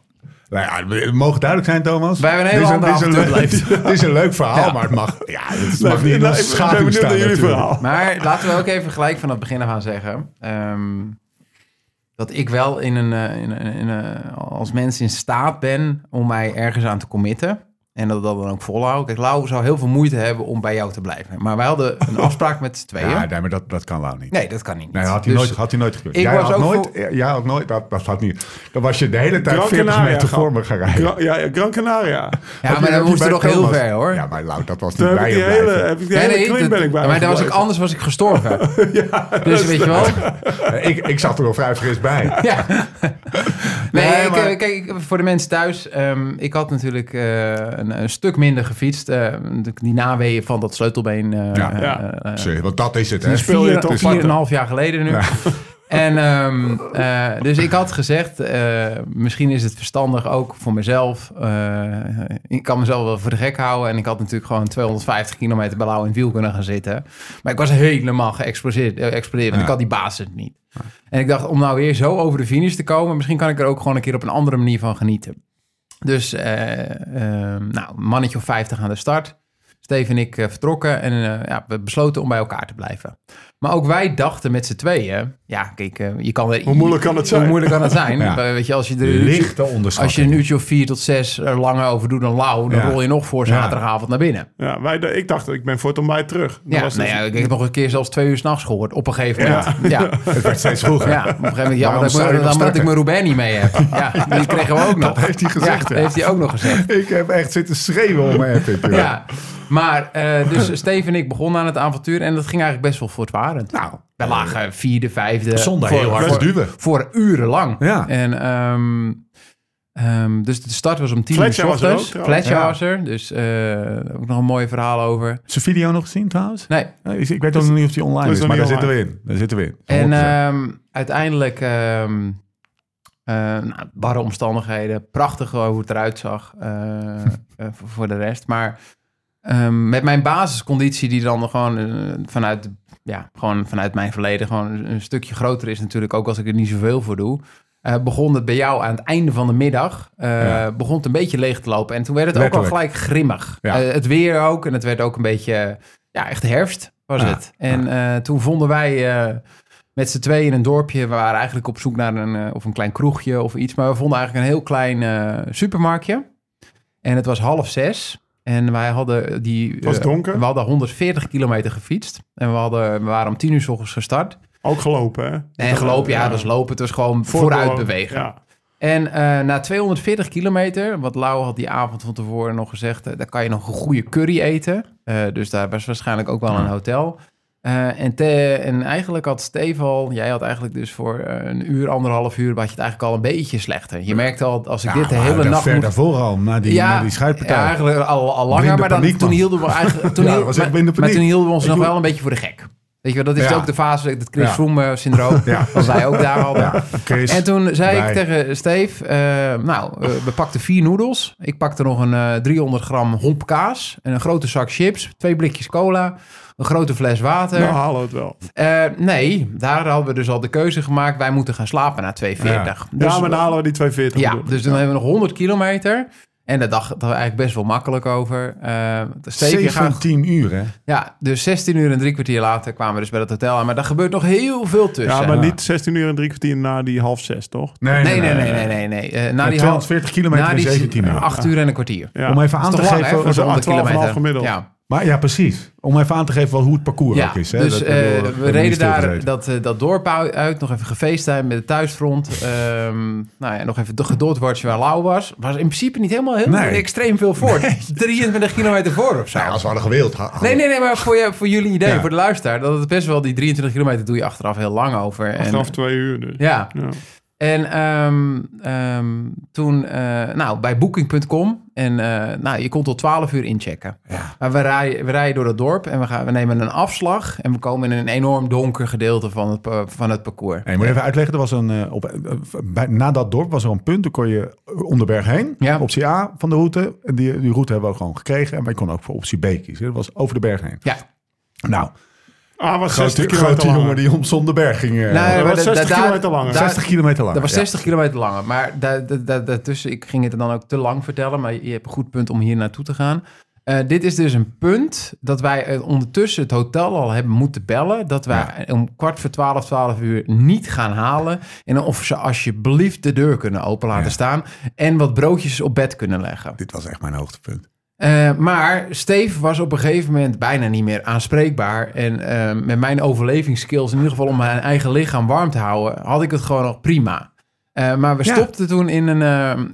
B: Nou ja, het mogen duidelijk zijn, Thomas.
D: Wij hebben een hele
B: Dit is
D: andere
B: dit is een
D: avontuur
B: leuk- Dit is een leuk verhaal, maar het mag, ja, het
E: Nou,
B: mag niet in
E: nou,
B: onze
E: ik ben
B: schaduw
E: benieuwd
B: staan
E: naar jullie
B: natuurlijk.
E: verhaal.
D: Maar laten we ook even gelijk vanaf het begin af aan zeggen. ehm, dat ik wel in een, eh, in, een- in een- als mens in staat ben om mij ergens aan te committen. En dat dat dan ook volhouden. Kijk, Lau zou heel veel moeite hebben om bij jou te blijven. Maar wij hadden een afspraak met z'n tweeën.
B: Ja, nee, maar dat, dat kan Lau niet.
D: Nee, dat kan niet.
B: Nee, had hij,
D: Dus-
B: nooit, had hij nooit gekund.
D: ik
B: Jij
D: was
B: had
D: ook
B: nooit,
D: voor-
B: jij had nooit, dat, dat had niet. Dan was je de hele tijd
E: Gran
B: 40
E: Canaria
B: meter
E: gaan.
B: voor me gaan rijden.
E: Gran- ja, ja, Gran Canaria.
D: Ja, maar
B: Heb
D: dan
B: je
D: moest
B: bij
D: er nog heel
B: Thomas-
D: ver, hoor.
B: Ja, maar Lau, dat was niet
E: Toen heb
B: bij
E: ik
B: je
E: die hele,
B: blijven.
E: heb ik die hele klim ben ik bij
D: maar
E: hem
D: dan was ik,
E: gebleven.
D: anders was ik gestorven. dus weet je wel.
B: Eh, Ik, ik zat er al vrij fris bij.
D: Ja. Nee,
B: Nee,
D: ik,
B: maar-
D: eh, kijk, ik- voor de mensen thuis. ehm, ik had natuurlijk eh, een, een stuk minder gefietst. eh, de- die naweeën van dat sleutelbeen. eh
B: Ja.
D: eh,
E: Ja.
D: eh,
B: Zie, Want dat is het, hè.
D: vier-
E: speel je het op
D: vier en
E: vlakte.
D: een half jaar geleden nu. En, ehm, eh, dus ik had gezegd, eh, misschien is het verstandig ook voor mezelf. eh, ik kan mezelf wel voor de gek houden. En ik had natuurlijk gewoon 250 kilometer bij Lau in het wiel kunnen gaan zitten. Maar ik was helemaal geëxplodeerd. eh, geëxplodeerd, want
B: Ja.
D: Ik had die basis niet. En ik dacht, om nou weer zo over de finish te komen... misschien kan ik er ook gewoon een keer op een andere manier van genieten. Dus, eh, eh, nou, een mannetje of 50 aan de start. Steve en ik eh, vertrokken en eh, ja, we besloten om bij elkaar te blijven. Maar ook wij dachten met z'n tweeën... Ja, kijk, eh, je kan... er-
E: Hoe moeilijk kan het zijn?
D: Hoe moeilijk kan het zijn?
B: Ja.
D: Eh, Weet je, als je er een uurtje,
B: Lichte onderschatting.
D: als je een uurtje of vier tot zes er langer over doet dan lauw... dan
B: Ja.
D: rol je nog voor
B: Ja.
D: zaterdagavond naar binnen.
E: Ja, wij, ik dacht, ik ben voortaan bij terug. Dan
D: Ja,
E: was het- dus-
D: nou ja, ik heb nog een keer zelfs twee uur s'nachts gehoord op een gegeven moment. ja.
B: Het werd steeds vroeger.
D: Ja, op een gegeven moment
B: Waarom
D: jammer dat ik,
B: zou je
D: mijn-
B: nog
D: jammer dat ik
B: starten?
D: mijn Roubaix niet mee heb. Ja, die kregen we ook nog.
B: Dat heeft hij gezegd,
D: Ja,
B: ja.
D: heeft hij ook nog gezegd.
B: Ik heb echt zitten schreeuwen om mijn epic. joh.
D: Ja, maar eh, dus Steve en ik begonnen aan het avontuur en dat ging eigenlijk best wel voortwarend.
B: Nou,
D: We lagen vierde, vijfde.
B: Zondag
D: voor-
B: heel hard
D: voor-
B: te duwen.
D: Voor urenlang.
B: Ja.
D: En, ehm, ehm, dus de start was om tien uur
E: Fletcher
D: 's
E: was er
D: ochtends.
E: ook trouwens.
D: Fletcher
B: Ja.
D: was er, dus eh, ook nog een mooi verhaal over.
B: Is de video nog gezien trouwens?
D: Nee,
B: Nee, ik- Ik weet ook nog niet of die online
E: is
B: is,
E: nog
B: maar daar
E: niet
B: zitten we in. Daar zitten we in.
D: En
B: 100%.
D: ehm, uiteindelijk, ehm eh, nou, barre omstandigheden, prachtig wel hoe het eruit zag eh, eh, voor voor de rest. Maar ehm, met mijn basisconditie die dan gewoon, eh, vanuit, ja, gewoon vanuit mijn verleden gewoon een- een stukje groter is natuurlijk, ook als ik er niet zoveel voor doe. eh, begon het bij jou aan het einde van de middag. eh,
B: Ja.
D: Begon het een beetje leeg te lopen. En toen werd het ook al
B: Letterlijk.
D: gelijk grimmig.
B: Ja.
D: Eh, het weer ook. En het werd ook een beetje. Ja, echt herfst was
B: Ja.
D: het. En eh, toen vonden wij. eh, met z'n tweeën in een dorpje. We waren eigenlijk op zoek naar een, eh, of een klein kroegje of iets. Maar we vonden eigenlijk een heel klein eh, supermarktje. En het was half zes. En wij hadden die... Het
E: was donker.
D: we hadden 140 kilometer gefietst. En we, hadden, we waren om tien uur s ochtends gestart.
E: Ook gelopen, hè?
D: En gelopen, ja, dat is lopen. Het was gewoon vooruit bewegen.
E: Ja.
D: En eh, na 240 kilometer, wat Lau had die avond van tevoren nog gezegd, eh, daar kan je nog een goede curry eten. Eh, dus daar was waarschijnlijk ook wel een hotel. Eh, en, te- en eigenlijk had Steve al, jij had eigenlijk dus voor eh, een uur, anderhalf uur, had je het eigenlijk al een beetje slechter. Je merkte al, als ik
B: Ja,
D: dit de
B: maar
D: hele
B: daar-
D: nacht
B: Nou, ver
D: moet...
B: daarvoor al, na die, na die schuitpartij.
D: ja, eigenlijk al, al langer,
B: Blinde
D: maar dan,
B: paniek,
D: toen
B: man.
D: hielden we eigenlijk... Toen
B: Ja,
D: hield-
B: dat was echt
D: maar-
B: blinde
D: maar
B: paniek.
D: toen hielden we ons
B: Ik
D: nog
B: wil-
D: wel een beetje voor de gek. Weet je wel, dat is
B: Ja.
D: ook de fase, het Chris
B: Ja.
D: Froome eh, syndroom.
B: Ja.
D: Dan zei ook daar al.
B: Ja, Chris.
D: En toen zei
B: Wij.
D: ik tegen Steve, eh, nou, eh, we pakten vier noedels. Ik pakte nog een eh, 300 gram hopkaas en een grote zak chips, twee blikjes cola, een grote fles water.
E: Nou, halen we het wel.
D: Eh, nee, daar hadden we dus al de keuze gemaakt. Wij moeten gaan slapen na 2.40. Dus,
E: ja, maar nou- dan halen we die 240.
D: ja,
E: bedoel ik.
D: dus dan hebben we nog 100 kilometer. En daar dachten we eigenlijk best wel makkelijk over. Eh, Steve, je gaat-
B: 17 uur, hè?
D: ja, dus 16 uur en drie kwartier later kwamen we dus bij dat hotel aan. Maar daar gebeurt nog heel veel tussen.
E: ja, maar niet 16 uur en drie kwartier na die half zes, toch?
D: Nee, nee, nee, nee, nee. nee. Eh, na
B: Met
D: die
B: 240 kilometer in 17 uur.
D: 8 uur en een kwartier.
E: Ja.
B: Om even aan
D: Dat
B: te
D: is toch
B: geven...
D: lang, hè, voor
E: dat
D: zo'n
E: is
D: 100
E: 12,5
D: kilometer.
E: gemiddeld.
D: Ja,
B: Maar ja, precies. Om even aan te geven wel hoe het parcours
D: ja.
B: ook is. Hè?
D: dus
B: Dat-
D: eh,
B: ik bedoel, we hebben
D: we
B: niet
D: reden daar
B: stilgezeten.
D: dat, eh, dat dorp uit, uit, nog even gefeest zijn met het thuisfront. Ehm, nou ja, nog even de gedoordwatje waar Lau was. Was in principe niet helemaal heel
B: Nee.
D: extreem veel voor. 23 kilometer voor of zo.
B: Ja, als we hadden gewild. ha-
D: Nee, nee, nee, maar voor, je, voor jullie idee,
B: Ja.
D: voor de luisteraar, dat het best wel die 23 kilometer doe je achteraf heel lang over. En-
E: Vanaf twee uur dus.
D: ja,
E: Ja.
D: En ehm, ehm, toen, eh, nou, bij booking.com. En eh, nou, je kon tot 12 uur inchecken. Maar we rijden, we rijden door dat dorp en we, gaan, we nemen een afslag. En we komen in een enorm donker gedeelte van het, pa- van het parcours.
B: Hey, moet je even uitleggen, er was een, eh, op, eh, bij, na dat dorp was er een punt, daar kon je om de berg heen,
D: Ja.
B: optie A van de route. En Die, die route hebben we ook gewoon gekregen, maar je kon ook voor optie B kiezen. Dat was over de berg heen.
D: Ja,
B: Nou,
E: Ah, was 60
B: grote,
E: kilometer
B: grote
E: langer.
B: jongen die om zonder berg ging. eh,
D: Nou,
E: dat
D: maar
E: was
D: da-
E: 60
D: da-
E: kilometer langer.
D: da-
B: 60 kilometer lang.
D: dat was
B: Ja.
D: 60 kilometer langer. Maar da- da- da- daartussen, ik ging het dan ook te lang vertellen. Maar je hebt een goed punt om hier naartoe te gaan. Eh, dit is dus een punt dat wij eh, ondertussen het hotel al hebben moeten bellen. Dat wij om kwart voor twaalf, twaalf uur niet gaan halen. En of ze alsjeblieft de deur kunnen open laten staan. En wat broodjes op bed kunnen leggen.
B: Dit was echt mijn hoogtepunt.
D: Eh, maar Steve was op een gegeven moment bijna niet meer aanspreekbaar. En eh, met mijn overlevingsskills, in ieder geval om mijn eigen lichaam warm te houden, had ik het gewoon nog prima. Eh, maar we
B: Ja.
D: stopten toen in een,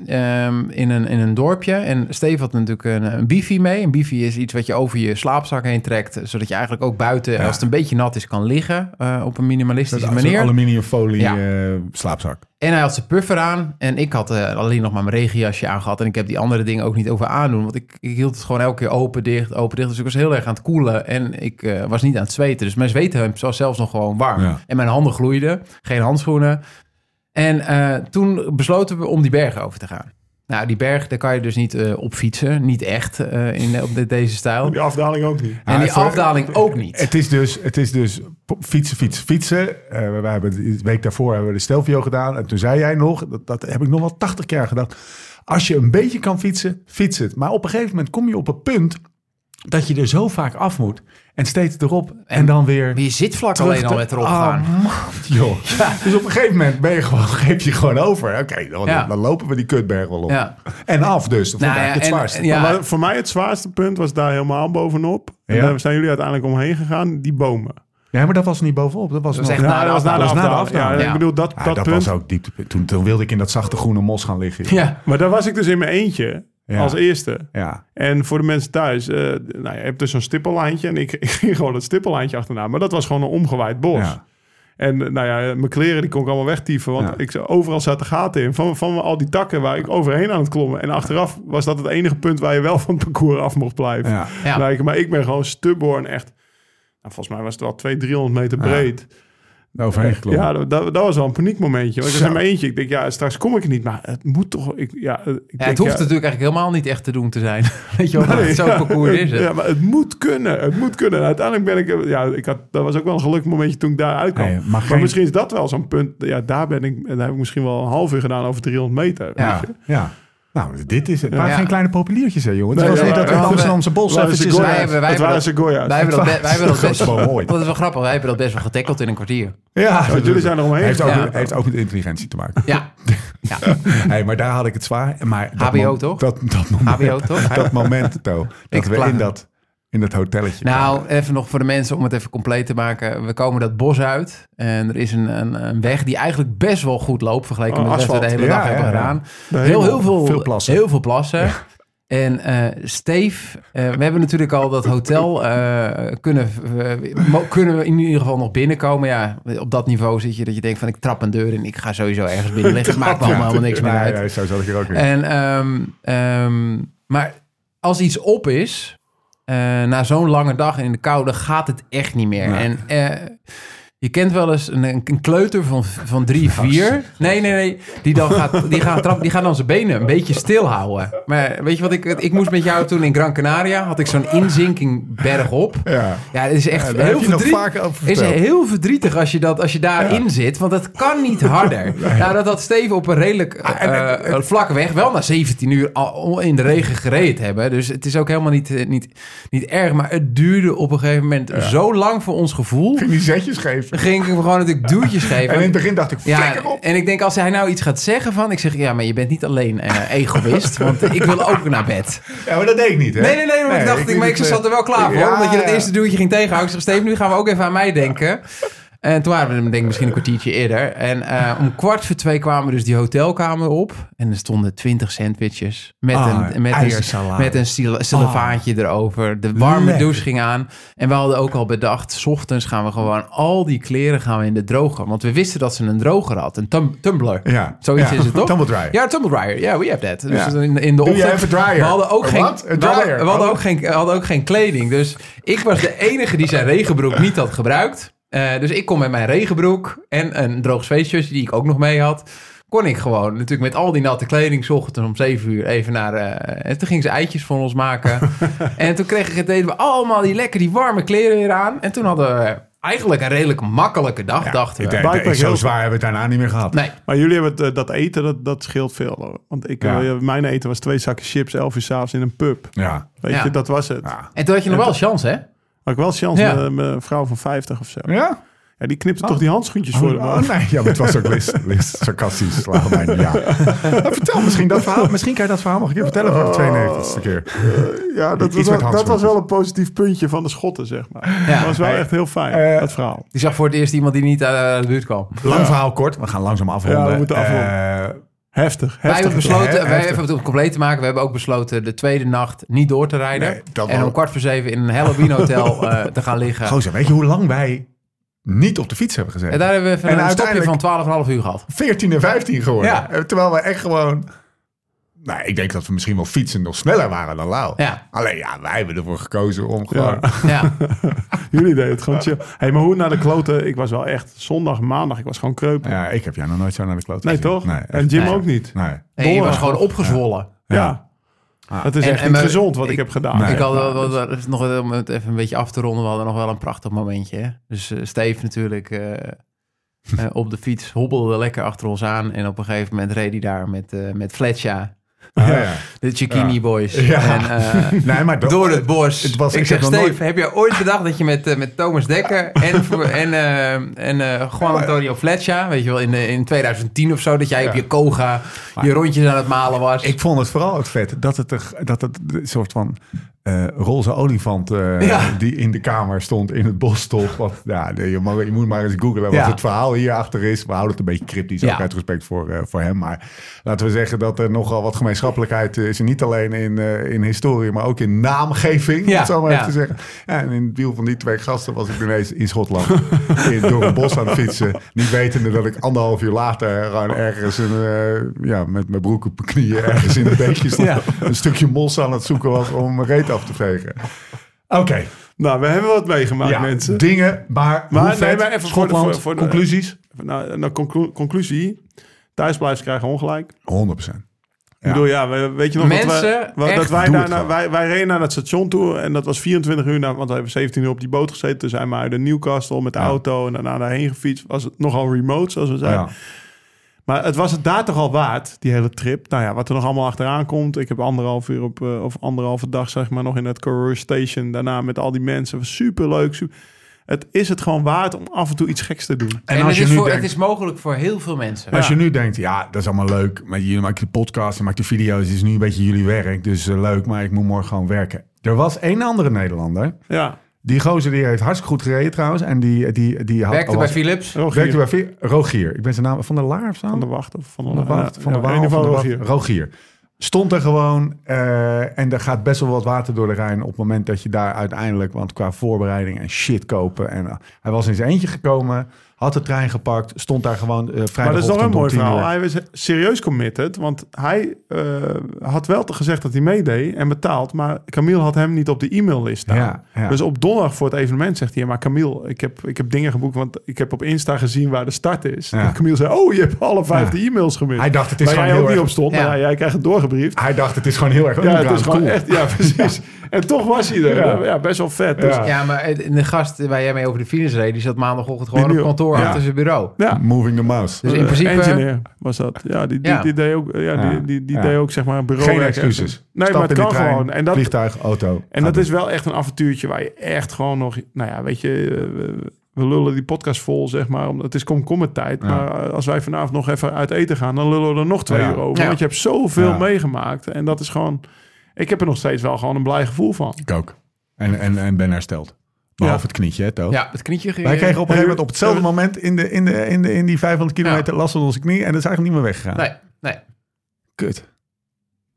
D: eh, ehm, in, een, in een dorpje. En Steve had natuurlijk een, een bifi mee. Een bifi is iets wat je over je slaapzak heen trekt. Zodat je eigenlijk ook buiten, als het een beetje nat is, kan liggen. eh, op een minimalistische
B: Zo'n
D: manier.
B: aluminiumfolie
D: Ja.
B: eh, slaapzak.
D: En hij had zijn puffer aan. En ik had eh, alleen nog maar mijn regenjasje aangehad. En ik heb die andere dingen ook niet over aandoen. Want ik, ik hield het gewoon elke keer open, dicht, open, dicht. Dus ik was heel erg aan het koelen. En ik eh, was niet aan het zweten. Dus mijn zweethemp was zelfs nog gewoon warm.
B: Ja.
D: En mijn handen gloeiden. Geen handschoenen. En eh, toen besloten we om die berg over te gaan. Nou, die berg, daar kan je dus niet eh, op fietsen. Niet echt eh, in, op de- deze stijl.
E: Die afdaling ook niet.
D: En
B: Ja,
D: die
B: voor-
D: afdaling ook niet.
B: eh, Het is dus, het is dus po- fietsen, fietsen, fietsen. Eh, wij hebben de week daarvoor hebben we de Stelvio gedaan. En toen zei jij nog, dat, dat heb ik nog wel 80 keer gedacht. Als je een beetje kan fietsen, fiets het. Maar op een gegeven moment kom je op een punt dat je er zo vaak af moet. En steeds erop en, dan weer...
D: Maar je zit vlak
B: terug
D: alleen al
B: te-
D: met erop
B: Ah,
D: gaan.
B: man, joh. Dus op een gegeven moment ben je gewoon, geef je gewoon over. Oké, dan,
D: Ja.
B: dan lopen we die kutberg wel op.
D: Ja.
B: En af dus. Dat vond
D: Nou
B: ik
D: ja,
B: eigenlijk
D: en-
B: het zwaarste.
D: ja.
E: Maar voor mij het zwaarste punt was daar helemaal bovenop. En
B: Ja.
E: daar zijn jullie uiteindelijk omheen gegaan. Die bomen.
B: Ja, maar dat was niet bovenop. Dat was,
D: Nou, Dat was
B: nog-
D: echt na
E: Ja,
D: de
E: dat was na de
D: afdaling.
B: Dat was na de
E: afdaling.
B: afdaling.
D: Ja.
E: Ja, ik bedoel, dat,
B: Ja,
E: dat,
B: dat
E: punt.
B: was ook dieptepunt. Toen, toen wilde ik in dat zachte groene mos gaan liggen. joh.
D: Ja.
E: Maar daar was ik dus in mijn eentje.
B: Ja.
E: Als eerste.
B: Ja.
E: En voor de mensen thuis, eh, nou, je hebt dus zo'n stippellijntje. En ik, ik ging gewoon dat stippellijntje achterna. Maar dat was gewoon een omgewaaid bos.
B: Ja.
E: En eh, nou ja, mijn kleren die kon ik allemaal wegtieven. Want
B: Ja.
E: ik, overal zaten gaten in. Van, van al die takken waar ik overheen aan het klommen. En achteraf was dat het enige punt waar je wel van het parcours af mocht blijven.
B: Ja.
D: Ja.
E: Lijken. Maar ik ben gewoon stubborn echt. Nou, volgens mij was het wel 200, 300 meter breed.
B: Overheen geklommen.
E: Ja, dat, dat, dat was wel een paniekmomentje. Want ik was
B: Zo.
E: in mijn eentje. Ik denk, ja, straks kom ik er niet. Maar het moet toch... Ik, ja, eh, ik
D: Ja,
E: denk,
D: het hoeft
E: ja,
D: natuurlijk eigenlijk helemaal niet echt te doen te zijn. Weet je wel, maar
E: Nee,
D: zo'n
E: ja,
D: parcours is het.
E: Ja, maar het moet kunnen. Het moet kunnen. En uiteindelijk ben ik... Ja, ik had, dat was ook wel een gelukkig momentje toen ik daar uitkwam.
B: Nee, maar
E: maar
B: geen-
E: misschien is dat wel zo'n punt. Ja, daar ben ik... En daar heb ik misschien wel een half uur gedaan over 300 meter.
D: Ja. Dus
E: weet je.
B: Ja. Nou, dit is het. Het waren
D: Ja.
B: geen kleine populiertjes, hè, jongen. Het
E: Nee,
B: was
E: ja,
B: niet
E: ja,
B: dat we
E: ja.
B: het Amsterdamse bos
E: Waar is
B: eventjes...
E: de
D: Wij
E: Goya's.
D: hebben- wij
E: Het
D: hebben
E: waren
D: dat-
E: Segoya's.
D: Wij hebben dat, be- wij hebben dat best
B: grootste boom ooit.
D: Dat is wel grappig. Wij hebben dat best wel getackled in een kwartier.
B: Ja,
E: Want jullie zijn er omheen
B: Heeft ook,
D: gegaan.
B: heeft ook met intelligentie te maken.
D: Ja,
B: Hey, maar daar had ik het zwaar. Maar dat
D: HBO
B: mom-
D: toch?
B: Dat, dat moment,
D: HBO toch?
B: Dat moment, To, dat
D: Ik
B: we
D: klaar.
B: in dat, in dat hotelletje
D: nou, even nog voor de mensen om het even compleet te maken. We komen dat bos uit en er is een, een, een weg die eigenlijk best wel goed loopt vergeleken
E: Oh,
D: met wat we de
E: asfalt.
D: hele dag
B: Ja,
D: hebben
B: ja, ja.
D: gedaan.
E: Nee,
D: Heel,
E: man.
D: heel veel,
B: Veel plassen.
D: Heel veel plassen. En eh Steve, eh, we hebben natuurlijk al dat hotel eh, kunnen, eh, mo- kunnen we in ieder geval nog binnenkomen. Ja, op dat niveau zit je dat je denkt van ik trap een deur in, ik ga sowieso ergens binnen liggen. Het maakt me allemaal helemaal niks meer
B: Nee,
D: uit. Eh.
B: nee, zo zat ik er ook in.
D: En, ehm, ehm, maar als iets op is, eh, na zo'n lange dag in de koude gaat het echt niet meer. En eh, je kent wel eens een, een kleuter van, van drie,
B: Oh,
D: vier. Nee, nee, nee. Die, dan gaat, die, gaat trap, die gaat dan zijn benen een beetje stilhouden. Maar weet je wat ik... Ik moest met jou toen in Gran Canaria... had ik zo'n inzinking bergop.
B: Ja.
D: Ja, het is echt
B: Ja, daar
D: heel
B: heb je nog
D: verdrietig.
B: vaker over
D: is
B: verteld.
D: heel verdrietig als je, dat, als je daarin zit, want dat kan niet harder. Nou, dat had Steven op een redelijk eh, eh, vlakke weg wel na 17 uur al in de regen gereed hebben. Dus het is ook helemaal niet, eh, niet, niet erg, maar het duurde op een gegeven moment zo lang voor ons gevoel.
B: Ging die zetjes geven.
D: Ging ik hem gewoon natuurlijk duwtjes geven.
B: En in het begin dacht ik, flikker op.
D: en ik denk als hij nou iets gaat zeggen van... Ik zeg, ja, maar je bent niet alleen eh, egoïst, want ik wil ook naar bed.
B: Ja, maar dat deed ik niet, hè?
D: Nee, nee, nee, want ik dacht, ik, maar ik
B: liep, eh,
D: zat er wel klaar voor.
B: ja,
D: omdat je dat
B: ja.
D: eerste duwtje ging tegenhouden. Ik zeg, Steven, nu gaan we ook even aan mij denken. En toen waren we hem denk ik misschien een kwartiertje eerder. En eh, om kwart voor twee kwamen we dus die hotelkamer op. En er stonden twintig sandwiches. Met
B: Ah,
D: een, met een,
B: ijzersalade. Ah.
D: met een sil- silivaantje erover. De warme
B: Lekker.
D: douche ging aan. En we hadden ook al bedacht, 's ochtends gaan we gewoon al die kleren gaan we in de droger. Want we wisten dat ze een droger had. Een tum- tumbler.
B: Ja.
D: Zoiets
B: Ja.
D: is het toch?
B: Tumble dryer.
D: Ja, tumble dryer. Ja, we have that. Dus
B: Ja.
D: in, in de
B: Doe jij
D: ochtend.
B: even dryer?
D: We hadden ook
B: Een
D: geen...
B: wat? Een
D: we hadden-
B: dryer?
D: we hadden
B: Oh.
D: ook geen, we hadden ook geen kleding. Dus ik was de enige die zijn regenbroek niet had gebruikt. Eh, dus ik kon met mijn regenbroek en een droog zweetjusje die ik ook nog mee had... kon ik gewoon natuurlijk met al die natte kleding... 's ochtends om 7 uur even naar... eh, en toen ging ze eitjes voor ons maken. en toen kregen we- deden we allemaal die lekker die warme kleren weer aan. En toen hadden we eigenlijk een redelijk makkelijke dag, dachten
B: Ik
D: we.
B: denk,
E: Buikpijn
B: nee, zo
E: heel-
B: zwaar hebben we het daarna niet meer gehad.
D: eh. Nee,
E: Maar jullie hebben het, eh, dat eten, dat, dat scheelt veel. hoor. Want ik,
B: Ja.
E: eh, mijn eten was twee zakken chips, elf uur s'avonds in een pub.
B: Ja.
E: Weet
D: Ja.
E: je, dat was het.
B: Ja.
D: en toen had je nog wel chance, hè?
E: Had ik wel chance
D: Ja.
E: met met een vrouw van 50 of zo.
B: Ja?
E: Ja, die knipte toch die handschoentjes voor de
B: Oh, nee, ja, maar het was ook list, list sarcastisch. Laat mij niet- ja. Maar vertel misschien dat verhaal. Misschien kan je dat verhaal nog een keer vertellen voor de 92ste keer.
E: Ja, dat,
B: Iets met
E: was, wel- dat
B: handschoentjes.
E: was wel een positief puntje van de schotten, zeg maar.
D: Ja.
E: Dat was wel
B: Hey,
E: echt heel fijn,
B: eh,
E: dat verhaal.
D: Die zag voor het eerst iemand die niet eh, uit de buurt kwam.
B: Lang verhaal kort. We gaan langzaam afronden.
E: Ja, we moeten
B: Eh,
E: Heftig,
D: Wij hebben
E: heftig.
D: besloten,
B: Ja,
D: wij
B: heftig.
D: hebben het compleet te maken. We hebben ook besloten de tweede nacht niet door te rijden.
B: Nee, dat
D: en
B: wel.
D: om kwart voor zeven in een Halloween hotel eh, te gaan liggen.
B: gozer, weet je hoe lang wij niet op de fiets hebben gezeten?
D: En daar hebben we even
B: En
D: een
B: uiteindelijk-
D: stopje van 12,5 uur gehad.
B: 14 en 15 geworden.
D: Ja.
B: Eh, Terwijl we echt gewoon... Nou, ik denk dat we misschien wel fietsen nog sneller waren dan Lau.
D: Ja.
B: Alleen ja, wij hebben ervoor gekozen om gewoon...
D: Ja.
E: Jullie deden het gewoon chill. hey, maar hoe naar de kloten? Ik was wel echt zondag, maandag, ik was gewoon kreupen.
B: Ja, ik heb jou nog nooit zo naar de klote
E: nee,
B: gezien.
E: toch?
B: Nee,
E: en Jim
D: Nee.
E: ook niet.
B: nee.
D: En je was
E: Donderdag.
D: gewoon opgezwollen.
E: Ja. Dat is
D: Ah. En-
E: echt
D: en
E: niet
D: maar-
E: gezond wat ik,
D: ik-
E: heb gedaan.
B: Nee.
D: Ik had wel, wel- wel- dus nog, om het even een beetje af te ronden, we hadden nog wel een prachtig momentje. Hè? Dus eh, Steve natuurlijk eh, eh, op de fiets hobbelde lekker achter ons aan. En op een gegeven moment reed hij daar met, eh met Fletcha,
B: Ah, ja.
D: de Chikini Boys.
B: Ja.
D: En, eh,
B: nee, maar
D: Door het bos.
B: Het was-
D: ik
B: ik
D: zeg,
B: heb nog
D: Steve,
B: nooit-
D: heb jij ooit bedacht dat je met, eh, met Thomas Dekker en, en, eh, en eh, Juan Antonio Fletcher, weet je wel, in, eh, in 2010 of zo, dat jij op je Koga je rondjes aan het malen was.
B: Ik vond het vooral ook vet dat het, er, dat het een soort van eh, roze olifant eh,
D: Ja.
B: die in de kamer stond, in het bos stond. Wat, ja, nee, je, mag, je moet maar eens googlen wat
D: Ja.
B: het verhaal hierachter is. We houden het een beetje cryptisch,
D: Ja.
B: ook uit respect voor, eh, voor hem. Maar laten we zeggen dat er nogal wat gemeenschappelijkheid is. En niet alleen in, eh, in historie, maar ook in naamgeving, om
D: Ja,
B: het zo maar
D: ja.
B: even te zeggen. Ja, en in het wiel van die twee gasten was ik ineens in Schotland in, door een bos aan het fietsen. Niet wetende dat ik anderhalf uur later gewoon ergens een, eh, ja, met mijn broek op mijn knieën ergens in een beekje stond. Een stukje mos aan het zoeken was om mijn reet af te vegen. Oké,
E: Nou, we hebben wat meegemaakt,
B: ja,
E: mensen.
B: dingen, maar,
E: Maar
B: hoe
E: nee,
B: vet?
E: maar even voor de-
B: Schotland,
E: voor- voor de-
B: conclusies?
E: Nou, nou, conclu- conclusie. Thuisblijvers krijgen ongelijk.
B: 100%.
E: Ik bedoel, ja, we- weet je nog dat
D: Mensen,
E: wij, wa-
D: echt,
E: dat wij,
B: doe
E: daar
B: het
E: naar-
B: gewoon.
E: wij, wij reden naar dat station toe en dat was 24 uur, na, want we hebben 17 uur op die boot gezeten. Toen zijn we uit de Newcastle met de auto en daarna daarheen gefietst. Was het nogal remote, zoals we zeiden.
B: Ja.
E: Maar het was het daar toch al waard, die hele trip. Nou ja, wat er nog allemaal achteraan komt. Ik heb anderhalf uur op, eh, of anderhalve dag, zeg maar, nog in het Courier Station. Daarna met al die mensen. Was superleuk. Super... Het is het gewoon waard om af en toe iets geks te doen.
D: en
B: als
D: het,
B: je
D: is
B: nu
D: voor,
B: denkt-
D: het is mogelijk voor heel veel mensen.
B: Als je nu denkt, ja, dat is allemaal leuk. Maar je maakt de podcast, je maakt de video's. Het is nu een beetje jullie werk. Dus eh, leuk, maar ik moet morgen gewoon werken. Er was één andere Nederlander.
E: Ja,
B: Die gozer die heeft hartstikke goed gereden trouwens. En die, die, die had,
D: Werkte
B: was-
D: bij Philips.
E: Rogier.
B: Werkte bij Fi- Rogier. Ik ben zijn naam van der Laar of zo?
E: Van de wacht of van de,
B: Van de Waard,
E: ja,
B: van de
E: ja,
B: Waal,
E: in ieder
B: van
E: geval
B: de
E: Rogier.
B: Waard. Rogier. Stond er gewoon eh, en er gaat best wel wat water door de Rijn op het moment dat je daar uiteindelijk, want qua voorbereiding en shit kopen en eh, hij was in zijn eentje gekomen, Had de trein gepakt, stond daar gewoon eh vrijdag.
E: Maar dat is nog een mooi verhaal. Hij was serieus committed, want hij eh, had wel te gezegd dat hij meedeed en betaald, maar Camille had hem niet op de e-maillist staan.
B: Ja, ja.
E: Dus op donderdag voor het evenement zegt hij, ja, maar Camille, ik heb, ik heb dingen geboekt, want ik heb op Insta gezien waar de start is.
B: Ja.
E: En Camille zei, oh, je hebt alle vijf
B: Ja.
E: de e-mails gemist.
B: Hij dacht, het is
E: waar
B: gewoon
E: jij
B: heel
E: ook niet
B: erg-
E: op stond,
D: Ja.
E: maar jij krijgt het doorgebriefd.
B: Hij dacht, het is gewoon heel erg
E: Ja, het
B: underground,
E: is gewoon
B: cool.
E: echt, ja, precies. En toch was hij er.
B: Ja.
E: Ja, best wel vet. Dus,
B: Ja.
E: ja.
D: Ja, maar eh, de gast waar jij mee over de finish reed, die zat maandagochtend gewoon
E: Die
D: op
E: nu-
D: kantoor
E: ja.
D: achter zijn bureau.
B: Moving the mouse.
D: Dus in
E: Eh,
D: principe-
E: Engineer was dat. Ja, die, die,
D: Ja.
E: die deed ook, ja,
B: Ja.
E: Die, die, die
B: Ja.
E: deed ook zeg maar bureauwerk.
B: Geen excuses.
E: Nee,
B: Stap
E: maar het
B: in de
E: kan
B: trein,
E: gewoon. En dat,
B: Vliegtuig, auto.
E: En dat is wel echt een avontuurtje waar je echt gewoon nog... Nou ja, weet je, eh, we- we lullen die podcast vol, zeg maar. Omdat het is komkommertijd.
B: Ja.
E: Maar eh, als wij vanavond nog even uit eten gaan... dan lullen we er nog twee
B: Ja.
E: uur over.
D: Ja.
E: Want je hebt zoveel
B: Ja.
E: meegemaakt. En dat is gewoon... Ik heb er nog steeds wel gewoon een blij gevoel van.
B: Ik ook. En, en, en ben hersteld. Behalve
E: Ja.
B: het knietje, hè, Toon?
D: Ja, het knietje ging...
B: Wij kregen op een gegeven moment op hetzelfde moment in, de, in, de, in, de, in die 500 kilometer last van onze knie. En dat is eigenlijk niet meer weggegaan.
D: Nee, nee.
B: Kut.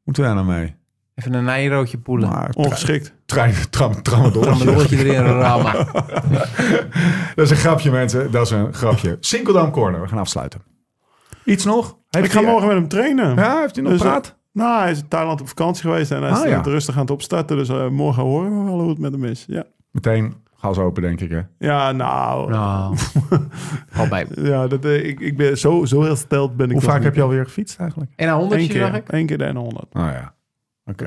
B: Moeten we daar nou mee?
D: Even een nijroodje poelen.
B: Maar trein,
E: Ongeschikt.
B: trein, tram, tram,
D: Dan een roodje erin, een rama.
B: Dat is een grapje, mensen. Dat is een grapje. Sinkeldam Corner. We gaan afsluiten. Iets nog? Heeft
E: Ik ga
B: hij-
E: morgen met hem trainen.
B: Ja, heeft hij nog
E: Dus,
B: praat?
E: Nou, hij is in Thailand op vakantie geweest en hij is
B: Ah, ja.
E: het rustig aan het opstarten. Dus eh, morgen horen we wel hoe het met hem is. Ja,
B: Meteen gas open, denk ik, hè?
E: ja nou.
D: Nou, valt mee.
E: Ja, dat, eh, ik, ik ben zo, zo hersteld ben ik
B: Hoe
E: nog
B: vaak
E: niet.
B: heb je alweer gefietst eigenlijk?
D: En een
E: Eén
D: honderdje,
E: keer,
D: zag ik.
E: één keer de N100.
B: Nou ja. Oké.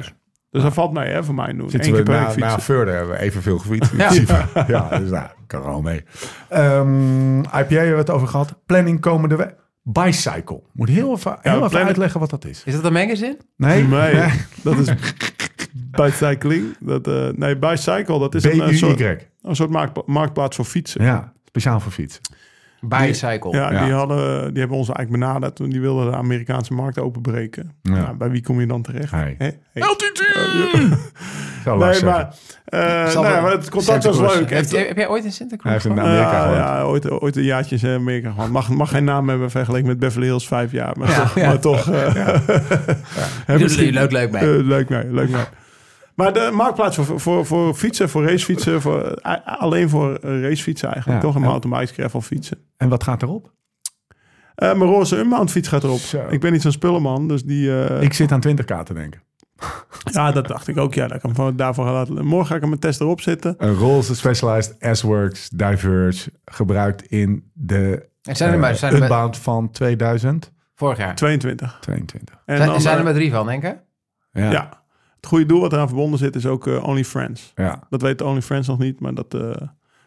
E: Dus dat valt mee, hè, voor mij nu.
B: Zitten
E: Eén keer
B: we
E: per
B: na,
E: week
B: na
E: fietsen.
B: Verder hebben we evenveel gefietst.
D: Ja.
B: Ja, ja dus nou, kan er al mee. Ehm IPA hebben we het over gehad. Planning komende week. Bicycle. Moet heel even, heel even
E: planning-
B: uitleggen wat dat is.
D: Is dat een magazine?
B: Nee?
E: Nee, dat is bicycling. Dat, eh nee, bicycle, dat is een, eh, soort,
B: B-U-Y.
E: een soort maakpla- marktplaats voor fietsen.
B: Ja, speciaal voor fiets.
D: Bicycle.
E: Ja,
B: Ja.
E: Die, hadden, die hebben ons eigenlijk benaderd toen die wilden de Amerikaanse markt openbreken.
B: Ja.
E: Nou, bij wie kom je dan terecht?
B: Hey. Nou,
E: Hè? Hey.
B: Zo was
E: Nee,
B: het.
E: maar, eh,
D: Zal
E: nou,
D: wel-
E: ja, maar het contact was
D: Santa Cruz.
E: leuk.
D: Heb,
E: En-
D: heb jij ooit in Santa
B: Hij
D: Cruz
B: heeft in
D: gewoond?
B: Amerika gewoond.
E: Ah, ja, ja, ooit, ooit een jaartje in Amerika gewoon. Mag, mag geen naam hebben vergeleken met Beverly Hills vijf jaar. Maar
D: Ja,
E: toch.
D: ja.
E: Maar toch eh, hè,
D: Doet
E: misschien-
D: leuk, leuk mee.
E: eh, leuk mee, leuk mee. Maar de marktplaats voor, voor, voor fietsen, voor racefietsen, voor, eh, alleen voor eh, racefietsen eigenlijk.
B: Ja,
E: toch een
B: ja.
E: mountain bike gravel fietsen.
B: En wat gaat erop?
E: Eh, mijn roze unbound fiets gaat erop.
B: Zo.
E: Ik ben niet zo'n spullenman, dus die... eh,
B: Ik zit aan 20k te denken.
E: Ja, dat dacht ik ook. Ja, dat ik hem van- daarvoor ga laten. Morgen ga ik hem mijn test erop zetten.
B: Een Rolls Specialized S-Works Diverge gebruikt in de
D: En zijn er
B: eh,
D: maar, zijn er maar
B: Unbound van 2022.
D: vorig jaar.
B: 22.
E: En
D: Zijn,
E: dan,
D: zijn er
E: eh,
D: maar drie van, denk ik.
B: Ja.
E: ja. Het goede doel wat eraan verbonden zit is ook eh, OnlyFriends.
B: Ja.
E: Dat weet OnlyFriends nog niet, maar dat... eh,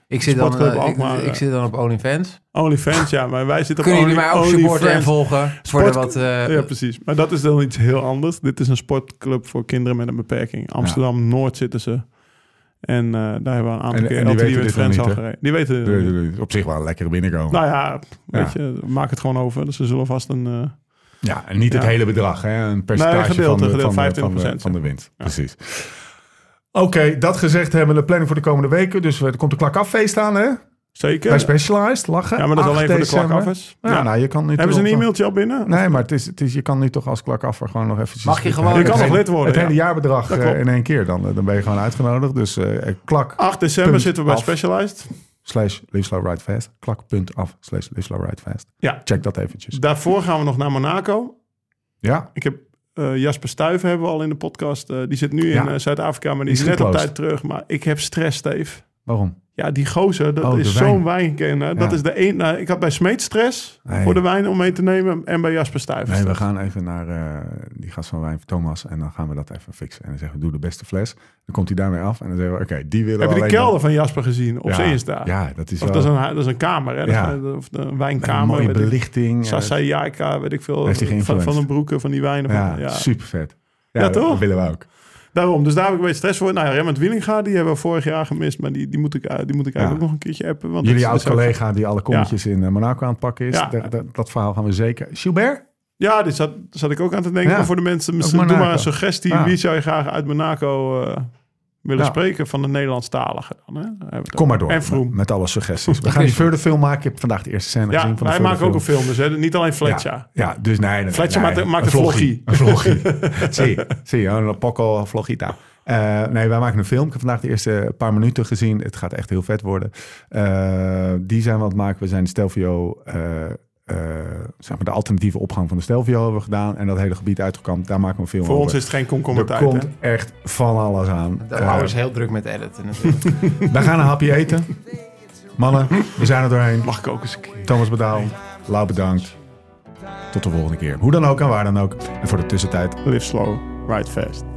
D: Ik zit, dan,
E: Sportclub
D: eh, ik,
E: Alkmaar,
D: ik
E: eh.
D: zit dan op OnlyFans.
E: OnlyFans, ja, maar wij zitten
D: Kunnen
E: op
D: jullie
E: Only-
D: mij ook supporten en
E: OnlyFans.
D: volgen? Voor de
E: Sport-
D: wat... eh,
E: Ja, precies. Maar dat is dan iets heel anders. Dit is een sportclub voor kinderen met een beperking. Amsterdam Noord zitten ze. En eh, daar hebben we een aantal
B: En-
E: keer
B: en die
E: LTD
B: weten dit
E: met
B: nog
E: Friends
B: niet,
E: al
B: hè?
E: gereden. Die weten het niet.
B: Dus Op zich wel een lekkere binnenkomen.
E: Nou ja, weet
B: Ja.
E: je, maak het gewoon over. Dus ze zullen vast een... eh,
B: ja, en niet het
E: Ja.
B: hele bedrag. Hè? Een percentage
E: Nee, gedeelte,
B: van, de,
E: gedeelte,
B: van, de, van, de,
E: 25%.
B: van de winst. Precies. Oké, dat gezegd hebben we de planning voor de komende weken. Dus er komt de klakafeest aan, hè?
E: zeker.
B: Bij Specialized, lachen.
E: Ja, maar dat is
B: 8
E: alleen voor de
B: december.
E: klakaffers.
B: Ja,
E: Ja.
B: nou, je kan nu
E: Hebben
B: toch
E: ze een
B: nog-
E: e-mailtje al binnen?
B: Nee, maar het is, het is, je kan nu toch als klakaffer gewoon nog eventjes...
D: Mag je
B: het-
D: gewoon-
E: Je
B: het
E: kan nog
B: hele-
E: lid worden,
B: Het hele jaarbedrag
E: Dat
B: eh,
E: klopt. Ah.
B: in één keer. Dan, eh, dan ben je gewoon uitgenodigd. Dus eh, klak
E: 8 december
B: Punt
E: zitten we bij
B: af.
E: Specialized.
B: slash Live Slow Ride Fast. Klak.af slash Live Slow Ride Fast.
E: Ja.
B: Check dat eventjes.
E: Daarvoor gaan we nog naar Monaco.
B: Ja,
E: Ik heb eh, Jasper Stuyven hebben we al in de podcast. Eh, die zit nu
B: Ja.
E: in eh, Zuid-Afrika, maar die
B: Die
E: is
B: is
E: net op
B: geclosed.
E: tijd terug. Maar ik heb stress, Steve.
B: waarom?
E: Ja, die gozer, dat
B: Oh, de
E: is
B: wijn.
E: zo'n wijnkenner. Dat
B: Ja.
E: is de een, nou, ik had bij Smeet stress
B: Nee.
E: voor de wijn om mee te nemen en bij Jasper Stuyven.
B: Nee, we
E: stress.
B: gaan even naar eh, die gast van Wijn, Thomas. En dan gaan we dat even fixen. En dan zeggen we, doe de beste fles. Dan komt hij daarmee af. En dan zeggen we, oké, die willen
E: heb je
B: we
E: die
B: alleen
E: kelder van Jasper gezien op
B: maar-
E: zijn Insta?
B: Ja, dat is
E: Of
B: wel
E: dat is, een, hu- dat is een kamer, hè? Dat
B: Ja.
E: is een- Of een
B: een
E: wijnkamer.
B: mooie
E: weet ik.
B: belichting.
E: Sassayaka, weet ik veel.
B: Heeft hij
E: Van,
B: geïnfluenced?
E: van de broeken, van die wijnen.
B: Eh, ja,
E: van, ja.
B: super vet.
E: Ja,
B: dat-
E: toch?
B: Dat willen we ook.
E: Daarom, dus daar heb ik een beetje stress voor. Nou ja, Remmert Wielinga, die hebben we vorig jaar gemist. Maar die, die, moet, ik, eh, die moet ik eigenlijk
B: Ja.
E: ook nog een keertje appen. Want
B: Jullie
E: dat is- dat is ook-
B: oud-collega die alle kommetjes in eh, Monaco aan het pakken is.
E: Ja.
B: Da- da- dat verhaal gaan we zeker. Gilbert?
E: Ja, dit zat, zat ik ook aan te denken.
B: Ja.
E: Maar voor de mensen, misschien doe
B: Monaco.
E: maar een suggestie.
B: Ja.
E: Wie zou je graag uit Monaco eh, willen
B: Ja.
E: spreken van de Nederlandstaligen? Dan, hè? Daar hebben we het
B: Kom maar
E: over.
B: door.
E: En Vroom.
B: Met, met alle suggesties. We gaan die verder film maken. Ik heb vandaag de eerste scène
E: Ja,
B: gezien. Van de
E: wij
B: Further
E: maken ook een film. Dus hè? niet alleen Fletcher.
B: Ja, ja, dus nee. nee,
E: Fletcher
B: nee,
E: maakt- maakt een
B: Een vloggie. Een vloggie. zie je. Zie je. Een pokkel vloggita. Eh, nee, wij maken een film. Ik heb vandaag de eerste paar minuten gezien. Het gaat echt heel vet worden. Eh, die zijn we aan het maken. We zijn Stelvio, eh, eh, zeg maar de alternatieve opgang van de Stelvio hebben we gedaan. En dat hele gebied uitgekampt. Daar maken we een film
E: Voor
B: over.
E: ons is het geen
B: er
E: komkommertijd.
B: komt
E: hè?
B: echt van alles aan.
D: De
B: Eh,
D: houden is heel druk met editen natuurlijk.
B: wij gaan een hapje eten. Mannen, we zijn er doorheen.
E: Mag ik ook eens een keer.
B: Thomas Bedaal, Lau bedankt. Tot de volgende keer. Hoe dan ook en waar dan ook. En voor de tussentijd
E: Live slow, ride fast.